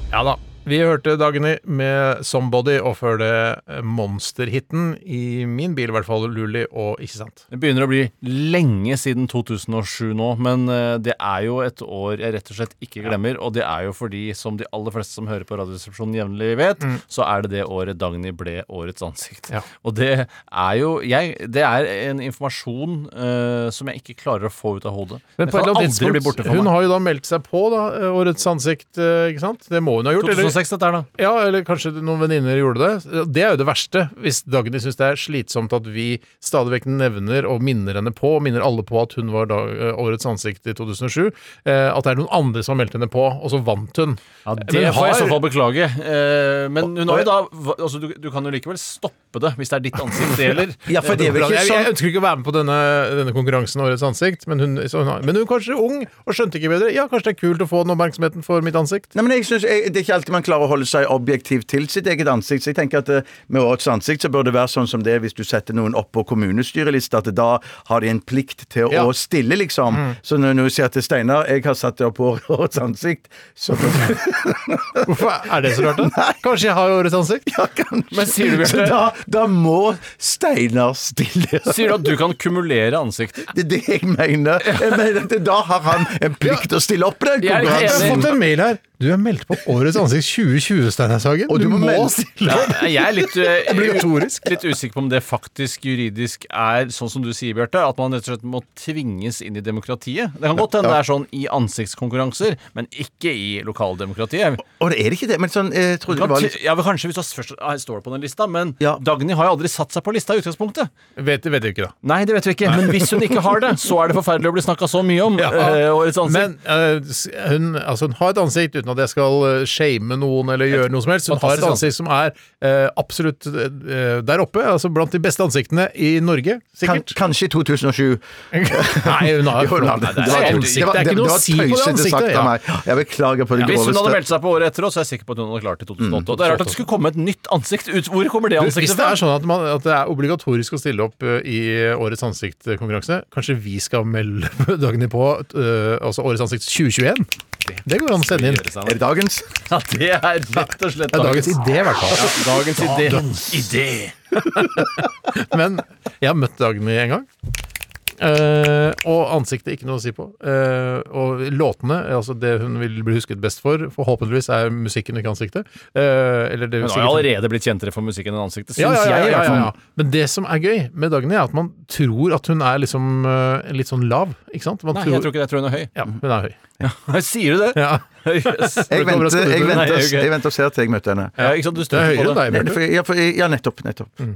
Speaker 3: Ja da. Vi hørte Dagny med 'Somebody', og før det monsterhiten i min bil, i hvert fall, Luli og Ikke sant.
Speaker 5: Det begynner å bli lenge siden 2007 nå, men eh, det er jo et år jeg rett og slett ikke glemmer. Og det er jo fordi, som de aller fleste som hører på Radioresepsjonen jevnlig vet, så er det det året Dagny ble årets ansikt.
Speaker 3: Ja.
Speaker 5: Og det er jo jeg, Det er en informasjon eh, som jeg ikke klarer å få ut av hodet.
Speaker 3: Men
Speaker 5: Den
Speaker 3: på et
Speaker 5: kan
Speaker 3: eller annet
Speaker 5: aldri bli
Speaker 3: tidspunkt,
Speaker 5: borte for
Speaker 3: hun
Speaker 5: meg.
Speaker 3: har jo da meldt seg på da, Årets ansikt, eh, ikke sant? Det må hun ha gjort. eller-
Speaker 5: 2006, dette her, da.
Speaker 3: Ja, eller kanskje noen venninner gjorde det. Det er jo det verste, hvis Dagny syns det er slitsomt at vi stadig vekk nevner og minner henne på, og minner alle på at hun var da, eh, årets ansikt i 2007, eh, at det er noen andre som har meldt henne på, og så vant hun.
Speaker 5: Ja, Det
Speaker 3: Men
Speaker 5: får jeg i
Speaker 3: har-
Speaker 5: så fall beklage. Eh, men hun har jo da altså, du, du kan jo likevel stoppe det hvis det er ditt ansikt det gjelder.
Speaker 4: Ja, for det er vel
Speaker 3: Jeg, jeg
Speaker 4: ikke sånn
Speaker 3: ønsker ikke å være med på denne, denne konkurransen Årets ansikt, men hun, så hun har, men hun er kanskje ung og skjønte ikke bedre. Ja, kanskje det er kult å få den oppmerksomheten for mitt ansikt.
Speaker 4: Nei, men jeg synes, jeg, Det er ikke alltid man klarer å holde seg objektiv til sitt eget ansikt. Så jeg tenker at eh, Med årets ansikt så bør det være sånn som det er hvis du setter noen opp på kommunestyrelista, at da har de en plikt til
Speaker 3: Ja.
Speaker 4: å stille, liksom. Så når når du sier til Steinar jeg har satt deg opp på <laughs> årets ansikt, så
Speaker 3: Hvorfor er det så rart?
Speaker 4: <laughs>
Speaker 3: da? Kanskje jeg har årets ansikt?
Speaker 4: Ja, kanskje.
Speaker 5: Men sier du, Bjarte-
Speaker 4: så da, da må Steinar stille.
Speaker 5: Sier du at du kan kumulere ansikter?
Speaker 4: <laughs> Det er det jeg mener. Jeg mener at Da har han en plikt til å stille opp i den
Speaker 5: Jeg er ikke
Speaker 3: Jeg har
Speaker 5: enig.
Speaker 4: konkurransen.
Speaker 3: fått en mail her. Du er meldt på Årets ansikt 2020, Steinar Sagen.
Speaker 4: Og du må melde-
Speaker 3: stille
Speaker 5: Ja, jeg er litt, eh,
Speaker 3: Obligatorisk.
Speaker 5: litt usikker på om det faktisk juridisk er sånn som du sier, Bjarte. At man rett og slett må tvinges inn i demokratiet. Det kan godt hende det er sånn i ansiktskonkurranser, men ikke i lokaldemokratiet.
Speaker 4: Og det er ikke det, men sånn, jeg trodde det var litt
Speaker 5: Ja, vel, kanskje hvis du først står på den lista, men
Speaker 4: Ja.
Speaker 5: Dagny har jo aldri satt seg på lista i utgangspunktet.
Speaker 3: Vet, vet du ikke, da.
Speaker 5: Nei, det vet vi ikke. Men hvis hun ikke har det, så er det forferdelig å bli snakka så mye om. eh, årets ansikt.
Speaker 3: Men eh, s- hun, altså, hun har et ansikt uten at jeg skal eh, shame noen eller gjøre noe som helst. Hun har et ansikt
Speaker 5: fantastisk
Speaker 3: som er eh, absolutt eh, der oppe, altså blant de beste ansiktene i Norge,
Speaker 4: kan,
Speaker 3: sikkert.
Speaker 4: Kanskje i 2007.
Speaker 3: <laughs> Nei, hun har
Speaker 4: <laughs> Jo, nei,
Speaker 3: Nei,
Speaker 4: det var-
Speaker 3: helt
Speaker 4: det
Speaker 3: ansikt.
Speaker 4: var-
Speaker 3: Det er ikke noe å
Speaker 4: var
Speaker 3: si på det
Speaker 4: tøysete sagt
Speaker 3: ansiktet.
Speaker 4: av
Speaker 3: Ja.
Speaker 4: meg. Jeg beklager på det
Speaker 5: Hvis hun hadde
Speaker 4: groveste.
Speaker 5: meldt seg på året etter oss, så er jeg sikker på at hun hadde klart det i 2008. og det er rart at det skulle komme et nytt ansikt ut. Hvor kommer det
Speaker 3: Mm. Du, Hvis
Speaker 5: ansiktet
Speaker 3: det
Speaker 5: fra?
Speaker 3: er sånn at, man, at det er obligatorisk å stille opp eh, i Årets ansikt-konkurranse, kanskje vi skal melde Dagny på eh, altså Årets ansikt 2021? Det går an å sende inn. Det
Speaker 4: Er det dagens?
Speaker 5: Ja, det er rett og slett
Speaker 3: er dagens idé, i hvert fall.
Speaker 5: Ja, dagens idé.
Speaker 3: Men jeg har møtt Dagny en gang. Eh, og ansiktet ikke noe å si på. Eh, og låtene, altså det hun vil bli husket best for, forhåpentligvis er musikken, ikke ansiktet. Eh, eller det hun
Speaker 5: Hun har jo allerede blitt kjentere for musikken enn ansiktet, syns
Speaker 3: ja, ja, ja,
Speaker 5: jeg. sånn- i
Speaker 3: ja,
Speaker 5: hvert
Speaker 3: ja,
Speaker 5: fall.
Speaker 3: ja. Men det som er gøy med Dagny, er at man tror at hun er liksom eh, litt sånn lav. Ikke sant? Man
Speaker 5: Nei, jeg tror ikke det. Jeg tror hun er høy.
Speaker 3: Ja, hun er høy.
Speaker 5: <laughs> Sier du det?
Speaker 3: Ja.
Speaker 5: Yes.
Speaker 4: Jeg
Speaker 3: kommer
Speaker 4: venter,
Speaker 3: overraskende ut,
Speaker 4: jeg,
Speaker 3: men-
Speaker 5: Nei,
Speaker 4: venter,
Speaker 5: ok.
Speaker 4: jeg venter og ser til jeg møter henne.
Speaker 5: Ja, ikke sant, du
Speaker 3: Det er
Speaker 5: stoler
Speaker 3: høyere
Speaker 5: på
Speaker 3: enn
Speaker 5: det.
Speaker 3: deg,
Speaker 4: Nei, det
Speaker 3: Bjarte.
Speaker 4: for, ja, for, ja, nettopp. nettopp.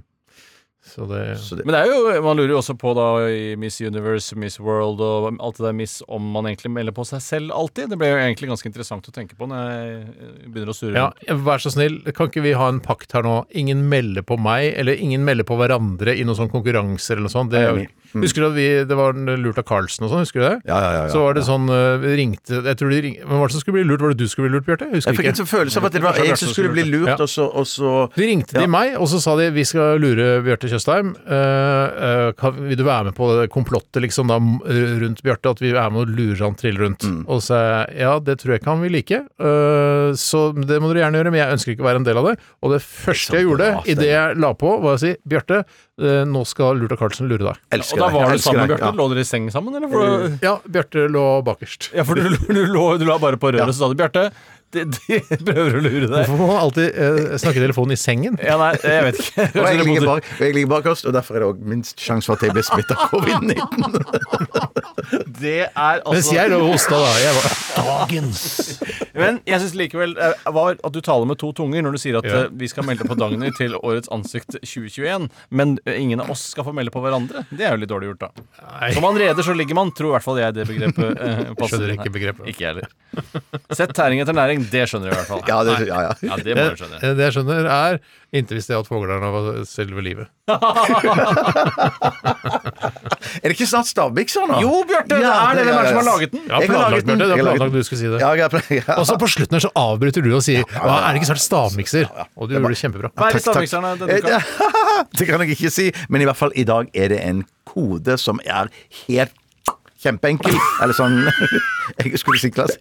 Speaker 3: Så det
Speaker 4: Så det,
Speaker 5: Men det er jo, man lurer jo også på da i Miss Universe, Miss World og alt det der Miss om man egentlig melder på seg selv alltid. Det ble jo egentlig ganske interessant å tenke på når jeg eh, begynner å surre.
Speaker 3: Ja,
Speaker 5: rundt.
Speaker 3: vær så snill, kan ikke vi ha en pakt her nå? Ingen melder på meg, eller ingen melder på hverandre i noen sånn konkurranser eller noe sånt.
Speaker 4: Jeg er enig. Mm.
Speaker 3: Det, husker du at vi, det var en lurt av Carlsen og sånn, husker du det?
Speaker 4: Ja, ja, ja, ja.
Speaker 3: så var det sånn, eh, vi ringte, jeg tror de ringte, hvem var det som skulle bli lurt? Var det du som skulle bli lurt, Bjarte? Jeg
Speaker 4: jeg
Speaker 3: husker
Speaker 4: fikk en
Speaker 3: ikke.
Speaker 4: sånn følelse av at det var jeg som skulle bli lurt, og så, og så
Speaker 3: De ringte de
Speaker 4: Ja.
Speaker 3: meg, og så sa de vi skal lure Bjarte Tjøstheim. Eh, eh, kan, vil du være med på det komplottet liksom da m- rundt Bjarte, at vi er med og lurer han trill rundt? Og så sa jeg ja, det tror jeg ikke han vil like, eh, så det må dere gjerne gjøre, men jeg ønsker ikke å være en del av det. Og det første jeg gjorde
Speaker 4: bra, Stein.
Speaker 3: idet jeg la på, var å si Bjarte, eh, nå skal Lurta Karlsen lure deg.
Speaker 4: elsker
Speaker 5: Og da
Speaker 4: deg,
Speaker 5: var
Speaker 4: jeg
Speaker 5: du
Speaker 4: elsker
Speaker 5: sammen med
Speaker 4: deg,
Speaker 5: Bjarte?
Speaker 4: ja.
Speaker 5: Lå dere i seng sammen, eller? For,
Speaker 3: Ja, Bjarte lå bakerst.
Speaker 5: Ja, for du, du, lå, du la bare på røret, og så sa du Bjarte, de, de <laughs> prøver å lure deg.
Speaker 3: Hvorfor må man alltid eh, snakke i telefonen i sengen?
Speaker 5: Ja, nei, jeg vet <laughs> ikke.
Speaker 4: Og jeg ligger
Speaker 5: Nei,
Speaker 4: bak- og jeg ligger bakerst, og derfor er det òg minst sjanse for at jeg blir smittet av covid-19.
Speaker 5: Det er
Speaker 3: Mens
Speaker 5: altså
Speaker 3: jeg lå og hosta, da. Jeg var,
Speaker 5: <laughs> Men jeg syns likevel eh, var at du taler med to tunger når du sier at
Speaker 3: Ja.
Speaker 5: eh, vi skal melde på Dagny til Årets ansikt 2021, men eh, ingen av oss skal få melde på hverandre. Det er jo litt dårlig gjort, da.
Speaker 3: nei.
Speaker 5: Som man reder, så ligger man, tror i hvert fall jeg det begrepet eh, passer.
Speaker 3: <laughs> Skjønner ikke
Speaker 5: inn her.
Speaker 3: begrepet.
Speaker 5: Ikke jeg heller. Sett tæring etter næring, det skjønner du i hvert fall.
Speaker 4: Ja, det, ja, ja.
Speaker 5: Ja, det må du skjønne.
Speaker 3: Det jeg skjønner, er inntil hvis det at Våglarna var selve livet.
Speaker 4: Er det ikke snart stavmikser nå?
Speaker 5: Jo, Bjarte, det
Speaker 4: Ja,
Speaker 5: er det. Hvem er det som har
Speaker 4: ja, ja.
Speaker 5: laget den?
Speaker 3: Ja,
Speaker 4: Jeg har laget
Speaker 3: planlagt,
Speaker 4: den.
Speaker 3: Bjarte. Det er
Speaker 4: Jeg har laget
Speaker 3: planlagt
Speaker 4: den.
Speaker 3: du skulle si det.
Speaker 4: Ja, jeg har pla- ja.
Speaker 3: Og så på slutten her så avbryter du og sier Hva, Er det ikke snart stavmikser? Og du gjorde det kjempebra.
Speaker 5: Hva er det
Speaker 4: Takk, takk.
Speaker 5: stavmikserne denne uka?
Speaker 4: Eh, <laughs> Det kan jeg ikke si, men i hvert fall i dag er det en <laughs> kode som er helt kjempeenkel. Eller sånn Jeg skulle si klass.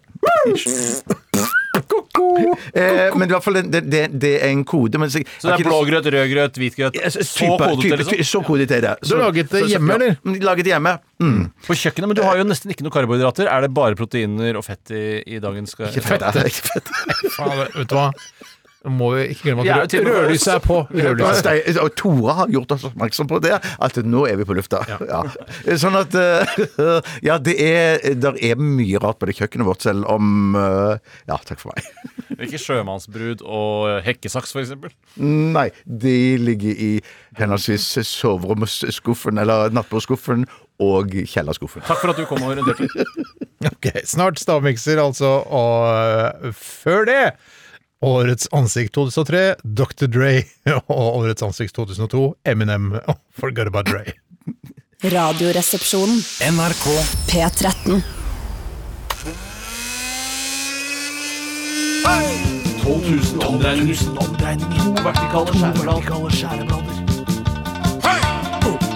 Speaker 4: Eh, men i hvert fall, det, det- det, det er en kode. Men, så,
Speaker 5: Så det er blågrøt, rødgrøt, hvitgrøt. Så kodete, liksom.
Speaker 4: Så kodete er det. Så,
Speaker 3: laget det hjemme, eller?
Speaker 4: Ja, laget det hjemme. Mm.
Speaker 5: På kjøkkenet, men du har jo nesten ikke noe karbohydrater. Er det bare proteiner og fett i, i dagens
Speaker 4: Ikke fett,
Speaker 3: <laughs>
Speaker 4: da. Ikke fett.
Speaker 3: Faen, vet du hva? Nå må vi ikke glemme
Speaker 5: Jeg er jo
Speaker 3: at
Speaker 5: til og med-
Speaker 3: rødlyset er på. Rødlyset.
Speaker 4: Stein- Og Tore har gjort oss oppmerksom på det, at nå er vi på lufta. Ja. Sånn at eh, <laughs> Ja, det er, der er mye rart på det kjøkkenet vårt, selv om eh, Ja, takk for meg.
Speaker 5: Ikke sjømannsbrud og eh, hekkesaks, for eksempel.
Speaker 4: Nei, de ligger i henholdsvis soveromsskuffen, eller nattbordskuffen, og kjellerskuffen.
Speaker 5: Takk for at du kom og orienterte.
Speaker 3: Ok, Snart stavmikser, altså. Og øh, før det Årets ansikt 2003, Dr. Dre. Og Årets ansikt 2002, Eminem. og Forgot about Dre.
Speaker 6: Radioresepsjonen.
Speaker 7: NRK
Speaker 6: P13.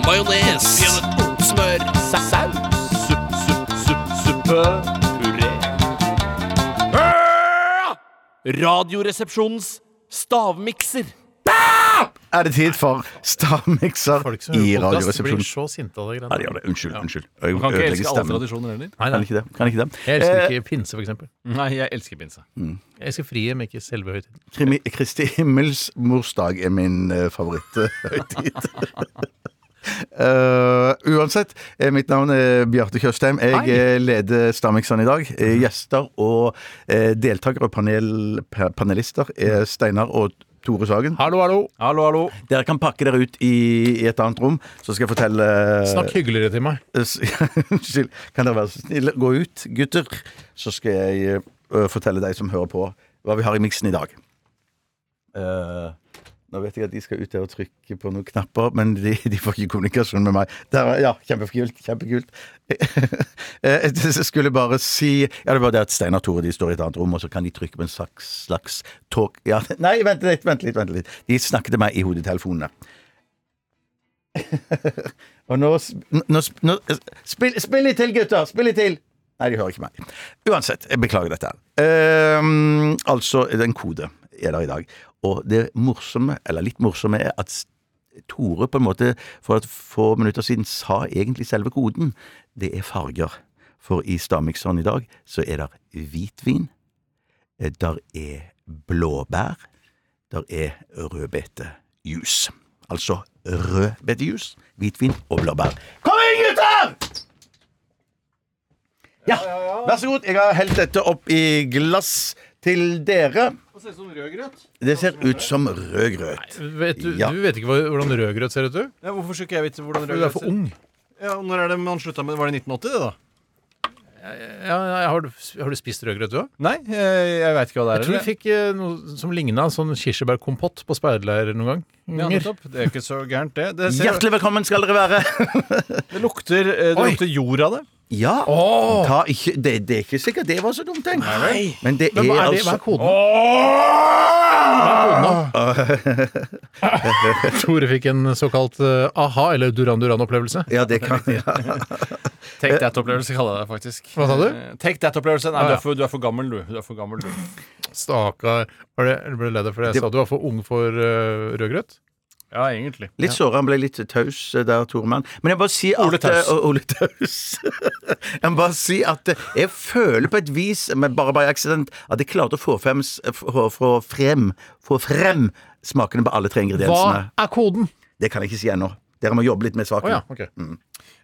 Speaker 9: Majones. Smør. Saus. Supp, supp, supp, suppe. Puré. Radioresepsjonens stavmikser.
Speaker 4: Er det tid for stavmikser
Speaker 3: Folk som
Speaker 4: i
Speaker 3: hører på podcast blir
Speaker 4: Radioresepsjonen?
Speaker 3: så sinte av de
Speaker 4: Ja, de
Speaker 3: greiene.
Speaker 4: gjør det. Unnskyld. unnskyld. Jeg
Speaker 5: Kan ikke
Speaker 4: ødelegger
Speaker 5: elske alle
Speaker 4: stemmen.
Speaker 5: tradisjoner heller.
Speaker 3: Nei,
Speaker 4: Kan
Speaker 3: nei.
Speaker 4: ikke det. Kan ikke det. Eh,
Speaker 3: Jeg elsker ikke pinse, f.eks.
Speaker 5: Nei, jeg elsker pinse.
Speaker 3: Jeg elsker frihet, men ikke selve høytiden.
Speaker 4: Krimi, Kristi himmels morsdag er min eh, favoritthøytid. <laughs> Eh, uansett, eh, mitt navn er Bjarte Tjøstheim. Jeg eh, leder Stamiksen i dag. Eh, gjester og eh, deltakere og panel, pa- panelister er Steinar og Tore Sagen.
Speaker 3: Hallo, hallo!
Speaker 5: Hallo, hallo.
Speaker 4: Dere kan pakke dere ut i, i et annet rom, så skal jeg fortelle eh,
Speaker 3: Snakk hyggeligere til meg.
Speaker 4: S- <laughs> Unnskyld. Kan dere være så snille gå ut, gutter? Så skal jeg ø, fortelle deg som hører på, hva vi har i miksen i dag. Eh, nå vet jeg at de skal ut der og trykke på noen knapper, men de, de får ikke kommunikasjon med meg. Der, er- ja, kjempekult. Kjempekult. <laughs> Eh, jeg skulle bare si Ja, det var det at Steinar Tore de står i et annet rom, og så kan de trykke på en slags, slags talk... Ja, nei, vent litt, vent litt, vent litt. De snakker til meg i hodetelefonene. Og nå, sp- nå, sp- nå eh, spill, spill litt til, gutter! Spill litt til! Nei, de hører ikke meg. Uansett, jeg beklager dette. her. Ehm, altså, det er en kode er der i dag. Og det morsomme, eller litt morsomme, er at s- Tore på en måte for et få minutter siden sa egentlig selve koden. Det er farger. For i stavmikseren i dag så er det hvitvin, eh, der er blåbær, der er rødbetejus. Altså rødbetejus, hvitvin og blåbær. Kom inn, gutter! Ja, vær så god. Jeg har helt dette opp i glass til dere. Det ser ut som rødgrøt.
Speaker 3: Vet du,
Speaker 4: Ja.
Speaker 3: du vet ikke hva- hvordan rødgrøt ser ut, du?
Speaker 5: Ja, hvorfor skulle ikke jeg vite hvordan
Speaker 3: Du er for ung.
Speaker 5: Ja, når er det man slutta med Var det 1980, det, da?
Speaker 3: Ja, ja, har, du, har du spist rødgrøt, du òg?
Speaker 5: Nei, jeg, jeg veit ikke hva det
Speaker 3: Jeg
Speaker 5: er.
Speaker 3: tror vi
Speaker 5: eller?
Speaker 3: fikk eh, noe som ligna sånn kirsebærkompott på speiderleir noen gang.
Speaker 5: ja, nettopp. Det er ikke så gærent, det. Det, ser,
Speaker 4: Hjertelig velkommen skal dere være.
Speaker 5: det lukter eh, Det
Speaker 3: Oi.
Speaker 5: lukter jord av det.
Speaker 4: Ja,
Speaker 3: Åh!
Speaker 4: ta ikke, det, det er ikke sikkert det var så dumt, tenkt. Men det er,
Speaker 3: Men hva er det? Hva
Speaker 4: altså
Speaker 3: er koden? Hva er koden? Tore fikk en såkalt eh, aha- eller Duran Duran-opplevelse.
Speaker 4: Ja, det kan
Speaker 5: Take that-opplevelse kaller jeg det faktisk.
Speaker 3: Hva sa du?
Speaker 5: Eh, Take that-opplevelse. Nei,
Speaker 3: Ah,
Speaker 5: du,
Speaker 3: ja.
Speaker 5: er for, du er for gammel, du. du, er for gammel, du.
Speaker 3: Stakkar. Var det- Ble du lei deg for det jeg sa? Du var for ung for eh, rødgrøt?
Speaker 5: Ja, egentlig.
Speaker 4: Litt såra. Han ble litt taus eh, der, Toremann. Men jeg må bare si at
Speaker 5: Ole Taus.
Speaker 4: eh, og Ole Taus. <laughs> jeg må bare si at eh, jeg føler på et vis, men bare by accident, at jeg klarte å få frem, s- eh, få, få frem, få frem smakene på alle tre ingrediensene.
Speaker 3: Hva er koden?
Speaker 4: Det kan jeg ikke si ennå. Dere må jobbe litt med
Speaker 3: Å
Speaker 4: saken.
Speaker 3: ja, ok.
Speaker 4: Mm.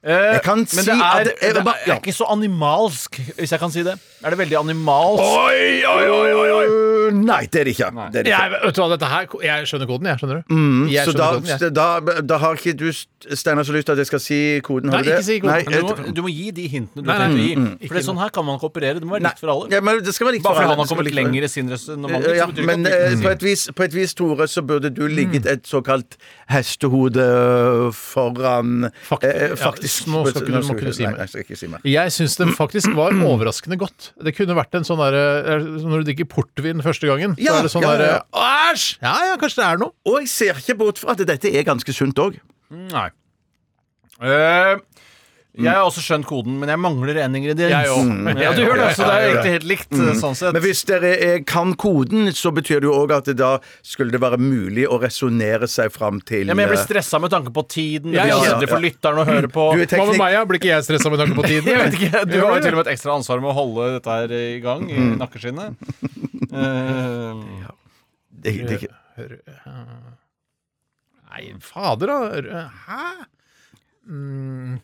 Speaker 5: Eh,
Speaker 4: Jeg kan
Speaker 5: men
Speaker 4: si
Speaker 5: det er,
Speaker 4: at
Speaker 5: det,
Speaker 4: det- jeg vil
Speaker 5: er,
Speaker 4: bare- ja.
Speaker 5: ikke så animalsk, hvis jeg kan si det. Er det veldig animalsk?
Speaker 3: Oi, oi, oi, oi, oi.
Speaker 4: Øh, nei, det er det ikke. Det er det ikke.
Speaker 3: Jeg, vet du hva, dette her, jeg skjønner koden, jeg. skjønner
Speaker 4: Mm.
Speaker 3: du? jeg
Speaker 4: Så
Speaker 3: skjønner
Speaker 4: da,
Speaker 3: koden, jeg.
Speaker 4: da, da har ikke du, Steinar, så lyst til at jeg skal si koden? Har
Speaker 3: Nei,
Speaker 4: du det?
Speaker 3: ikke si koden.
Speaker 4: Nei,
Speaker 5: Men du,
Speaker 4: jeg-
Speaker 5: må, du må gi de hintene du
Speaker 3: Nei, nei,
Speaker 5: tenkte å gi.
Speaker 3: mm, mm.
Speaker 5: For det er sånn her kan man ikke operere. Det må være likt for alle.
Speaker 4: Ja, men det skal være likt
Speaker 5: Bare
Speaker 4: for
Speaker 5: fordi
Speaker 4: alle.
Speaker 5: han har
Speaker 4: Det skal være
Speaker 5: kommet
Speaker 4: likt for alle.
Speaker 5: lenger i sin resonnement,
Speaker 4: Eh, Ja,
Speaker 5: så betyr
Speaker 4: men
Speaker 5: ikke at
Speaker 4: eh, på et, vis, på et vis, Tore, så burde du ligget
Speaker 3: Mm.
Speaker 4: et såkalt hestehode eh, foran
Speaker 3: Fakti-
Speaker 4: eh,
Speaker 3: ja,
Speaker 4: faktisk
Speaker 3: nå skal ikke du- må ikke du si
Speaker 4: Nei,
Speaker 3: mer.
Speaker 4: nei, skal ikke si mer.
Speaker 3: Jeg syns det faktisk var overraskende godt. Det kunne vært en sånn derre Når du drikker portvin første gangen, så
Speaker 4: Ja,
Speaker 3: er det sånn
Speaker 4: ja, ja,
Speaker 3: derre Æsj! Ja ja, kanskje det er noe.
Speaker 4: Og jeg
Speaker 5: Mm.
Speaker 4: ser ikke bort fra at dette er ganske sunt òg.
Speaker 5: Nei. Eh, Jeg har også skjønt koden, men jeg mangler en ingrediens.
Speaker 3: Jeg òg.
Speaker 5: <laughs> Ja, du gjør det, så det er jo egentlig helt likt sånn sett.
Speaker 4: Men hvis dere eh, kan koden, så betyr det jo òg at det da skulle det være mulig å resonnere seg fram til
Speaker 5: Ja, men jeg blir
Speaker 4: eh,
Speaker 5: stressa med tanke på tiden.
Speaker 3: Ja,
Speaker 5: Jeg
Speaker 3: ja,
Speaker 5: er
Speaker 3: ja.
Speaker 5: redd for lytteren å høre på. <laughs>
Speaker 4: Du
Speaker 3: Hva
Speaker 4: er
Speaker 3: med
Speaker 4: teknikk-
Speaker 3: meg, ja? Blir ikke jeg stressa med tanke på
Speaker 4: <laughs>
Speaker 3: tiden?
Speaker 5: Jeg vet <laughs> ikke, Du
Speaker 3: Jo,
Speaker 5: har jo Mm.
Speaker 3: det-
Speaker 5: til og med et ekstra ansvar med å holde dette her i gang i <laughs> nakkeskinnet. Eh,
Speaker 4: det, det, det,
Speaker 3: Nei, fader, da. Hæ? Mm.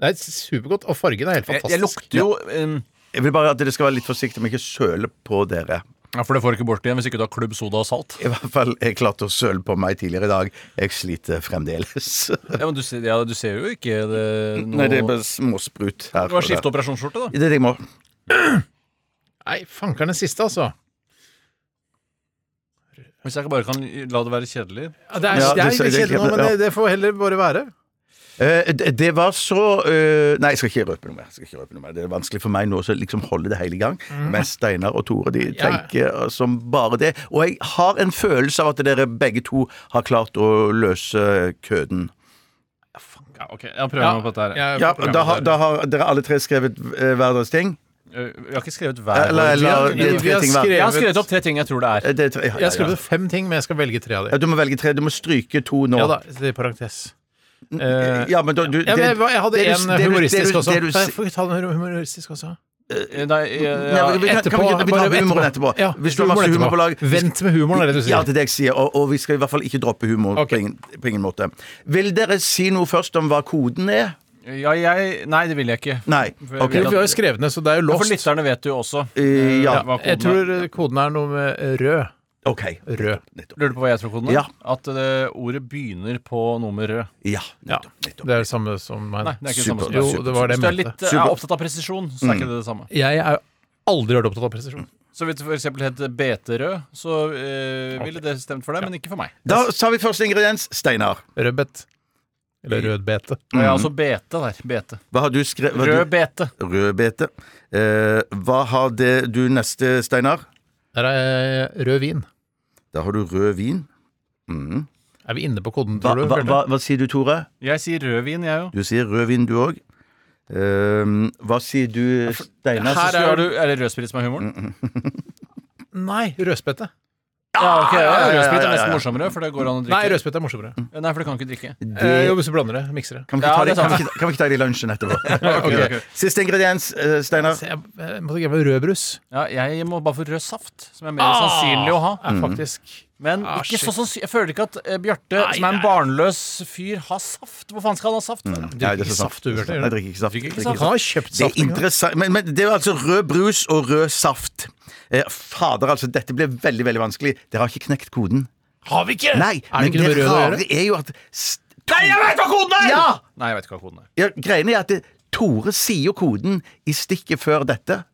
Speaker 3: Det er supergodt, og fargen er helt
Speaker 5: jeg,
Speaker 3: fantastisk.
Speaker 5: jeg lukter jo eh,
Speaker 4: Jeg vil bare at dere skal være litt forsiktige med ikke å søle på dere.
Speaker 5: Ja, For det får du ikke bort igjen hvis ikke du har klubb, soda og salt.
Speaker 4: I hvert fall, jeg klarte å søle på meg tidligere i dag. Jeg sliter fremdeles.
Speaker 5: Ja, men Du, ser- ja, du ser jo ikke det, noe
Speaker 4: Nei, det er bare småsprut her.
Speaker 5: Du har skiftet operasjonsskjorte, da.
Speaker 4: Det er det jeg må.
Speaker 3: Nei, fankeren den siste, altså.
Speaker 5: Hvis jeg bare kan la det være kjedelig.
Speaker 3: det er,
Speaker 4: Ja,
Speaker 3: det er
Speaker 4: du sier
Speaker 3: kjedelig
Speaker 4: det
Speaker 3: nå,
Speaker 4: kjedelig,
Speaker 3: men
Speaker 4: ja.
Speaker 3: det, det får heller bare være.
Speaker 4: Eh, det, det var så eh, Nei, jeg skal ikke røpe noe mer. Jeg Skal ikke røpe noe mer. Det er vanskelig for meg nå å liksom holde det hele i gang. Mens Steinar og Tore de
Speaker 3: Mhm. Ja.
Speaker 4: tenker eh, som bare det. Og jeg har en følelse av at dere begge to har klart å løse køden.
Speaker 5: Ja, ok, Jeg prøver meg på dette her. Jeg,
Speaker 3: jeg
Speaker 4: Ja,
Speaker 3: får
Speaker 4: da,
Speaker 3: prøve
Speaker 4: har-
Speaker 3: det.
Speaker 4: da har dere alle tre skrevet eh, hver deres ting.
Speaker 5: Eh, jeg har ikke skrevet hver
Speaker 4: Eller, eller
Speaker 3: vi har- vi
Speaker 4: tre
Speaker 3: har
Speaker 4: ting hver.
Speaker 3: skrevet-
Speaker 5: Jeg har skrevet opp tre ting jeg tror det er.
Speaker 4: Eh, det er tre- ja, ja,
Speaker 3: Jeg har
Speaker 4: ja.
Speaker 3: skrevet fem ting, men jeg skal velge tre av
Speaker 4: Ja,
Speaker 3: dem.
Speaker 4: du må velge tre. Du må stryke to nå.
Speaker 3: Ja da, det er parentes. Eh,
Speaker 4: Ja, men da, du,
Speaker 3: ja, men jeg,
Speaker 4: det-
Speaker 3: jeg hadde
Speaker 4: det du-
Speaker 3: en
Speaker 4: det du- det
Speaker 3: humoristisk
Speaker 4: du-
Speaker 3: også.
Speaker 4: det du-
Speaker 3: Nei, Får vi ta den humoristisk også?
Speaker 5: Eh, Nei, jeg,
Speaker 4: Nei, vi- vi-
Speaker 3: etterpå,
Speaker 4: kan vi ikke- vi tar
Speaker 3: bare
Speaker 4: humoren
Speaker 3: etterpå.
Speaker 4: etterpå.
Speaker 3: Ja,
Speaker 4: Hvis du har
Speaker 3: humoren
Speaker 4: masse humor på lag
Speaker 3: etterpå. Vent med humoren, er det du sier.
Speaker 4: Ja, det er det jeg sier, og, og vi skal i hvert fall ikke droppe humor
Speaker 3: Ok.
Speaker 4: på, ingen, på ingen måte. Vil dere si noe først om hva koden er?
Speaker 5: ja, jeg, nei, det vil jeg ikke.
Speaker 4: Nei.
Speaker 5: For jeg
Speaker 4: ok
Speaker 5: vet
Speaker 3: Vi har jo skrevet ned, så det er jo
Speaker 5: Ja, for
Speaker 3: låst.
Speaker 5: lytterne vet jo også.
Speaker 4: Eh, ja.
Speaker 5: eh, hva koden
Speaker 3: Jeg
Speaker 5: er.
Speaker 3: tror eh, koden er noe med rød.
Speaker 4: Ok.
Speaker 3: Rød.
Speaker 4: Nettopp.
Speaker 5: Lurer du på hva jeg tror koden er?
Speaker 4: Ja.
Speaker 5: At eh, ordet begynner på noe med rød.
Speaker 4: Ja.
Speaker 3: Ja.
Speaker 4: Nettopp.
Speaker 3: Det
Speaker 4: nettopp.
Speaker 3: er det samme som meg.
Speaker 5: Nei, det er ikke det samme som
Speaker 3: Jo,
Speaker 5: meg.
Speaker 3: det var det
Speaker 5: Hvis
Speaker 3: jeg
Speaker 5: du er
Speaker 3: mente.
Speaker 5: litt eh, er opptatt av presisjon, så er ikke det det samme.
Speaker 3: Jeg er aldri vært opptatt av presisjon.
Speaker 5: Så hvis det for eksempel het BT-rød, så eh, ville det stemt for deg, men ikke for meg.
Speaker 4: Da tar vi første ingrediens. Steinar,
Speaker 3: Rødbet. Eller rødbete.
Speaker 5: Og jeg har altså BT der. BT.
Speaker 4: hva har du skrevet?
Speaker 5: Rød BT.
Speaker 4: Rødbete. Eh, hva har det du neste, Steinar?
Speaker 3: Der er rød vin.
Speaker 4: Da har du rød vin. Mhm.
Speaker 3: Er vi inne på koden,
Speaker 4: Hva,
Speaker 3: tror du?
Speaker 4: hva,
Speaker 3: Bjarte?
Speaker 4: hva, hva sier du, Tore?
Speaker 5: Jeg sier rødvin, jeg òg.
Speaker 4: Du sier rød vin, du òg. Eh, hva sier du, Steinar?
Speaker 3: Her er-
Speaker 5: Er, du- er det rødsprit som er humoren?
Speaker 3: Nei, rødspette.
Speaker 5: Ja, ok, ja,
Speaker 4: ja, ja,
Speaker 5: Rødsprit er
Speaker 4: ja,
Speaker 5: nesten
Speaker 4: ja.
Speaker 5: morsommere, for det går an å
Speaker 3: Nei,
Speaker 5: drikke.
Speaker 3: rødspette er morsommere.
Speaker 4: Mm.
Speaker 5: Nei, for det kan ikke drikke.
Speaker 3: Eh, jo, hvis du blander det. Mikser det.
Speaker 4: Kan vi
Speaker 5: Ja,
Speaker 4: ikke ta
Speaker 5: det er
Speaker 4: det, kan vi ikke, kan vi ikke ta det i lunsjen etterpå?
Speaker 5: <laughs> ok, ok.
Speaker 4: Siste ingrediens, eh, Steinar.
Speaker 3: Se, jeg, jeg måtte glemme rødbrus.
Speaker 5: Ja, jeg må bare få rød saft, som er mer sannsynlig å ha. Mm.
Speaker 3: Er Ah! faktisk
Speaker 5: Men
Speaker 3: Ah,
Speaker 5: ikke
Speaker 3: shit.
Speaker 5: så sannsynlig. Jeg føler ikke at eh, Bjarte, som er en barnløs fyr, har saft. Hvor faen skal han ha saft? fra?
Speaker 4: Mm. Nei, det er
Speaker 3: ikke
Speaker 4: så sant.
Speaker 3: saft, du, Bjarte, gjør du?
Speaker 4: Nei, Jeg drikker ikke saft.
Speaker 5: Drikker ikke
Speaker 4: Drikker
Speaker 5: saft?
Speaker 4: ikke
Speaker 3: Han har kjøpt
Speaker 4: Det er
Speaker 3: saft. ikke sant?
Speaker 4: interessant, men, men det er altså rød brus og rød saft. Eh, fader, altså, dette ble veldig veldig vanskelig. Dere har ikke knekt koden.
Speaker 3: Har vi ikke?
Speaker 4: Nei,
Speaker 3: Eh, er det
Speaker 4: men
Speaker 3: ikke noe med
Speaker 4: det
Speaker 3: rød å
Speaker 4: rare
Speaker 3: gjøre?
Speaker 4: er jo at s-
Speaker 5: Nei, jeg veit hva koden er!
Speaker 4: Ja!
Speaker 5: Nei, jeg vet ikke hva koden er.
Speaker 4: ja Greiene er at det, Tore sier jo koden i stikket før dette.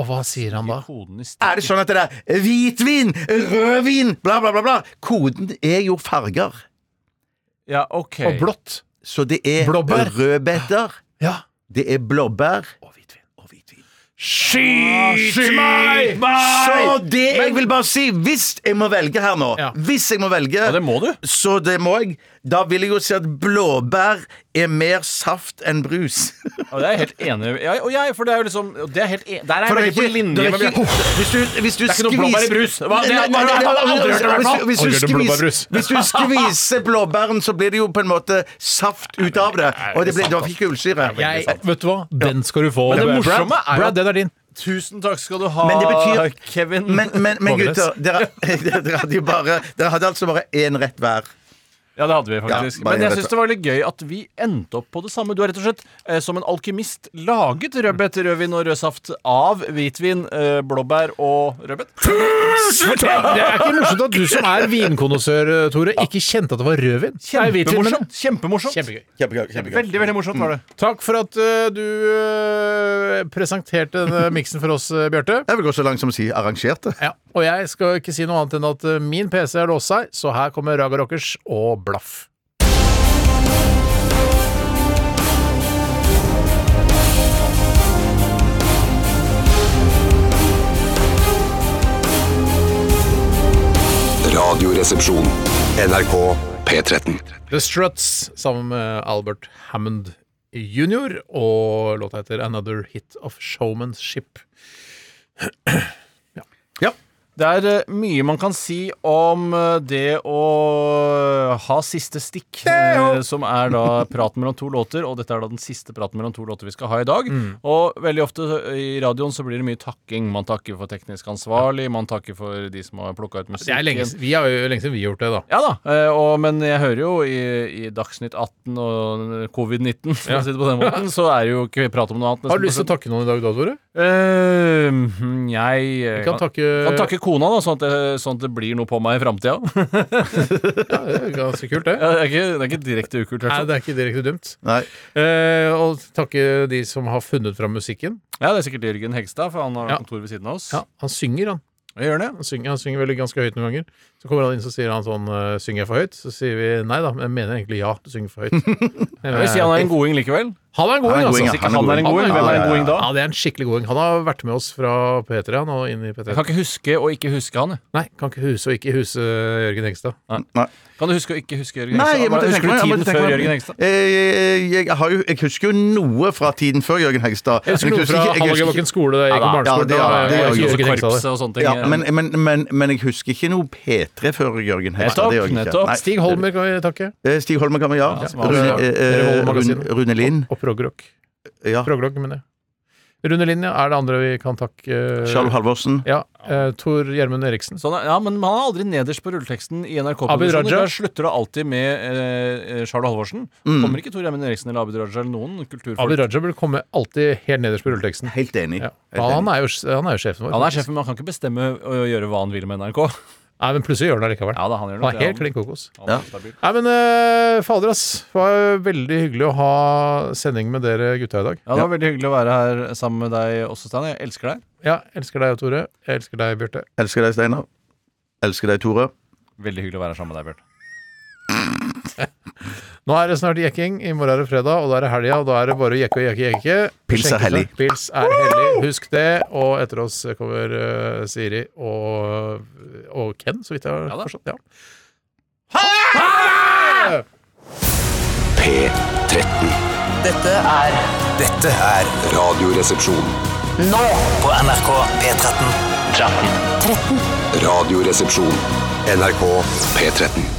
Speaker 3: Og hva sier han da?
Speaker 5: Koden i stikk.
Speaker 4: Er det sånn at det er hvitvin, rødvin, bla, bla, bla? bla Koden er jo farger.
Speaker 5: Ja, ok.
Speaker 3: Og blått.
Speaker 4: Så det er
Speaker 3: Blåbær.
Speaker 4: rødbeter,
Speaker 3: Ja.
Speaker 4: det er blåbær
Speaker 3: Og hvitvin.
Speaker 4: og hvitvin.
Speaker 3: Ah, Skyt meg!
Speaker 4: Så det jeg vil bare si, hvis jeg må velge her nå
Speaker 3: Ja.
Speaker 4: Hvis jeg må velge,
Speaker 5: Ja, det må du.
Speaker 4: så det må jeg. Da vil jeg jo si at blåbær er mer saft enn brus.
Speaker 5: <laughs> Ja, det er jeg helt enig i. Ja, og jeg, for det er jo liksom og det er helt en... Der er
Speaker 4: For
Speaker 5: jeg veldig på
Speaker 4: det er ikke- det
Speaker 5: linje
Speaker 4: er
Speaker 5: med
Speaker 4: ikke-
Speaker 5: Bjarte.
Speaker 4: Hvis du, hvis du
Speaker 5: Det er ikke noe blåbær i brus. Hva? Det- det- det- det- det- det-
Speaker 4: Nei, nei,
Speaker 5: det- det- det- det- det- det- det- det-
Speaker 4: hvis
Speaker 3: Aldri
Speaker 4: du
Speaker 3: hørt om blåbærbrus.
Speaker 4: skviser- Hvis du skviser blåbæren, så blir det jo på en måte saft ut av det. Og det blir det var ikke kullsyre.
Speaker 3: Jeg, vet du hva? Den skal du få.
Speaker 5: Men det
Speaker 3: Brad.
Speaker 5: morsomme er jo at-
Speaker 3: Brad, den er din.
Speaker 5: Tusen takk skal du ha,
Speaker 4: Men det betyr-
Speaker 5: Kevin.
Speaker 4: Men, men, men
Speaker 3: Vågenes.
Speaker 4: gutter, dere, dere, <laughs> hadde jo bare, dere hadde altså bare én rett hver.
Speaker 5: Ja, det hadde vi faktisk.
Speaker 4: Ja, bare
Speaker 5: Men jeg
Speaker 4: rett
Speaker 5: syns
Speaker 4: og-
Speaker 5: det var litt gøy at vi endte opp på det samme. Du har rett og slett, eh, som en alkymist, laget rødbet, rødvin og rød saft av hvitvin, eh, blåbær og rødbet. <laughs>
Speaker 3: Det er ikke morsomt at du som er vinkonnoissør, eh, Tore, ikke kjente at det var rødvin. Nei, hvitvin, mener jeg.
Speaker 5: Kjempemorsomt. Kjempemorsomt.
Speaker 3: Kjempegøy.
Speaker 4: Kjempegøy. kjempegøy.
Speaker 5: Veldig, veldig morsomt var det.
Speaker 3: Takk for at eh, du eh, presenterte <laughs> denne miksen for oss, uh, Bjarte.
Speaker 4: Jeg vil gå så langt som å si arrangerte.
Speaker 3: Ja, og jeg skal ikke si noe annet enn at eh, min PC har låst seg, så her kommer Raga Rockers og Blaff.
Speaker 8: Radioresepsjon. NRK P13.
Speaker 3: The Struts sammen med Albert Hammond Junior, og låta heter 'Another Hit of Showmanship'.
Speaker 5: Det er eh, mye man kan si om eh, det å ha siste stikk, eh, som er da praten mellom to låter. Og dette er da den siste praten mellom to låter vi skal ha i dag.
Speaker 3: Mm.
Speaker 5: Og veldig ofte i radioen så blir det mye takking. Man takker for teknisk ansvarlig, man takker for de som har plukka ut
Speaker 3: Det er lenge,
Speaker 5: musikken.
Speaker 3: s- vi har jo lenge siden vi har gjort det, da.
Speaker 5: Ja da, eh, og, men jeg hører jo i, i Dagsnytt 18 og covid-19, for å si det på den måten, så er det jo ikke prat om noe annet.
Speaker 3: Har du lyst til å takke noen i dag, da, Tore?
Speaker 5: Eh, jeg eh,
Speaker 3: Vi kan takke,
Speaker 5: kan takke kona, da, sånn at, det, sånn at det blir noe på meg i framtida.
Speaker 3: Ja, <laughs> det er ganske kult, det.
Speaker 5: Ja, det, er ikke- det er ikke direkte ukult. i hvert
Speaker 3: Nei,
Speaker 5: fall.
Speaker 3: det er ikke direkte dumt.
Speaker 4: Nei.
Speaker 3: Eh, og takke de som har funnet fram musikken.
Speaker 5: Ja, det er sikkert Jørgen Hegstad, for han har
Speaker 3: Ja.
Speaker 5: kontor ved siden av oss.
Speaker 3: Ja, han synger, han.
Speaker 5: Jeg gjør det.
Speaker 3: Han synger, han synger veldig ganske høyt noen ganger. Så kommer han inn så sier han sånn eh, Synger jeg for høyt? Så sier vi nei da, men jeg mener egentlig ja, du synger for høyt. Eh,
Speaker 5: Jeg vil si han er en goding likevel.
Speaker 3: Han er en goding,
Speaker 4: Han er en goding,
Speaker 3: altså.
Speaker 5: Hvis ikke han er en goding,
Speaker 3: Han er-
Speaker 5: hvem er en goding da?
Speaker 3: Ja, det er en skikkelig goding. Han har vært med oss fra P3 han, og inn i
Speaker 5: Jeg
Speaker 3: P3.
Speaker 5: kan ikke huske å ikke huske han. jeg.
Speaker 3: Nei, kan ikke huse og ikke huse eh, Jørgen Hengstad.
Speaker 5: Kan du huske å ikke huske Jørgen
Speaker 4: Nei, jeg
Speaker 5: Hegstad?
Speaker 4: måtte
Speaker 5: Husker du
Speaker 4: tenke meg- jeg
Speaker 5: tiden
Speaker 4: måtte tenke
Speaker 5: før
Speaker 4: meg-
Speaker 5: Jørgen Hegstad?
Speaker 4: Eh, Jeg, jeg, har jo, jeg husker jo noe fra tiden før Jørgen Hegstad.
Speaker 3: Jeg husker
Speaker 4: men
Speaker 3: noe fra
Speaker 4: ikke- jeg husker ikke-
Speaker 3: Hallagerbakken skole da jeg gikk på
Speaker 4: Ja,
Speaker 3: barneskolen.
Speaker 4: det
Speaker 3: da var
Speaker 4: er- det er
Speaker 3: jeg Jørgen
Speaker 4: jo
Speaker 5: Også
Speaker 3: Hengstad der.
Speaker 5: korpset og sånne ting.
Speaker 4: ja, men, men, men, men jeg husker ikke noe P3 før Jørgen Hegstad. det gjør
Speaker 5: Nettopp,
Speaker 4: jeg ikke.
Speaker 5: nettopp.
Speaker 4: Nei.
Speaker 3: Stig Holmer kan vi takke.
Speaker 4: Eh, Stig Holmer kan vi, ja.
Speaker 5: Ja, som var-
Speaker 4: Rune, eh,
Speaker 3: Holmer Magasin.
Speaker 4: Rune, Rune Lind.
Speaker 3: Og progrock.
Speaker 4: Ja.
Speaker 3: Progrock, mener jeg. Rune Linje er det andre vi kan takke. eh,
Speaker 4: Charlo Halvorsen.
Speaker 3: Ja, eh, Tor Gjermund Eriksen.
Speaker 5: Sånn, er- ja, men han er aldri nederst på rulleteksten i
Speaker 3: Abid
Speaker 5: NRK-produksjonen.
Speaker 3: Raja.
Speaker 5: Der slutter det alltid med eh, eh, Charlo Halvorsen.
Speaker 4: Mm.
Speaker 5: Kommer ikke Tor Gjermund Eriksen eller Abid Raja eller noen kulturfolk.
Speaker 3: Abid Raja burde komme alltid helt nederst på rulleteksten.
Speaker 4: Helt enig.
Speaker 3: Ja.
Speaker 4: Helt
Speaker 3: Han,
Speaker 4: enig.
Speaker 3: er jo, han er jo sjefen vår.
Speaker 5: Han er sjefen, men han kan ikke bestemme å gjøre hva han vil med NRK.
Speaker 3: Nei, men plutselig gjør han det likevel.
Speaker 5: Ja, da, han gjør nok
Speaker 3: han
Speaker 5: det,
Speaker 3: er helt
Speaker 5: han.
Speaker 3: klin kokos.
Speaker 5: Han er stabil.
Speaker 3: Nei, men eh, fader, ass. Det var jo veldig hyggelig å ha sending med dere gutta i dag.
Speaker 5: Ja, Det var veldig hyggelig å være her sammen med deg også, Stein. Jeg elsker deg.
Speaker 3: Ja, elsker deg, Tore. Jeg elsker deg, Bjarte.
Speaker 4: Elsker deg, Steinar. Elsker deg, Tore.
Speaker 5: Veldig hyggelig å være sammen med deg, Bjørn.
Speaker 3: Nå er det snart jekking. I morgen er det fredag, og da er det helga. Og da er det bare å jekke og jekke jekke.
Speaker 4: Pils er
Speaker 3: Skjenke seg.
Speaker 4: hellig.
Speaker 3: Pils er hellig. Husk det. Og etter oss kommer eh, Siri og, og Ken, så vidt jeg har
Speaker 5: Ja da.
Speaker 3: forstått. Ja.
Speaker 8: P13.
Speaker 6: Dette er
Speaker 11: Dette er
Speaker 8: Radioresepsjon.
Speaker 11: Nå på NRK P13.
Speaker 8: Radioresepsjon. NRK P13.